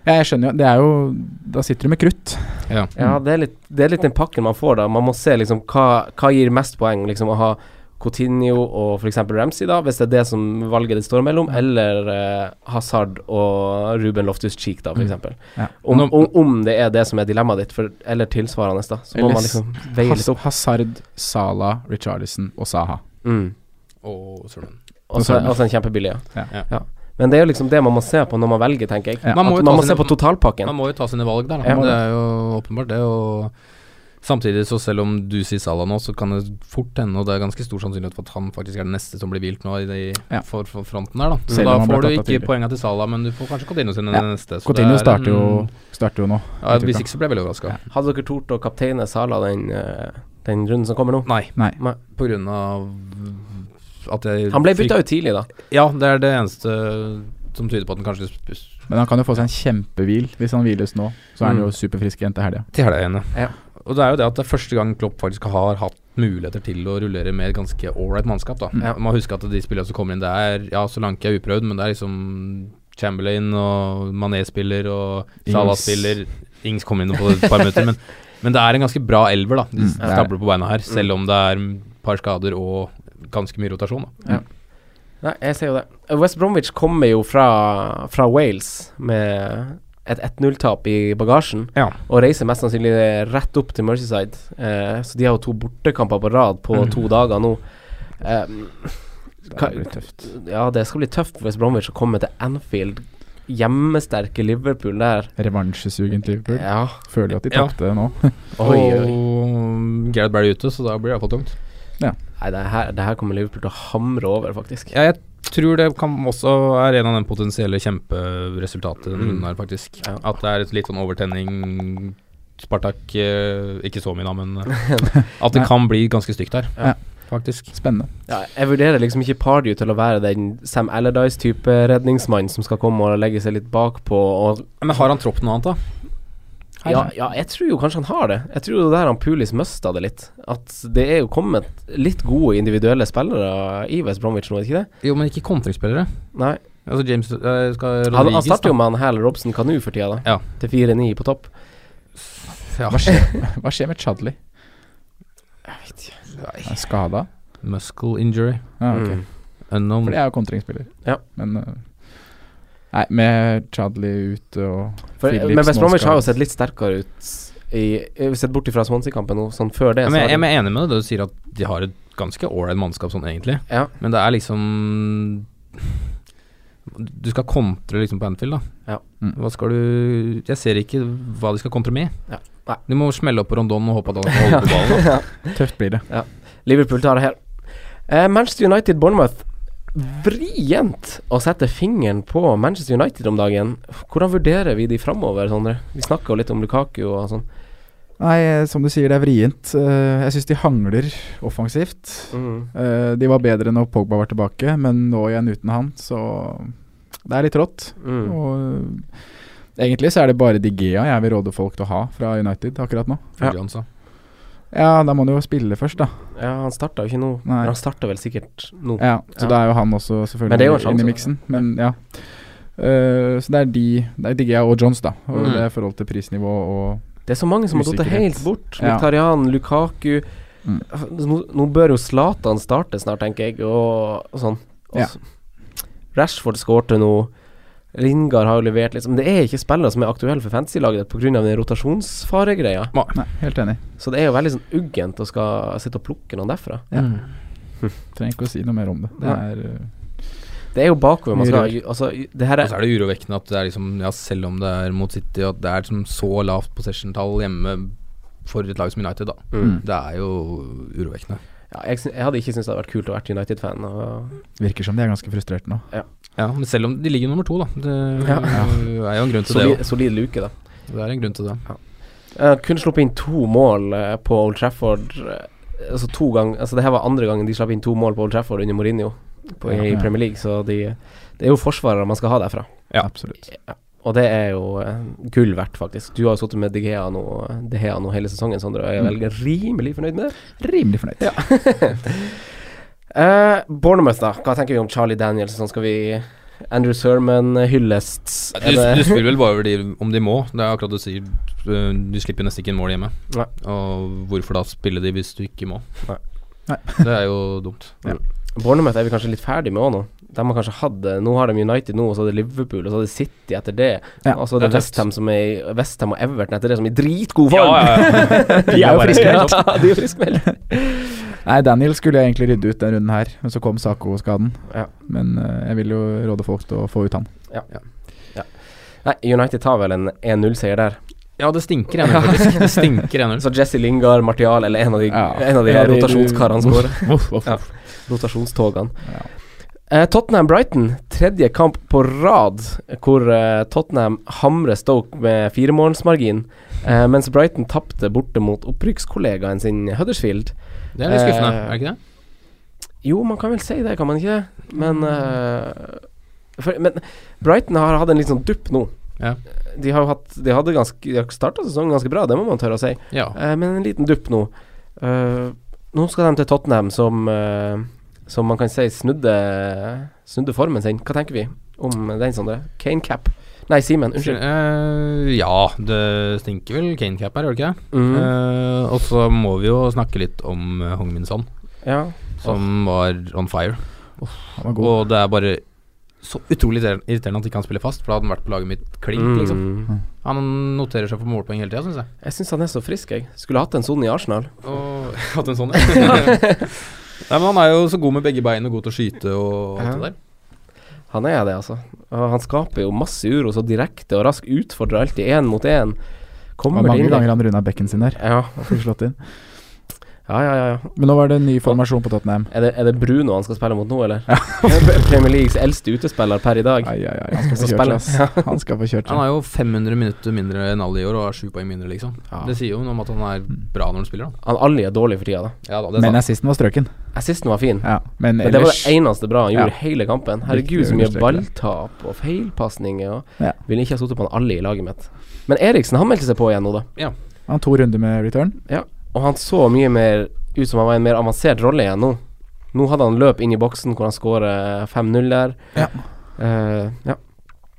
[SPEAKER 6] jeg skjønner jo. Det er jo Da sitter du med krutt.
[SPEAKER 5] Ja.
[SPEAKER 4] Ja, det er, litt, det er litt den pakken man får da. Man må se liksom hva, hva gir mest poeng. Liksom å ha Coutinho og f.eks. Ramsey, da, hvis det er det som valget det står mellom, eller eh, Hazard og Ruben Loftus-Cheek, da, f.eks.
[SPEAKER 6] Ja.
[SPEAKER 4] Om,
[SPEAKER 5] Mm. Nå-
[SPEAKER 4] om, om det er det som er dilemmaet ditt, for, eller tilsvarende, da, så må
[SPEAKER 6] Eller
[SPEAKER 4] man
[SPEAKER 6] s-
[SPEAKER 4] liksom veie litt opp.
[SPEAKER 6] Hazard, Salah, Richarlison og Saha.
[SPEAKER 4] Mm.
[SPEAKER 5] Og Søren.
[SPEAKER 4] Og så og så en kjempebillig, ja.
[SPEAKER 5] Ja.
[SPEAKER 4] ja. Men det er jo liksom det man må se på når man velger, tenker jeg.
[SPEAKER 6] Ja.
[SPEAKER 4] Man
[SPEAKER 5] Man
[SPEAKER 4] må,
[SPEAKER 5] må jo
[SPEAKER 4] At
[SPEAKER 5] ta
[SPEAKER 4] man må
[SPEAKER 5] sine-
[SPEAKER 4] se på totalpakken.
[SPEAKER 5] Man må jo ta sine valg der, da.
[SPEAKER 4] Ja.
[SPEAKER 5] Men det er jo åpenbart, det. Og samtidig, så selv om du sier Salah nå, så kan det fort hende, og det er ganske stor sannsynlighet for at han faktisk er den neste som blir hvilt nå i de,
[SPEAKER 6] Ja.
[SPEAKER 5] for, for fronten der, da. Så
[SPEAKER 6] Selv om
[SPEAKER 5] da
[SPEAKER 6] han ble
[SPEAKER 5] får du
[SPEAKER 6] tatt av
[SPEAKER 5] ikke
[SPEAKER 6] tidlig.
[SPEAKER 5] poenga til Salah, men du får kanskje Coutinho sin
[SPEAKER 6] Ja.
[SPEAKER 5] neste. så
[SPEAKER 6] Coutinho
[SPEAKER 5] det er
[SPEAKER 6] starter jo,
[SPEAKER 5] en-
[SPEAKER 6] starter jo nå.
[SPEAKER 5] Ja,
[SPEAKER 6] vet du
[SPEAKER 5] hvis
[SPEAKER 6] ikke.
[SPEAKER 5] ikke så ble jeg veldig overraska.
[SPEAKER 4] Hadde dere tort å kapteine Sala den, eh, den runden som kommer nå?
[SPEAKER 5] Nei.
[SPEAKER 6] Nei.
[SPEAKER 5] På grunn av at jeg
[SPEAKER 4] Han ble bytta ut tidlig, da.
[SPEAKER 5] Ja, det er det eneste som tyder på at den kanskje sp- sp-
[SPEAKER 6] Men han kan jo få seg en kjempehvil. Hvis han hviles nå, så er han
[SPEAKER 5] Mm.
[SPEAKER 6] jo superfrisk igjen til helga.
[SPEAKER 5] Til helga igjen, ja.
[SPEAKER 4] Ja.
[SPEAKER 5] Og det er jo det at det er første gang Klopp faktisk har hatt muligheter til å rullere med et ganske ålreit mannskap, da.
[SPEAKER 6] Mm.
[SPEAKER 5] Ja. Man må huske at de spillerne som kommer inn, det er Ja, Solanke er uprøvd, men det er liksom Chamberlain og Mané spiller og Salah
[SPEAKER 6] Ings.
[SPEAKER 5] spiller Ings kom inn på et par minutter, men, men det er en ganske bra elver, da. De
[SPEAKER 6] Mm, det er det.
[SPEAKER 5] stabler på beina her, selv om det er et par skader og ganske mye rotasjon, da.
[SPEAKER 4] Nei, jeg ser jo det. West Bromwich kommer jo fra, fra Wales med et 1-0-tap i bagasjen,
[SPEAKER 5] Ja.
[SPEAKER 4] og reiser mest sannsynlig rett opp til Merseyside. Eh, så de har jo to bortekamper på rad på to dager nå. Eh, ka- Ja, det skal bli tøft for West Bromwich å komme til Anfield. Hjemmesterke Liverpool der.
[SPEAKER 6] Revansjesugen til Liverpool.
[SPEAKER 4] Ja.
[SPEAKER 6] Føler jo at de
[SPEAKER 5] Ja.
[SPEAKER 6] tapte nå.
[SPEAKER 4] Oi, oi.
[SPEAKER 5] Og Gareth Barry ute, så da blir det iallfall tungt.
[SPEAKER 4] Nei, det her, det her kommer Liverpool til å hamre over, faktisk.
[SPEAKER 5] Ja, jeg tror det kan også er en av den potensielle kjemperesultatet denne runden her, faktisk.
[SPEAKER 4] Mm. Ja.
[SPEAKER 5] At det er et litt sånn overtenning Spartak eh, Ikke så mye, da, men eh, at det kan bli ganske stygt her,
[SPEAKER 6] Ja.
[SPEAKER 5] faktisk.
[SPEAKER 6] Spennende.
[SPEAKER 4] Ja, jeg vurderer liksom ikke Pardew til å være den Sam Allardyce-type redningsmann som skal komme og legge seg litt bakpå og
[SPEAKER 5] Men har han tropp noe annet, da? Her,
[SPEAKER 4] ja, ja, jeg tror jo kanskje han har det. Jeg tror jo det der han Pulis mista det litt. At det er jo kommet litt gode individuelle spillere i West Bromwich nå, er det ikke det?
[SPEAKER 5] Jo, men ikke kontringsspillere.
[SPEAKER 4] Nei.
[SPEAKER 5] Altså James eh, skal
[SPEAKER 4] Han, han
[SPEAKER 5] Rodriguez, da.
[SPEAKER 4] starter jo med han Hal Robson Kanu for tida, da.
[SPEAKER 5] Ja.
[SPEAKER 4] Til 4-9 på topp.
[SPEAKER 5] Ja.
[SPEAKER 6] Hva skjer, hva skjer med Chadley? Er skada?
[SPEAKER 5] Muscle injury.
[SPEAKER 6] Ja, ok.
[SPEAKER 4] Mm.
[SPEAKER 5] Unknown.
[SPEAKER 6] For det er jo kontringsspiller.
[SPEAKER 4] Ja.
[SPEAKER 6] Men øh, Nei, med Chadley ute og
[SPEAKER 4] For, eh,
[SPEAKER 6] Phillips
[SPEAKER 4] men West
[SPEAKER 6] nå
[SPEAKER 4] Bromwich
[SPEAKER 6] skal-
[SPEAKER 4] har jo sett litt sterkere ut i eh, Sett bort ifra Swansea-kampen nå, sånn før det.
[SPEAKER 5] Ja,
[SPEAKER 4] så
[SPEAKER 5] men jeg,
[SPEAKER 4] har de-
[SPEAKER 5] jeg er enig med deg da du sier at de har et ganske ålreit mannskap sånn egentlig,
[SPEAKER 4] Ja.
[SPEAKER 5] men det er liksom Du skal kontre liksom på Anfield, da.
[SPEAKER 4] Mm.
[SPEAKER 5] Hva skal du Jeg ser ikke hva de skal kontre med.
[SPEAKER 4] Nei.
[SPEAKER 5] Du må smelle opp på Rondon og håpe at han kan holde på ballen. da.
[SPEAKER 6] Tøft blir det.
[SPEAKER 4] Ja. Liverpool tar det her. Eh, Manchester United Bournemouth. Vrient å sette fingeren på Manchester United om dagen. Hvordan vurderer vi de framover, Sondre? Vi snakker jo litt om Lukaku og sånn.
[SPEAKER 6] Nei, eh, som du sier, det er vrient. Eh, Jeg syns de hangler offensivt. Eh, De var bedre når Pogba var tilbake, men nå igjen uten han, så det er litt rått.
[SPEAKER 4] Mm.
[SPEAKER 6] Og eh, egentlig så er det bare De Gea jeg vil råde folk til å ha fra United akkurat nå.
[SPEAKER 5] Følger han så.
[SPEAKER 6] Ja, da må han jo spille først, da.
[SPEAKER 4] Ja, han starta jo ikke nå,
[SPEAKER 6] Nei.
[SPEAKER 4] men han starta vel sikkert nå.
[SPEAKER 6] Ja,
[SPEAKER 4] Ja.
[SPEAKER 6] så da er jo han også
[SPEAKER 4] Men det er jo en
[SPEAKER 6] selvfølgelig
[SPEAKER 4] sjanse,
[SPEAKER 6] inne i
[SPEAKER 4] da.
[SPEAKER 6] miksen. Men ja. Eh, så det er de Det er De Gea og Johns, da. Og
[SPEAKER 5] Mm.
[SPEAKER 6] det er i forhold til prisnivå og
[SPEAKER 4] Det er så mange som har gått
[SPEAKER 6] Usikkerhet.
[SPEAKER 4] helt bort.
[SPEAKER 6] Ja.
[SPEAKER 4] Mkhitaryan, Lukaku
[SPEAKER 6] Mm.
[SPEAKER 4] nå, nå bør jo Zlatan starte snart, tenker jeg, og, og sånn. Og
[SPEAKER 6] Ja.
[SPEAKER 4] så- Rashford skårte nå. Lingard har jo levert liksom Det er ikke spillere som er aktuelle for fantasy-laget pga. den rotasjonsfaregreia.
[SPEAKER 6] Nei, helt enig.
[SPEAKER 4] Så det er jo veldig sånn uggent å skal sitte og plukke noen derfra.
[SPEAKER 6] Ja. Trenger ikke å si noe mer om det. Det
[SPEAKER 4] Mm. Nei.
[SPEAKER 6] er eh,
[SPEAKER 4] Det er jo bakover man
[SPEAKER 6] Mye
[SPEAKER 4] skal
[SPEAKER 6] rør.
[SPEAKER 4] Altså, det her
[SPEAKER 5] Og så
[SPEAKER 4] er
[SPEAKER 5] er det urovekkende at det er liksom Ja, selv om det er mot City, at det er liksom så lavt possession-tall hjemme for et lag som United, da.
[SPEAKER 4] Mm.
[SPEAKER 5] Det er jo urovekkende.
[SPEAKER 4] ja, jeg, syn- jeg hadde ikke syntes det hadde vært kult å være United-fan. og-
[SPEAKER 6] Virker som de er ganske frustrerte nå.
[SPEAKER 5] Ja, men selv om de ligger nummer to, da. Det er jo en grunn til det.
[SPEAKER 4] Solid, solid luke, da.
[SPEAKER 5] også. Det er en grunn til det.
[SPEAKER 4] Jeg har kun sluppet inn to mål eh, på Old Trafford. eh, Altså to gang, altså Det her var andre gangen de slapp inn to mål på Old Trafford under Mourinho på, i
[SPEAKER 6] Ja, ja.
[SPEAKER 4] Premier League, så de, det er jo forsvarere man skal ha derfra.
[SPEAKER 5] Ja.
[SPEAKER 6] Absolutt.
[SPEAKER 4] Og det er jo eh, gull verdt, faktisk. Du har jo sittet med De Gea nå, De Gea nå hele sesongen, Sondre, og jeg er
[SPEAKER 6] Mm.
[SPEAKER 4] vel rimelig fornøyd med det.
[SPEAKER 6] Rimelig fornøyd.
[SPEAKER 4] Eh, Bournemouth, da. Hva tenker vi om Charlie Daniels? Sånn skal vi Andrew Sermon, eh, hyllest
[SPEAKER 5] Du, du spiller vel bare over de, om de må. Det er akkurat det du sier. øh, Du slipper jo nesten ikke inn mål hjemme.
[SPEAKER 4] Nei.
[SPEAKER 5] Og hvorfor da spille de hvis du ikke må?
[SPEAKER 4] Nei.
[SPEAKER 6] Nei.
[SPEAKER 5] Det er jo dumt.
[SPEAKER 4] Bournemouth er vi kanskje litt ferdig med òg nå. De har kanskje hatt det. Nå har de United nå, og så er det Liverpool, og så er det City etter det.
[SPEAKER 6] Ja,
[SPEAKER 4] og så er det
[SPEAKER 5] det er tøft.
[SPEAKER 4] Westham som er i- West Ham og Everton etter det, som er i dritgod form.
[SPEAKER 6] De er jo friskmeldt.
[SPEAKER 4] Ja, de er friskmeldt.
[SPEAKER 6] Nei, Daniel skulle jeg egentlig rydde ut den runden her, men så kom Sako-skaden.
[SPEAKER 4] Ja.
[SPEAKER 6] Men eh, jeg vil jo råde folk til å få ut han.
[SPEAKER 4] Nei, United tar vel en 1-0-seier der.
[SPEAKER 5] Ja, det stinker ennå, faktisk. Det stinker ennå.
[SPEAKER 4] Så Jesse Lingard, Martial eller en av de,
[SPEAKER 6] Ja.
[SPEAKER 4] en av de
[SPEAKER 6] Ja, de-
[SPEAKER 4] rotasjonskarene
[SPEAKER 6] Voff,
[SPEAKER 4] skårer.
[SPEAKER 6] voff, voff.
[SPEAKER 4] Ja. Rotasjonstogene. Eh, Tottenham-Brighton, tredje kamp på rad hvor eh, Tottenham hamrer Stoke med firemålsmargin, eh, mens Brighton tapte borte mot opprykkskollegaen sin Huddersfield.
[SPEAKER 5] Det er litt
[SPEAKER 4] Eh,
[SPEAKER 5] skuffende, er det ikke det?
[SPEAKER 4] Jo, man kan vel si det, kan man ikke det? Men, eh, for, men Brighton har hatt en litt sånn dupp nå.
[SPEAKER 5] Ja.
[SPEAKER 4] De har jo hatt De hadde ganske De har starta sesongen ganske bra, det må man tørre å si,
[SPEAKER 5] Ja.
[SPEAKER 4] eh, men en liten dupp nå. Eh, nå skal de til Tottenham, som eh, Som man kan si snudde Snudde formen sin. Hva tenker vi om den, Sondre? Kane Cap. Nei, Simen. Unnskyld.
[SPEAKER 5] Eh, ja, det stinker vel Canecap her, gjør det ikke det?
[SPEAKER 4] Mm,
[SPEAKER 5] Eh, og så må vi jo snakke litt om eh, Hong Min Son,
[SPEAKER 4] ja.
[SPEAKER 5] som var on fire.
[SPEAKER 6] Han var god.
[SPEAKER 5] Og det er bare så utrolig irriter- irriterende at ikke han spiller fast, for da hadde han vært på laget mitt klink, liksom.
[SPEAKER 4] Mm.
[SPEAKER 5] Han noterer seg for målpoeng hele tida, syns jeg.
[SPEAKER 4] Jeg syns han er så frisk, jeg. Skulle hatt en sånn i Arsenal.
[SPEAKER 5] Og hatt en sånn Nei, men han er jo så god med begge bein og god til å skyte og alt det der.
[SPEAKER 4] Han er det, altså. Og han skaper jo masse uro så direkte og raskt. Utfordrer alltid én mot én.
[SPEAKER 6] Det
[SPEAKER 4] Kommer
[SPEAKER 6] var mange
[SPEAKER 4] til innlegg.
[SPEAKER 6] ganger han runda bekken sin der.
[SPEAKER 4] Ja.
[SPEAKER 6] og Fikk slått inn.
[SPEAKER 4] ja, ja, ja. ja.
[SPEAKER 6] Men nå var det en ny formasjon på Tottenham.
[SPEAKER 4] Er, det, er det Bruno han skal spille mot nå, eller? Premier Leagues eldste utespiller per i dag.
[SPEAKER 6] Ai, ai, ai. Han skal få
[SPEAKER 4] Så
[SPEAKER 6] kjørt, ass. Han skal få kjørt.
[SPEAKER 5] Han har jo 500 minutter mindre enn alle i år og har sju poeng mindre, liksom.
[SPEAKER 4] Ja.
[SPEAKER 5] Det sier jo noe om at han er bra når han spiller, da.
[SPEAKER 4] Han Ali er dårlig for tida, da.
[SPEAKER 5] Ja da, det er
[SPEAKER 6] Men
[SPEAKER 5] sant.
[SPEAKER 6] assisten var strøken.
[SPEAKER 4] Assisten var fin.
[SPEAKER 6] Ja, men
[SPEAKER 4] Men det var
[SPEAKER 6] ellers
[SPEAKER 4] det eneste bra han gjorde
[SPEAKER 6] Ja.
[SPEAKER 4] i hele kampen. Herregud,
[SPEAKER 6] Viktig å
[SPEAKER 4] så mye
[SPEAKER 6] understreke
[SPEAKER 4] balltap og feilpasninger. Og
[SPEAKER 6] Ja.
[SPEAKER 4] Ville ikke ha sittet på han Ali i laget mitt. Men Eriksen, han meldte seg på igjen nå, da.
[SPEAKER 6] Han har to runder med return.
[SPEAKER 4] Ja, og han så mye mer ut som han var i en mer avansert rolle igjen nå. Nå hadde han løp inn i boksen hvor han skårer 5-0 der.
[SPEAKER 6] Ja.
[SPEAKER 4] Eh, ja.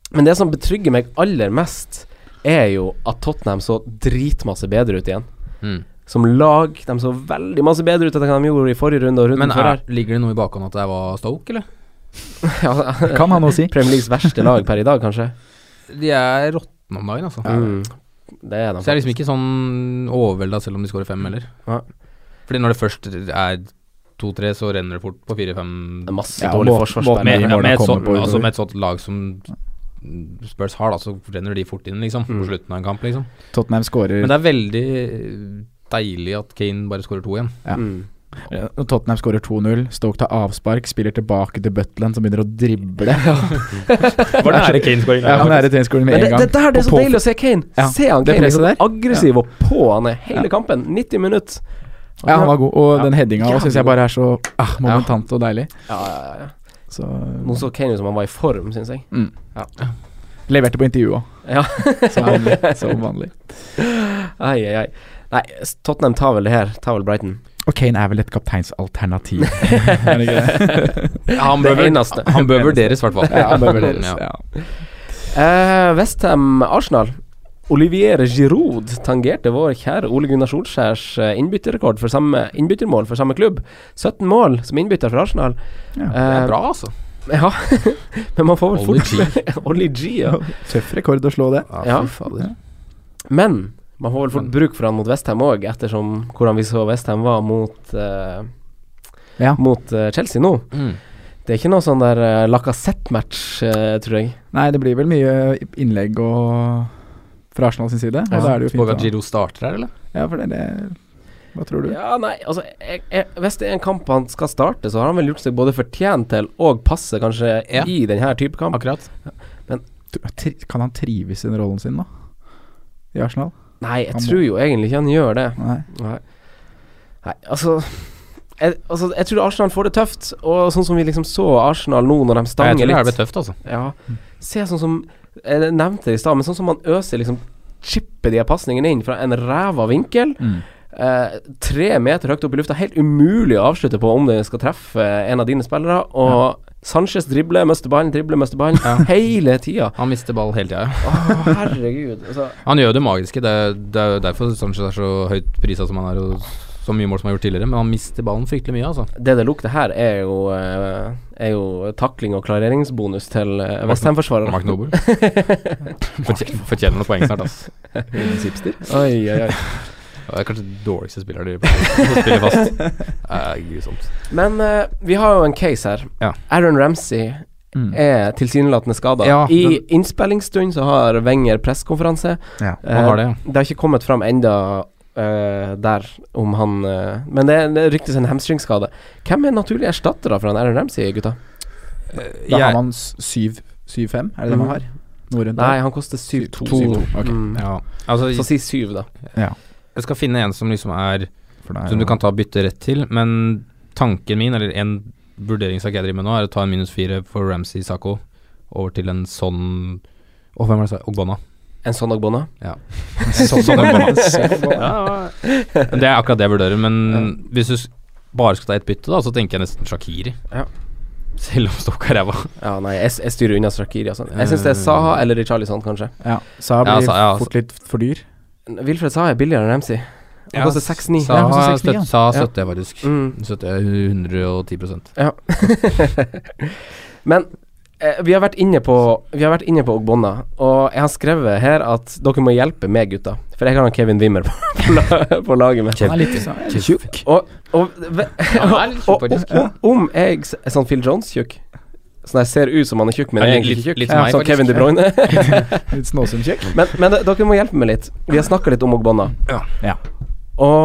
[SPEAKER 4] Men det som betrygger meg aller mest, er jo at Tottenham så dritmasse bedre ut igjen.
[SPEAKER 5] Mm.
[SPEAKER 4] Som lag, de så veldig masse bedre ut enn hva de gjorde i forrige runde og runden
[SPEAKER 5] Men
[SPEAKER 4] før
[SPEAKER 5] er,
[SPEAKER 4] her.
[SPEAKER 5] ligger det noe i bakhånd at det var Stoke, eller?
[SPEAKER 4] Ja,
[SPEAKER 6] Kan han noe si?
[SPEAKER 4] Premier Leagues verste lag per i dag, kanskje.
[SPEAKER 5] De er råtne om dagen, altså.
[SPEAKER 4] Mm. Det er de.
[SPEAKER 5] Så jeg er sånn Mm. liksom ikke sånn overvelda selv om de scorer fem, heller.
[SPEAKER 4] Nei.
[SPEAKER 5] Fordi når det først er 2-3, så renner det fort på 4-5.
[SPEAKER 4] Det er masse Ja, dårlige måten- forsvarsspillere.
[SPEAKER 5] Med,
[SPEAKER 4] måten
[SPEAKER 5] med,
[SPEAKER 4] målene
[SPEAKER 5] et
[SPEAKER 4] kommer
[SPEAKER 5] sånt-
[SPEAKER 4] på utover.
[SPEAKER 5] altså med et sånt lag som Spurs har, da, så renner de fort inn, liksom. På slutten av en kamp, liksom.
[SPEAKER 6] Tottenham skårer
[SPEAKER 5] Men det er veldig deilig at Kane bare skårer to igjen.
[SPEAKER 6] Ja. Ja, og Tottenham skårer 2-0. Stoke tar avspark, spiller tilbake til Butland, som begynner å drible.
[SPEAKER 5] Var nære Kane-skåringen.
[SPEAKER 6] Ja, var nære Kane-skåringen med
[SPEAKER 4] Men
[SPEAKER 6] en gang.
[SPEAKER 4] det, dette her det er
[SPEAKER 6] Og
[SPEAKER 4] så
[SPEAKER 6] på-
[SPEAKER 4] deilig å se Kane.
[SPEAKER 6] Ja.
[SPEAKER 4] Se han
[SPEAKER 6] Det
[SPEAKER 4] Kane er så
[SPEAKER 6] presset der.
[SPEAKER 4] aggressiv og på han er hele
[SPEAKER 6] Ja.
[SPEAKER 4] kampen. 90 minutter.
[SPEAKER 6] Ja, han var god. Og den headinga
[SPEAKER 4] Jævlig
[SPEAKER 6] syns jeg bare er så ah, momentant og deilig.
[SPEAKER 4] Ja, ja, ja.
[SPEAKER 6] Så
[SPEAKER 4] Nå så Kane ut som han var i form, syns jeg.
[SPEAKER 6] Mm.
[SPEAKER 4] Ja.
[SPEAKER 6] Leverte på intervjuet òg.
[SPEAKER 4] ja.
[SPEAKER 6] Som vanlig. Som vanlig.
[SPEAKER 4] Ai, ai, ai. Nei, s- Tottenham tar vel det her. Tar vel Brighton.
[SPEAKER 6] Og Kane er vel et kapteinsalternativ. Er det ikke det?
[SPEAKER 5] Han
[SPEAKER 4] Det
[SPEAKER 5] bør,
[SPEAKER 4] eneste.
[SPEAKER 5] vurd- han bør vurderes, i hvert fall.
[SPEAKER 6] ja, han bør vurderes.
[SPEAKER 5] Ja.
[SPEAKER 6] Ja.
[SPEAKER 4] Eh, Westham Arsenal. Olivier Giroud tangerte vår kjære Ole Gunnar Solskjærs eh, innbytterrekord for samme innbyttermål for samme klubb. 17 mål som innbytter for Arsenal. Eh,
[SPEAKER 6] Ja, det
[SPEAKER 5] Det er bra, altså.
[SPEAKER 4] Ja, men man får vel
[SPEAKER 5] Ollie
[SPEAKER 4] fort Ollie G, ja.
[SPEAKER 6] Tøff rekord å slå det.
[SPEAKER 4] Ja.
[SPEAKER 5] fy fader.
[SPEAKER 4] Men man får vel fort bruk for han mot Westham òg, ettersom hvordan vi så Westham var mot eh,
[SPEAKER 6] Ja.
[SPEAKER 4] Mot eh, Chelsea nå.
[SPEAKER 5] Mm.
[SPEAKER 4] Det er ikke noe sånn der uh, Lacassette-match, eh, tror jeg.
[SPEAKER 6] Nei, det blir vel mye innlegg og fra Arsenal sin side. Og
[SPEAKER 4] Ja.
[SPEAKER 6] da er det jo
[SPEAKER 5] Spår vi at
[SPEAKER 6] fint. å-
[SPEAKER 5] Giro starter her, eller?
[SPEAKER 6] Ja, for det, det Hva tror du?
[SPEAKER 4] Ja, nei, altså jeg, jeg, Hvis det er en kamp han skal starte, så har han vel gjort seg både fortjent til og passe, kanskje,
[SPEAKER 5] Ja.
[SPEAKER 4] i denne type kamp.
[SPEAKER 5] Akkurat.
[SPEAKER 6] Tri kan han trives i den rollen sin, da? I Arsenal?
[SPEAKER 4] Nei, jeg
[SPEAKER 6] Han må-
[SPEAKER 4] tror jo egentlig ikke han gjør det.
[SPEAKER 6] Nei.
[SPEAKER 4] Nei, Nei altså jeg, altså jeg tror Arsenal får det tøft, og sånn som vi liksom så Arsenal nå når de
[SPEAKER 5] Jeg
[SPEAKER 4] stanger
[SPEAKER 5] tror det her blir
[SPEAKER 4] litt
[SPEAKER 5] tøft, altså.
[SPEAKER 4] Ja, se sånn som Jeg nevnte det i stad, men sånn som han øser liksom Chipper de her pasningene inn fra en ræva vinkel. Eh, tre meter høyt opp i lufta. Helt umulig å avslutte på om det skal treffe en av dine spillere. Og Sanchez dribler, mister ballen, dribler, mister ballen. Hele tida.
[SPEAKER 5] Han mister ball hele tida.
[SPEAKER 4] Å, herregud. Altså,
[SPEAKER 5] Han gjør det magiske. Det er, det er jo derfor Sanchez er så høyt prisa som han er, og så mye mål som han har gjort tidligere. Men han mister ballen fryktelig mye, altså.
[SPEAKER 4] det det lukter her, er jo, eh, er jo takling og klareringsbonus til uh, Westham-forsvarer.
[SPEAKER 5] Mark Noble. Fortjener fortjener noen poeng snart, altså.
[SPEAKER 4] Oi, oi, oi.
[SPEAKER 5] Det er kanskje den dårligste spilleren de spiller fast. Det er grusomt.
[SPEAKER 4] Men eh, vi har jo en case her.
[SPEAKER 5] Ja. Mm.
[SPEAKER 4] Aaron Ramsey er tilsynelatende skada.
[SPEAKER 5] Ja,
[SPEAKER 4] I
[SPEAKER 5] men-
[SPEAKER 4] innspillingsstund så har Wenger pressekonferanse. Eh,
[SPEAKER 6] Ja,
[SPEAKER 5] han har det, ja.
[SPEAKER 4] har ikke kommet fram enda eh, der om han eh, Men det, det ryktes en hamstringskade. Hvem er naturlige erstattere for han Aaron Ramsey, gutta?
[SPEAKER 6] Da har
[SPEAKER 5] Jeg- Mm.
[SPEAKER 6] man 7-5, er det det man har? Noe rundt
[SPEAKER 4] Nei,
[SPEAKER 6] der?
[SPEAKER 4] han koster 7-2.
[SPEAKER 6] 7-2, ok.
[SPEAKER 4] Mm.
[SPEAKER 5] Ja. Altså,
[SPEAKER 4] Så si 7, da.
[SPEAKER 5] jeg skal finne en som liksom er
[SPEAKER 6] For det er
[SPEAKER 5] Som
[SPEAKER 6] jo-
[SPEAKER 5] du kan ta og bytte rett til, men tanken min, eller en vurderingssak jeg driver med nå, er å ta en minus fire for Ramsey Sako over til en sånn Å, hvem var det jeg sa? Ogbonna.
[SPEAKER 4] En sånn Ogbonna.
[SPEAKER 5] Sånn, sånn Ogbonna. ja, ja. det er akkurat det jeg vurderer, men hvis du s- bare skal ta ett bytte, da, så tenker jeg nesten Shakiri.
[SPEAKER 4] Ja.
[SPEAKER 5] Selv om Stokka er ræva.
[SPEAKER 4] Ja, nei, jeg, jeg styrer unna Strakiri og sånn. Jeg syns
[SPEAKER 5] Eh.
[SPEAKER 4] det er Saha eller Richarlison, kanskje.
[SPEAKER 6] Ja, Sa
[SPEAKER 5] Ja,
[SPEAKER 6] blir
[SPEAKER 5] Sa- ja,
[SPEAKER 6] fort litt for dyr.
[SPEAKER 4] Wilfred Saha er billigere enn Ramsey. Han koster 6-9.
[SPEAKER 5] Sa
[SPEAKER 6] Ja, så 6-9, ja.
[SPEAKER 5] støt- sa
[SPEAKER 4] Ja.
[SPEAKER 5] støtter jeg faktisk.
[SPEAKER 4] Mm.
[SPEAKER 5] Støtter jeg 110
[SPEAKER 4] Men eh, vi har vært inne på Vi har vært inne på Ogbonna, og jeg har skrevet her at dere må hjelpe meg, gutta. For jeg har han Kevin Wimmer på, på, la- på laget mitt.
[SPEAKER 6] Han er litt sånn
[SPEAKER 5] Tjukk.
[SPEAKER 4] Og, og, ve-
[SPEAKER 5] Han er litt
[SPEAKER 4] og,
[SPEAKER 5] tjukk, faktisk.
[SPEAKER 4] og, om jeg s- er sånn Phil Jones-tjukk Sånn jeg ser ut som han er tjukk, men jeg er
[SPEAKER 5] Ja, litt-
[SPEAKER 4] egentlig ikke tjukk.
[SPEAKER 5] litt som meg,
[SPEAKER 4] sånn
[SPEAKER 5] faktisk.
[SPEAKER 4] Kevin De Bruyne.
[SPEAKER 6] litt snåsumkjekk.
[SPEAKER 5] Mm.
[SPEAKER 4] men men de- dere må hjelpe meg litt. Vi har snakka litt om Ogbonna.
[SPEAKER 6] Ja.
[SPEAKER 4] Og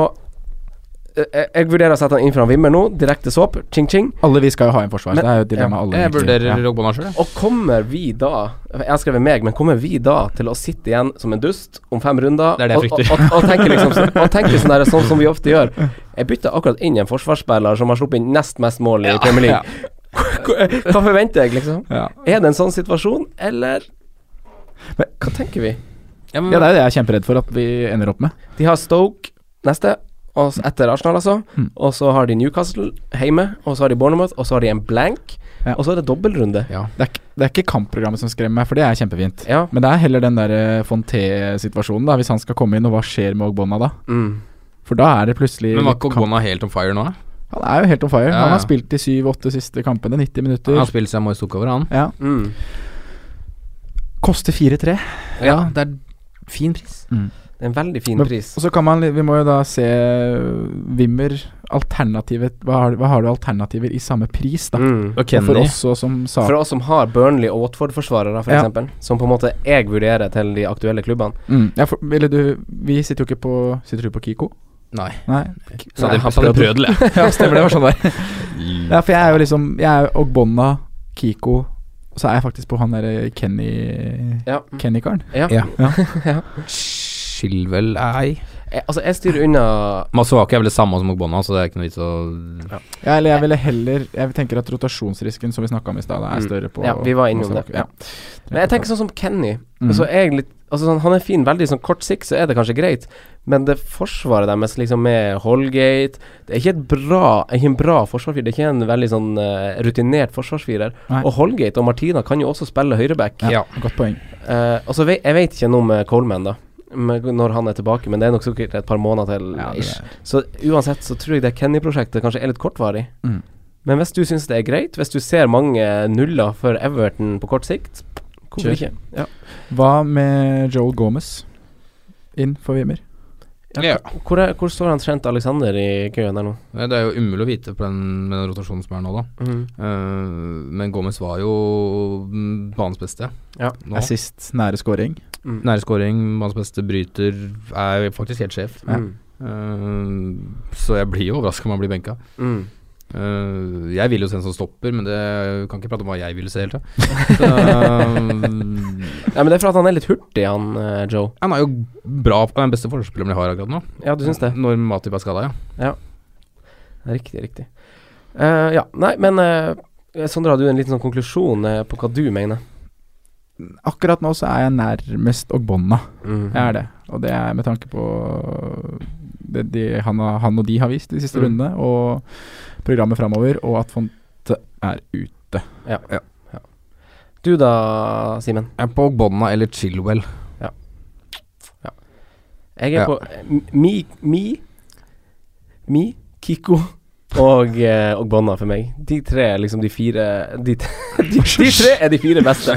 [SPEAKER 4] eh, jeg, jeg vurderer å sette han inn foran Wimmer nå. Direkte såp. Ching-ching.
[SPEAKER 6] Alle vi skal jo ha en forsvar,
[SPEAKER 4] Men-
[SPEAKER 6] så det er jo et dilemma alle
[SPEAKER 5] Jeg
[SPEAKER 6] egentlig-
[SPEAKER 5] vurderer
[SPEAKER 6] ja.
[SPEAKER 5] Ogbonna sjøl, jeg.
[SPEAKER 4] Og kommer vi da Jeg har skrevet meg, men kommer vi da til å sitte igjen som en dust om fem runder
[SPEAKER 5] Det er det jeg
[SPEAKER 4] og,
[SPEAKER 5] frykter.
[SPEAKER 4] og, og, og tenke liksom sånn, og tenke sånn, der, sånn som vi ofte gjør? Jeg bytta akkurat inn en forsvarsspiller som har sluppet inn nest mest mål i Premier League. Hva forventer jeg, liksom?
[SPEAKER 6] Ja.
[SPEAKER 4] Er det en sånn situasjon, eller
[SPEAKER 6] Men-
[SPEAKER 4] Hva tenker vi?
[SPEAKER 5] Ja, men-
[SPEAKER 6] ja, det er jo det jeg er kjemperedd for at vi ender opp med.
[SPEAKER 4] De har Stoke neste, og s- etter Arsenal, altså.
[SPEAKER 5] Hmm.
[SPEAKER 6] Mm.
[SPEAKER 4] Og så har de Newcastle hjemme, og så har de Bournemouth, og så har de en blank,
[SPEAKER 6] Ja.
[SPEAKER 4] og så er det dobbeltrunde.
[SPEAKER 5] Ja.
[SPEAKER 6] Det er, ikke- det er ikke kampprogrammet som skremmer meg, for det er kjempefint.
[SPEAKER 4] Ja.
[SPEAKER 6] Men det er heller den der eh, Fonté-situasjonen, da. Hvis han skal komme inn, og hva skjer med Ogbonna da?
[SPEAKER 4] Mm.
[SPEAKER 6] For da er det plutselig
[SPEAKER 5] Men var
[SPEAKER 6] litt
[SPEAKER 5] ikke
[SPEAKER 6] kamp-
[SPEAKER 5] Ogbonna helt on fire nå? da?
[SPEAKER 6] Han er jo helt on fire.
[SPEAKER 5] Ja,
[SPEAKER 6] Han
[SPEAKER 5] ja.
[SPEAKER 6] har spilt de syv-åtte siste kampene, 90 minutter.
[SPEAKER 5] Han spiller seg Moise over, han.
[SPEAKER 6] Ja.
[SPEAKER 4] Mm.
[SPEAKER 6] Koster 4-3.
[SPEAKER 5] Ja, det er fin pris.
[SPEAKER 4] Det er en veldig fin
[SPEAKER 6] Men-
[SPEAKER 4] pris.
[SPEAKER 6] Og så kan man, li- Vi må jo da se øh, Wimmer alternativet hva har, hva har du alternativer i samme pris, da?
[SPEAKER 4] Mm.
[SPEAKER 6] Og for oss også som sa
[SPEAKER 4] For oss som har Burnley og Watford-forsvarere, f.eks.,
[SPEAKER 6] Ja.
[SPEAKER 4] eksempel som på en måte jeg vurderer til de aktuelle klubbene.
[SPEAKER 6] mm, ja, for, ville du, Vi sitter jo ikke på Sitter du på Kiko?
[SPEAKER 5] Nei.
[SPEAKER 6] Nei.
[SPEAKER 5] Så hadde jeg- så hadde jeg prøvd det.
[SPEAKER 6] ja, stemmer det. var sånn der. Ja, for jeg er jo liksom Jeg er jo Ogbonna, Kiko og så er jeg faktisk på han derre Kenny
[SPEAKER 4] Ja.
[SPEAKER 6] Kenny-karen.
[SPEAKER 4] Ja.
[SPEAKER 6] Ja.
[SPEAKER 5] Skilvel ei.
[SPEAKER 4] Jeg, altså, jeg styrer unna
[SPEAKER 5] Masuaka er vel det samme som Ogbonna, så det er ikke noe vits å
[SPEAKER 6] Ja, eller jeg ville heller Jeg tenker at rotasjonsrisken som vi snakka om i stad, er
[SPEAKER 4] Mm.
[SPEAKER 6] større på
[SPEAKER 4] Ja, vi var innom det.
[SPEAKER 6] Ja.
[SPEAKER 4] Men jeg tenker sånn som Kenny.
[SPEAKER 6] Mhm.
[SPEAKER 4] Så er jeg litt, altså sånn, han er fin, veldig sånn kort sikt, så er det kanskje greit, men det forsvaret deres liksom med Holgate Det er ikke, et bra, ikke en bra forsvarsfirer, det er ikke en veldig sånn eh, rutinert forsvarsfirer.
[SPEAKER 6] Nei.
[SPEAKER 4] Og Holgate og Martina kan jo også spille høyreback.
[SPEAKER 5] Ja.
[SPEAKER 6] Godt poeng.
[SPEAKER 4] Eh, og så vei- jeg vet ikke noe med Coleman, da. med- Når han er tilbake, men det er nok sikkert et par måneder til.
[SPEAKER 6] Ja, det
[SPEAKER 4] ish. Så uansett så tror jeg det Kenny-prosjektet kanskje er litt kortvarig.
[SPEAKER 6] Mm.
[SPEAKER 4] Men hvis du syns det er greit, hvis du ser mange nuller for Everton på kort sikt, hvorfor
[SPEAKER 6] Kjør.
[SPEAKER 4] ikke? Ja.
[SPEAKER 6] Hva med Joel Gomez inn for Wimmer?
[SPEAKER 5] Ja.
[SPEAKER 4] Hvor, er, hvor står han Trent Alexander i køen her nå?
[SPEAKER 5] Nei, Det er jo umulig å vite på den, med den rotasjonen som er nå, da.
[SPEAKER 4] Mm,
[SPEAKER 5] Eh, men Gomez var jo mm, banens beste.
[SPEAKER 4] Ja.
[SPEAKER 5] Nå.
[SPEAKER 6] Assist, nære scoring.
[SPEAKER 5] Nærskåring, banens beste bryter, er faktisk helt sjef.
[SPEAKER 4] Mm.
[SPEAKER 5] Eh, så jeg blir jo overraska om han blir benka.
[SPEAKER 4] Mm.
[SPEAKER 5] Eh, jeg vil jo se en som stopper, men det kan ikke prate om hva jeg ville se helt. Uh,
[SPEAKER 4] Ja, men det er for at han er litt hurtig, han eh, Joe.
[SPEAKER 5] han er jo bra Han er den beste forsvarsspilleren jeg har akkurat nå.
[SPEAKER 4] Ja, du syns det?
[SPEAKER 5] Når Matip er skada, ja.
[SPEAKER 4] Riktig, riktig. Eh, ja, nei, men eh, Sondre, har du en liten sånn konklusjon eh, på hva du mener?
[SPEAKER 6] Akkurat nå så er jeg nærmest Ogbonna.
[SPEAKER 4] Mm.
[SPEAKER 6] Jeg er det. Og det er med tanke på det de, han, har- han og de har vist de siste
[SPEAKER 4] Mm.
[SPEAKER 6] rundene, og programmet framover, og at Fonte er ute.
[SPEAKER 4] Du da, Simen?
[SPEAKER 5] Jeg er på Bonna eller Chilwell.
[SPEAKER 4] Jeg er
[SPEAKER 5] Ja.
[SPEAKER 4] på eh, Mi, Mi, Mi, Kiko og, eh, og Bonna for meg. De tre er liksom de fire De, t- de, de tre er de fire beste.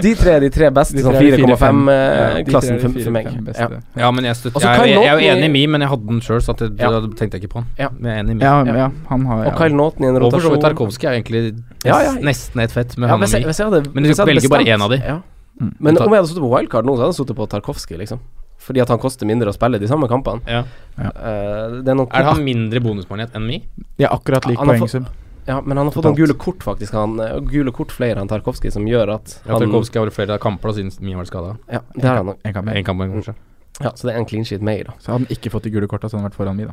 [SPEAKER 4] De tre er de tre beste
[SPEAKER 6] De
[SPEAKER 4] sånn
[SPEAKER 6] tre er de fire, fem. Ja, de tre er
[SPEAKER 4] 4,5-klassen
[SPEAKER 6] de
[SPEAKER 4] for,
[SPEAKER 6] fire,
[SPEAKER 4] for meg.
[SPEAKER 6] fem beste.
[SPEAKER 4] Ja.
[SPEAKER 5] Ja, men jeg, støtter,
[SPEAKER 4] Og så
[SPEAKER 5] jeg, er-
[SPEAKER 4] Kyle
[SPEAKER 5] jeg, er jo
[SPEAKER 4] Naughton-
[SPEAKER 5] enig i Mi, men jeg hadde den sjøl, så at det,
[SPEAKER 4] Ja.
[SPEAKER 5] da tenkte jeg ikke på den.
[SPEAKER 4] Ja.
[SPEAKER 5] Men jeg er enig i Mi.
[SPEAKER 6] Ja,
[SPEAKER 4] Ja.
[SPEAKER 6] ja. han har
[SPEAKER 4] Og Kyle Naughton i en
[SPEAKER 5] Og for så vidt
[SPEAKER 4] rotasjon.
[SPEAKER 5] Tarkovskij er egentlig nes,
[SPEAKER 4] Ja, ja.
[SPEAKER 5] nesten et fett med
[SPEAKER 4] Ja,
[SPEAKER 5] han og
[SPEAKER 4] hvis jeg,
[SPEAKER 5] Mi.
[SPEAKER 4] hvis jeg hadde,
[SPEAKER 5] Men du
[SPEAKER 4] hvis jeg hadde
[SPEAKER 5] velger bare
[SPEAKER 4] bestemt-
[SPEAKER 5] en av de.
[SPEAKER 4] Ja.
[SPEAKER 6] Mm.
[SPEAKER 4] Men
[SPEAKER 5] Du tar-
[SPEAKER 4] om jeg hadde sittet på wildcard nå, så hadde jeg sittet på Tarkovskij, liksom. Fordi at han koster mindre å spille de samme kampene.
[SPEAKER 5] Ja.
[SPEAKER 6] Ja.
[SPEAKER 4] Eh, det er noe
[SPEAKER 5] Er det han mindre bonusmagnet enn Mi?
[SPEAKER 6] Ja, akkurat lik
[SPEAKER 4] Han har fått-
[SPEAKER 6] poengsum.
[SPEAKER 4] Ja, men han har fått noen gule
[SPEAKER 6] Totalt.
[SPEAKER 4] kort, faktisk. Han, eh, gule kort flere enn Tarkovskij, som gjør at
[SPEAKER 5] Ja,
[SPEAKER 4] han
[SPEAKER 5] Tarkovskij har vært flere kamper da, siden Mi har vært skada.
[SPEAKER 4] Ja, det er han nok.
[SPEAKER 6] En kamp mer.
[SPEAKER 5] En kamp, kanskje.
[SPEAKER 4] Ja, så det er en clean sheet mer, da.
[SPEAKER 6] Så hadde han ikke fått de gule korta, så hadde han vært foran mi, da.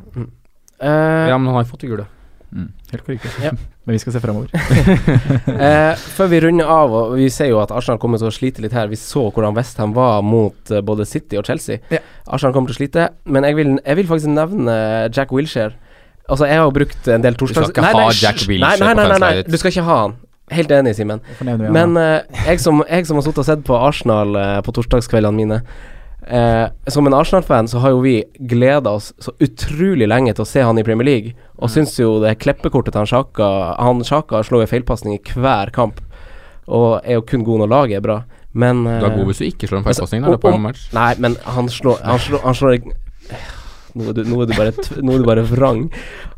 [SPEAKER 4] Eh,
[SPEAKER 5] Ja, men han har jo fått det gule.
[SPEAKER 6] Mm. Helt korrekt.
[SPEAKER 4] Ja.
[SPEAKER 6] Men vi skal se framover.
[SPEAKER 4] eh, før vi runder av, og vi ser jo at Arsenal kommer til å slite litt her. Vi så hvordan Westham var mot eh, både City og Chelsea.
[SPEAKER 6] Ja.
[SPEAKER 4] Arsenal kommer til å slite, men jeg vil, jeg vil faktisk nevne Jack Wilshere. Altså, jeg har jo brukt en del torsdags...
[SPEAKER 5] ikke
[SPEAKER 4] Nei,
[SPEAKER 5] ha
[SPEAKER 4] nei,
[SPEAKER 5] Jack
[SPEAKER 4] hysj!
[SPEAKER 5] Wilshere
[SPEAKER 4] nei, nei,
[SPEAKER 5] på
[SPEAKER 4] nei, nei,
[SPEAKER 5] fanslaget.
[SPEAKER 4] nei, du skal ikke ha han. Helt enig, Simen.
[SPEAKER 6] Hvorfor nevner vi han
[SPEAKER 4] Men
[SPEAKER 6] da?
[SPEAKER 4] eh, jeg, som, jeg som har sittet og sett på Arsenal eh, på torsdagskveldene mine eh, Som en Arsenal-fan så har jo vi gleda oss så utrolig lenge til å se han i Premier League, og
[SPEAKER 5] Mm.
[SPEAKER 4] syns jo det kleppekortet til han Sjaka Han Sjaka slår jo feilpasning i hver kamp, og er jo kun god når laget er bra, men eh,
[SPEAKER 5] Du er god hvis du ikke slår en feilpasning.
[SPEAKER 4] Altså,
[SPEAKER 5] da, på
[SPEAKER 4] om-
[SPEAKER 5] en match.
[SPEAKER 4] Nei, men han slår Han slår, han slår nå er, du, nå, er du bare, tv- nå er du bare vrang.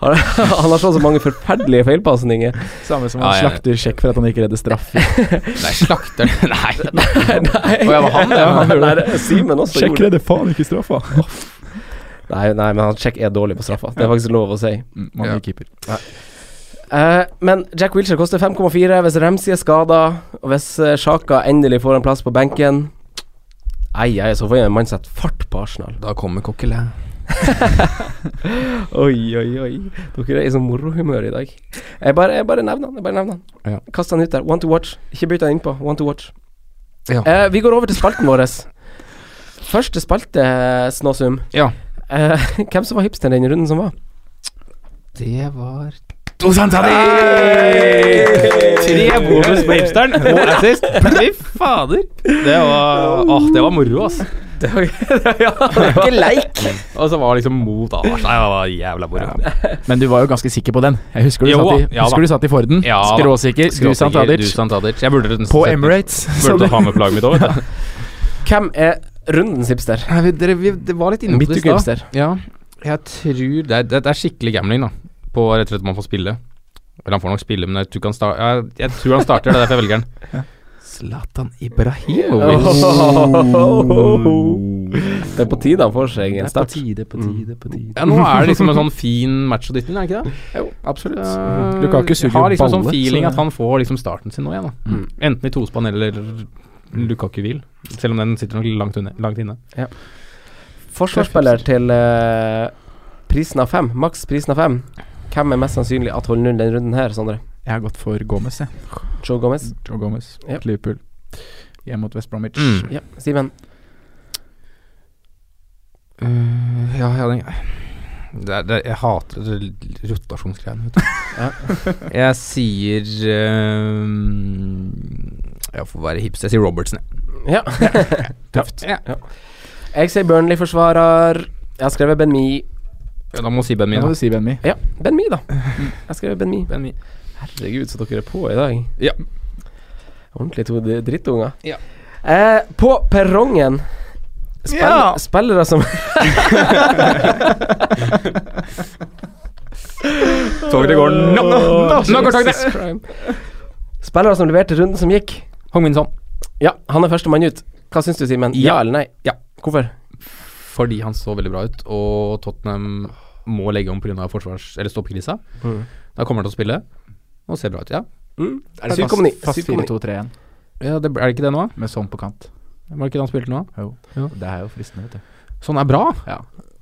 [SPEAKER 4] Han, han har slått så mange forferdelige feilpasninger.
[SPEAKER 6] Samme som han
[SPEAKER 5] Ja, jeg er enig.
[SPEAKER 6] slakter sjekk for at han ikke redder straff.
[SPEAKER 5] Nei, slakter Nei.
[SPEAKER 4] Nei,
[SPEAKER 5] Å, ja, var han det? Ja, han gjorde
[SPEAKER 4] Nei, det- Simen også gjorde det.
[SPEAKER 6] Sjekk redder faen ikke straffa!
[SPEAKER 4] Nei, nei, men han Check er dårlig på straffa. Det er faktisk lov å si.
[SPEAKER 6] Mm, Man blir
[SPEAKER 5] Ja.
[SPEAKER 6] keeper.
[SPEAKER 4] Eh, men Jack Wilshere koster 5,4 hvis Ramsey er skada, og hvis eh, Sjaka endelig får en plass på benken Ei, ei, så får jeg en mann sette fart på Arsenal.
[SPEAKER 5] Da kommer Kokkele.
[SPEAKER 4] Oi, oi, oi. Dere er i sånn morohumør i dag. Jeg bare, jeg bare nevner han. Jeg bare nevner han.
[SPEAKER 5] Ja.
[SPEAKER 4] Kast han ut der. One to watch. Ikke bytt han innpå. One to watch.
[SPEAKER 5] Ja.
[SPEAKER 4] Eh, vi går over til spalten vår. Første spalte, Snåsum.
[SPEAKER 5] Ja.
[SPEAKER 4] Eh, hvem som var hipsteren i den runden som var?
[SPEAKER 5] Det var
[SPEAKER 4] Tre
[SPEAKER 5] bonus på hipsteren og assist. Fy fader. Det var, åh, det var moro, ass.
[SPEAKER 4] Det var, ja, det var ikke leik.
[SPEAKER 5] Og så var det liksom mot Anders. Nei, det var jævla moro.
[SPEAKER 6] Men du var jo ganske sikker på den. Jeg husker du,
[SPEAKER 5] Jo
[SPEAKER 6] satt,
[SPEAKER 5] da,
[SPEAKER 6] i,
[SPEAKER 5] ja
[SPEAKER 6] husker
[SPEAKER 5] da.
[SPEAKER 6] du satt i Forden.
[SPEAKER 5] Ja da.
[SPEAKER 6] Skråsikker. Du,
[SPEAKER 5] Skråsikker,
[SPEAKER 6] Sant Adic.
[SPEAKER 5] du, Sant Tadic. Jeg burde nesten
[SPEAKER 6] På
[SPEAKER 5] sett-
[SPEAKER 6] Emirates.
[SPEAKER 5] Burde ha med plagget mitt òg, vet du.
[SPEAKER 4] Hvem er Rundens hipster.
[SPEAKER 5] Nei, vi, dere, vi, det var litt inne på det
[SPEAKER 4] Midtuke
[SPEAKER 5] i
[SPEAKER 4] hipster.
[SPEAKER 5] stad. Ja, jeg tror det er, det, det er skikkelig gambling, da. På rett og slett man får spille. Eller han får nok spille, men jeg tror, ikke han, sta- jeg, jeg tror han starter. Det er derfor jeg velger den. Zlatan Ibrahimovic. Oh.
[SPEAKER 4] Det Oh. er på tide han får seg en start. Mm.
[SPEAKER 5] Ja, nå er det liksom en sånn fin match å dytte inn, er det ikke det? Jo, absolutt.
[SPEAKER 6] Mhm. Lukaku suger
[SPEAKER 5] Jeg har liksom
[SPEAKER 6] balle,
[SPEAKER 5] sånn feeling
[SPEAKER 6] så-
[SPEAKER 5] at han får liksom starten sin nå igjen, da.
[SPEAKER 6] Mm.
[SPEAKER 5] Enten i tospann eller Lukaku hvil. Selv om den sitter nok langt, unna, langt inne.
[SPEAKER 4] Ja. Forsvarsspiller til eh, prisen av fem, maks prisen av fem. Hvem er mest sannsynlig at holder nullen denne runden her, Sondre?
[SPEAKER 6] Jeg har gått for Gomez, jeg.
[SPEAKER 4] Joe Gomez?
[SPEAKER 6] Joe Gomez,
[SPEAKER 4] Ja.
[SPEAKER 6] Liverpool. Hjem mot West Bromwich.
[SPEAKER 5] Mm.
[SPEAKER 4] Ja, Simen.
[SPEAKER 5] Øh, ja, ja, den det er, det, Jeg hater det rotasjonsgreiene, vet du. jeg sier øh, Jeg får være hipster. Jeg sier Robertsen,
[SPEAKER 4] Ja. Tøft. Jeg sier Burnley-forsvarer. Jeg har skrevet Ben Mi.
[SPEAKER 5] Ja, da må du si Ben Mi,
[SPEAKER 6] Da må da. du si Ben Mi.
[SPEAKER 4] Ja, Ben Mi, da. Jeg skrev Ben Mi. Herregud, så dere er på i dag.
[SPEAKER 5] Ja.
[SPEAKER 4] Ordentlig to d- drittunger.
[SPEAKER 5] Ja.
[SPEAKER 4] Eh, på perrongen spill,
[SPEAKER 5] Ja.
[SPEAKER 4] Spillere som
[SPEAKER 5] Toget går nå! Nå går toget!
[SPEAKER 4] Jesus Christ. Spillere som leverte runden som gikk.
[SPEAKER 5] Hong Min Son.
[SPEAKER 4] Ja, han er førstemann ut. Hva syns du, Simen? Ja.
[SPEAKER 5] Ja.
[SPEAKER 4] eller nei?
[SPEAKER 5] Ja.
[SPEAKER 4] Hvorfor?
[SPEAKER 5] Fordi han så veldig bra ut, og Tottenham må legge om pga. forsvars- eller stoppkrisa.
[SPEAKER 4] Mm.
[SPEAKER 5] Da kommer han til å spille og ser bra ut, ja.
[SPEAKER 4] Mm.
[SPEAKER 5] Er
[SPEAKER 6] Fast-
[SPEAKER 5] det syvkomni?
[SPEAKER 6] Fast
[SPEAKER 5] Syvkomni.
[SPEAKER 6] 4-2-3-1,
[SPEAKER 5] ja det, er det ikke det nå?
[SPEAKER 6] med sånn på kant.
[SPEAKER 5] Var det ikke det han spilte nå?
[SPEAKER 6] Jo.
[SPEAKER 5] Jo.
[SPEAKER 6] Det er jo fristende, vet du.
[SPEAKER 5] Sånn er bra!
[SPEAKER 6] Ja.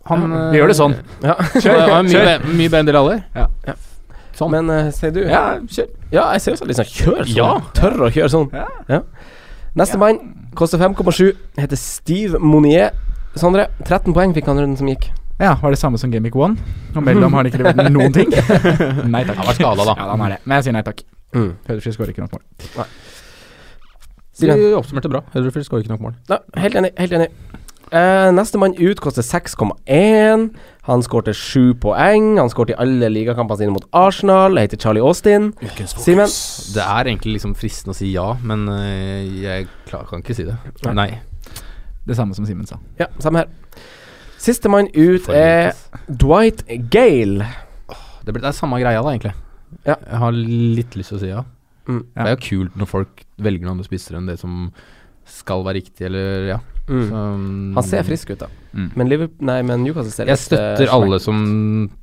[SPEAKER 5] Han
[SPEAKER 6] Ja, vi gjør det sånn.
[SPEAKER 4] Ja.
[SPEAKER 5] Kjør! Han er mye, be- mye bedre enn dere alle.
[SPEAKER 6] Ja.
[SPEAKER 5] Sånn.
[SPEAKER 4] Men eh, sier du
[SPEAKER 5] Ja, kjør.
[SPEAKER 4] Ja, jeg ser også litt sånn kjør sånn.
[SPEAKER 5] Ja.
[SPEAKER 4] Tør å kjøre sånn. Ja. Neste mann koster 5,7. Heter Steve Monier. Sondre, 13 poeng fikk han runden som gikk.
[SPEAKER 6] Ja, var det samme som Gamic 1? Og mellom har han ikke levert noen ting. Nei takk.
[SPEAKER 5] Han var skada, da.
[SPEAKER 6] Ja, han er det. Men jeg sier nei takk.
[SPEAKER 4] Mm.
[SPEAKER 6] Pedersen skårer ikke nok mål.
[SPEAKER 4] Simen.
[SPEAKER 5] Du oppsummerte bra. Huddersfield skårer ikke nok mål.
[SPEAKER 4] Ja, helt enig. Helt enig. Eh, neste mann ut koster 6,1. Han skårte 7 poeng. Han skårte i alle ligakampene sine mot Arsenal. Jeg heter Charlie Austin. Simen.
[SPEAKER 5] Det er egentlig liksom fristende å si ja, men øh, jeg klar, kan ikke si det. Nei.
[SPEAKER 6] Det samme som Simen sa.
[SPEAKER 4] Ja, samme her. Siste mann ut
[SPEAKER 5] For
[SPEAKER 4] er Dwight Gale.
[SPEAKER 5] Det, blir- det er samme greia, da, egentlig.
[SPEAKER 4] Ja.
[SPEAKER 5] Jeg har litt lyst til å si ja.
[SPEAKER 4] Mm.
[SPEAKER 5] Det er jo kult når folk velger noen andre spissere enn det som skal være riktig, eller ja. Så, um,
[SPEAKER 4] Mm. Han ser frisk ut, da.
[SPEAKER 6] Mm.
[SPEAKER 4] Men Liverpool Nei, men Newcastle ser
[SPEAKER 5] Jeg
[SPEAKER 4] litt, eh,
[SPEAKER 5] støtter alle
[SPEAKER 4] slakt.
[SPEAKER 5] som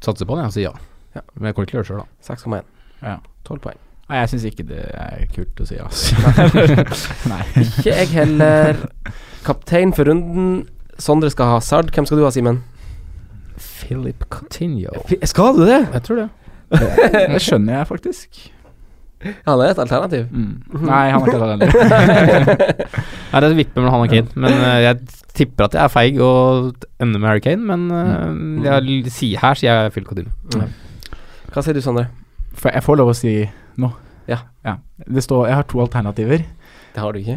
[SPEAKER 5] satser på det, jeg sier ja.
[SPEAKER 4] Ja.
[SPEAKER 5] Men jeg kommer ikke til å gjøre det sjøl, da.
[SPEAKER 4] 6,1.
[SPEAKER 6] Ja.
[SPEAKER 4] 12 poeng.
[SPEAKER 6] Nei, jeg syns ikke det er kult å si, altså. nei.
[SPEAKER 4] Ikke jeg heller. Kaptein for runden. Sondre skal ha Sard. Hvem skal du ha, Simen?
[SPEAKER 5] Philip Coutinho.
[SPEAKER 4] Skal du det?
[SPEAKER 5] Jeg tror det.
[SPEAKER 6] Det skjønner jeg faktisk.
[SPEAKER 4] Han er et alternativ.
[SPEAKER 6] Mm.
[SPEAKER 5] Mm-hmm.
[SPEAKER 6] Nei, han er ikke det heller.
[SPEAKER 5] Nei, det vipper mellom han og Kane, men eh, jeg tipper at jeg er feig og ender med Harry Kane, men
[SPEAKER 4] Mm.
[SPEAKER 5] eh, jeg, l- si, her sier jeg Phil Coutinho.
[SPEAKER 4] Hva sier du, Sondre?
[SPEAKER 6] For jeg får lov å si noe.
[SPEAKER 4] Ja.
[SPEAKER 6] Det står Jeg har to alternativer.
[SPEAKER 4] Det har du ikke?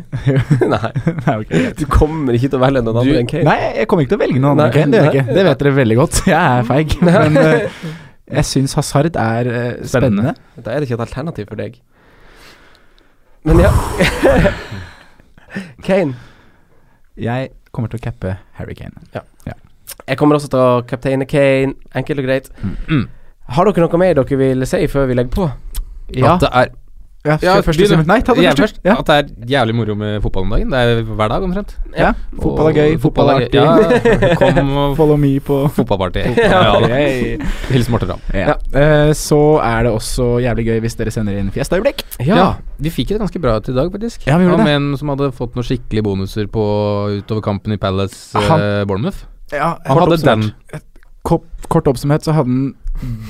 [SPEAKER 4] Nei.
[SPEAKER 6] Nei, ok.
[SPEAKER 4] Du kommer ikke til å velge noen andre enn Kane.
[SPEAKER 6] Nei, jeg kommer ikke til å velge noen andre.
[SPEAKER 4] Nei,
[SPEAKER 6] Kane, Det, gjør jeg
[SPEAKER 4] nei.
[SPEAKER 6] ikke. det vet dere veldig godt. Jeg er feig. Men eh, jeg syns Hazard er eh, spennende.
[SPEAKER 5] Spennende.
[SPEAKER 4] Da er det ikke et alternativ for deg. Men ja Kane.
[SPEAKER 6] Jeg kommer til å cappe Harry Kane.
[SPEAKER 4] Jeg kommer også til å kapteine Kane. Enkelt og greit.
[SPEAKER 5] Mm.
[SPEAKER 4] Har dere noe mer dere vil si før vi legger på?
[SPEAKER 6] Ja.
[SPEAKER 5] At det er
[SPEAKER 6] Ja,
[SPEAKER 5] Ja,
[SPEAKER 6] kjør først,
[SPEAKER 5] begynn,
[SPEAKER 6] Simen. Nei, ta det
[SPEAKER 5] jeg
[SPEAKER 6] først.
[SPEAKER 5] først.
[SPEAKER 6] Ja.
[SPEAKER 5] At det er jævlig moro med fotball om dagen. Det er hver dag omtrent.
[SPEAKER 6] Ja. Fotball er gøy,
[SPEAKER 5] Og
[SPEAKER 6] fotball er artig.
[SPEAKER 5] Ja, kom og
[SPEAKER 6] Follow me på
[SPEAKER 5] fotballparty.
[SPEAKER 6] Ja,
[SPEAKER 5] Ja, da.
[SPEAKER 6] hey.
[SPEAKER 5] Hils Morten Ramm.
[SPEAKER 6] ja. Eh, så er det også jævlig gøy hvis dere sender inn fjestøyeblikk.
[SPEAKER 4] Ja.
[SPEAKER 5] Vi fikk et ganske bra et i dag, faktisk.
[SPEAKER 6] Ja, vi gjorde
[SPEAKER 5] Han
[SPEAKER 6] det.
[SPEAKER 5] en som hadde fått noen skikkelige bonuser på utover kampen i Palace
[SPEAKER 6] Ah, Han-
[SPEAKER 5] eh, Bournemouth.
[SPEAKER 6] Ja,
[SPEAKER 5] Han
[SPEAKER 6] kort
[SPEAKER 5] hadde
[SPEAKER 6] oppsummert.
[SPEAKER 5] den.
[SPEAKER 6] Kort, kort oppsummert så hadde han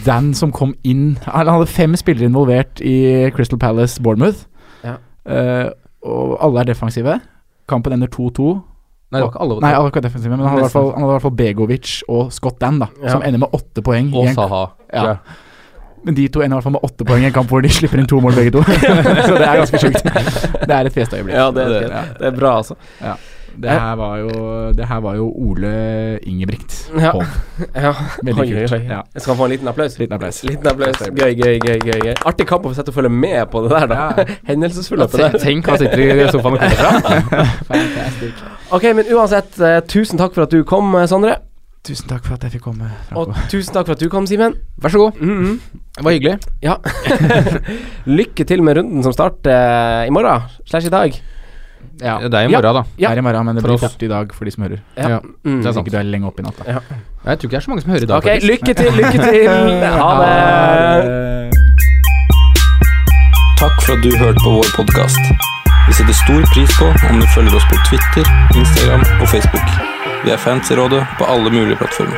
[SPEAKER 6] Dan som kom inn Han hadde fem spillere involvert i Crystal Palace Bournemouth.
[SPEAKER 4] Ja.
[SPEAKER 6] Eh, og alle er defensive. Kampen ender 2-2.
[SPEAKER 5] Nei, det var ikke alle.
[SPEAKER 6] Nei, alle er ikke defensive, men han hadde i hvert
[SPEAKER 5] Nesten.
[SPEAKER 6] fall, han hadde i hvert fall Begovic og Scott Dan, da,
[SPEAKER 4] Ja.
[SPEAKER 6] som ender med åtte poeng. i
[SPEAKER 5] og
[SPEAKER 6] en-
[SPEAKER 5] Saha.
[SPEAKER 6] Ja. Men de to ender i hvert fall med åtte poeng i en kamp hvor de slipper inn to mål begge to. så det er ganske sjukt. Det er et festøyeblikk.
[SPEAKER 4] Ja, det er, det er bra, altså.
[SPEAKER 6] Ja. Det her var jo, det her var jo Ole Ingebrigt
[SPEAKER 4] Ja.
[SPEAKER 6] Hov.
[SPEAKER 4] ja.
[SPEAKER 6] Veldig
[SPEAKER 4] Oi, oi,
[SPEAKER 6] kult.
[SPEAKER 4] oi.
[SPEAKER 6] Ja.
[SPEAKER 4] Jeg skal få en liten applaus.
[SPEAKER 6] Liten applaus.
[SPEAKER 4] Liten applaus. Gøy, gøy, gøy. gøy, gøy. Artig kamp å få sett og følge med på det der, da. Hendelsesforløpet
[SPEAKER 7] Ja,
[SPEAKER 4] der.
[SPEAKER 7] tenk, han sitter i sofaen og kommer fra.
[SPEAKER 6] Fantastic.
[SPEAKER 4] ok, men uansett, eh, tusen takk for at du kom, eh, Sondre.
[SPEAKER 6] Tusen takk for at jeg fikk komme. Franco.
[SPEAKER 4] Og tusen takk for at du kom, Simen.
[SPEAKER 7] Vær så god.
[SPEAKER 6] Mm-hmm.
[SPEAKER 7] Det var hyggelig.
[SPEAKER 4] Ja. Lykke til med runden som starter eh, i morgen, slash i dag.
[SPEAKER 6] Ja.
[SPEAKER 7] Det er i morgen, da.
[SPEAKER 4] Ja.
[SPEAKER 6] Det er i morgen, men det
[SPEAKER 7] For
[SPEAKER 6] blir
[SPEAKER 7] oss.
[SPEAKER 6] fort i dag for de som hører.
[SPEAKER 4] Ja. Mm.
[SPEAKER 7] Det er
[SPEAKER 6] Hvis
[SPEAKER 7] sant.
[SPEAKER 6] ikke du er lenge oppe i natta.
[SPEAKER 4] Ja.
[SPEAKER 7] Jeg tror ikke det er så mange som hører i dag,
[SPEAKER 4] Ok, lykke til, lykke til. Ha det.
[SPEAKER 8] Takk for at du hørte på vår podkast. Vi setter stor pris på om du følger oss på Twitter, Instagram og Facebook. Vi er fans i rådet på alle mulige plattformer.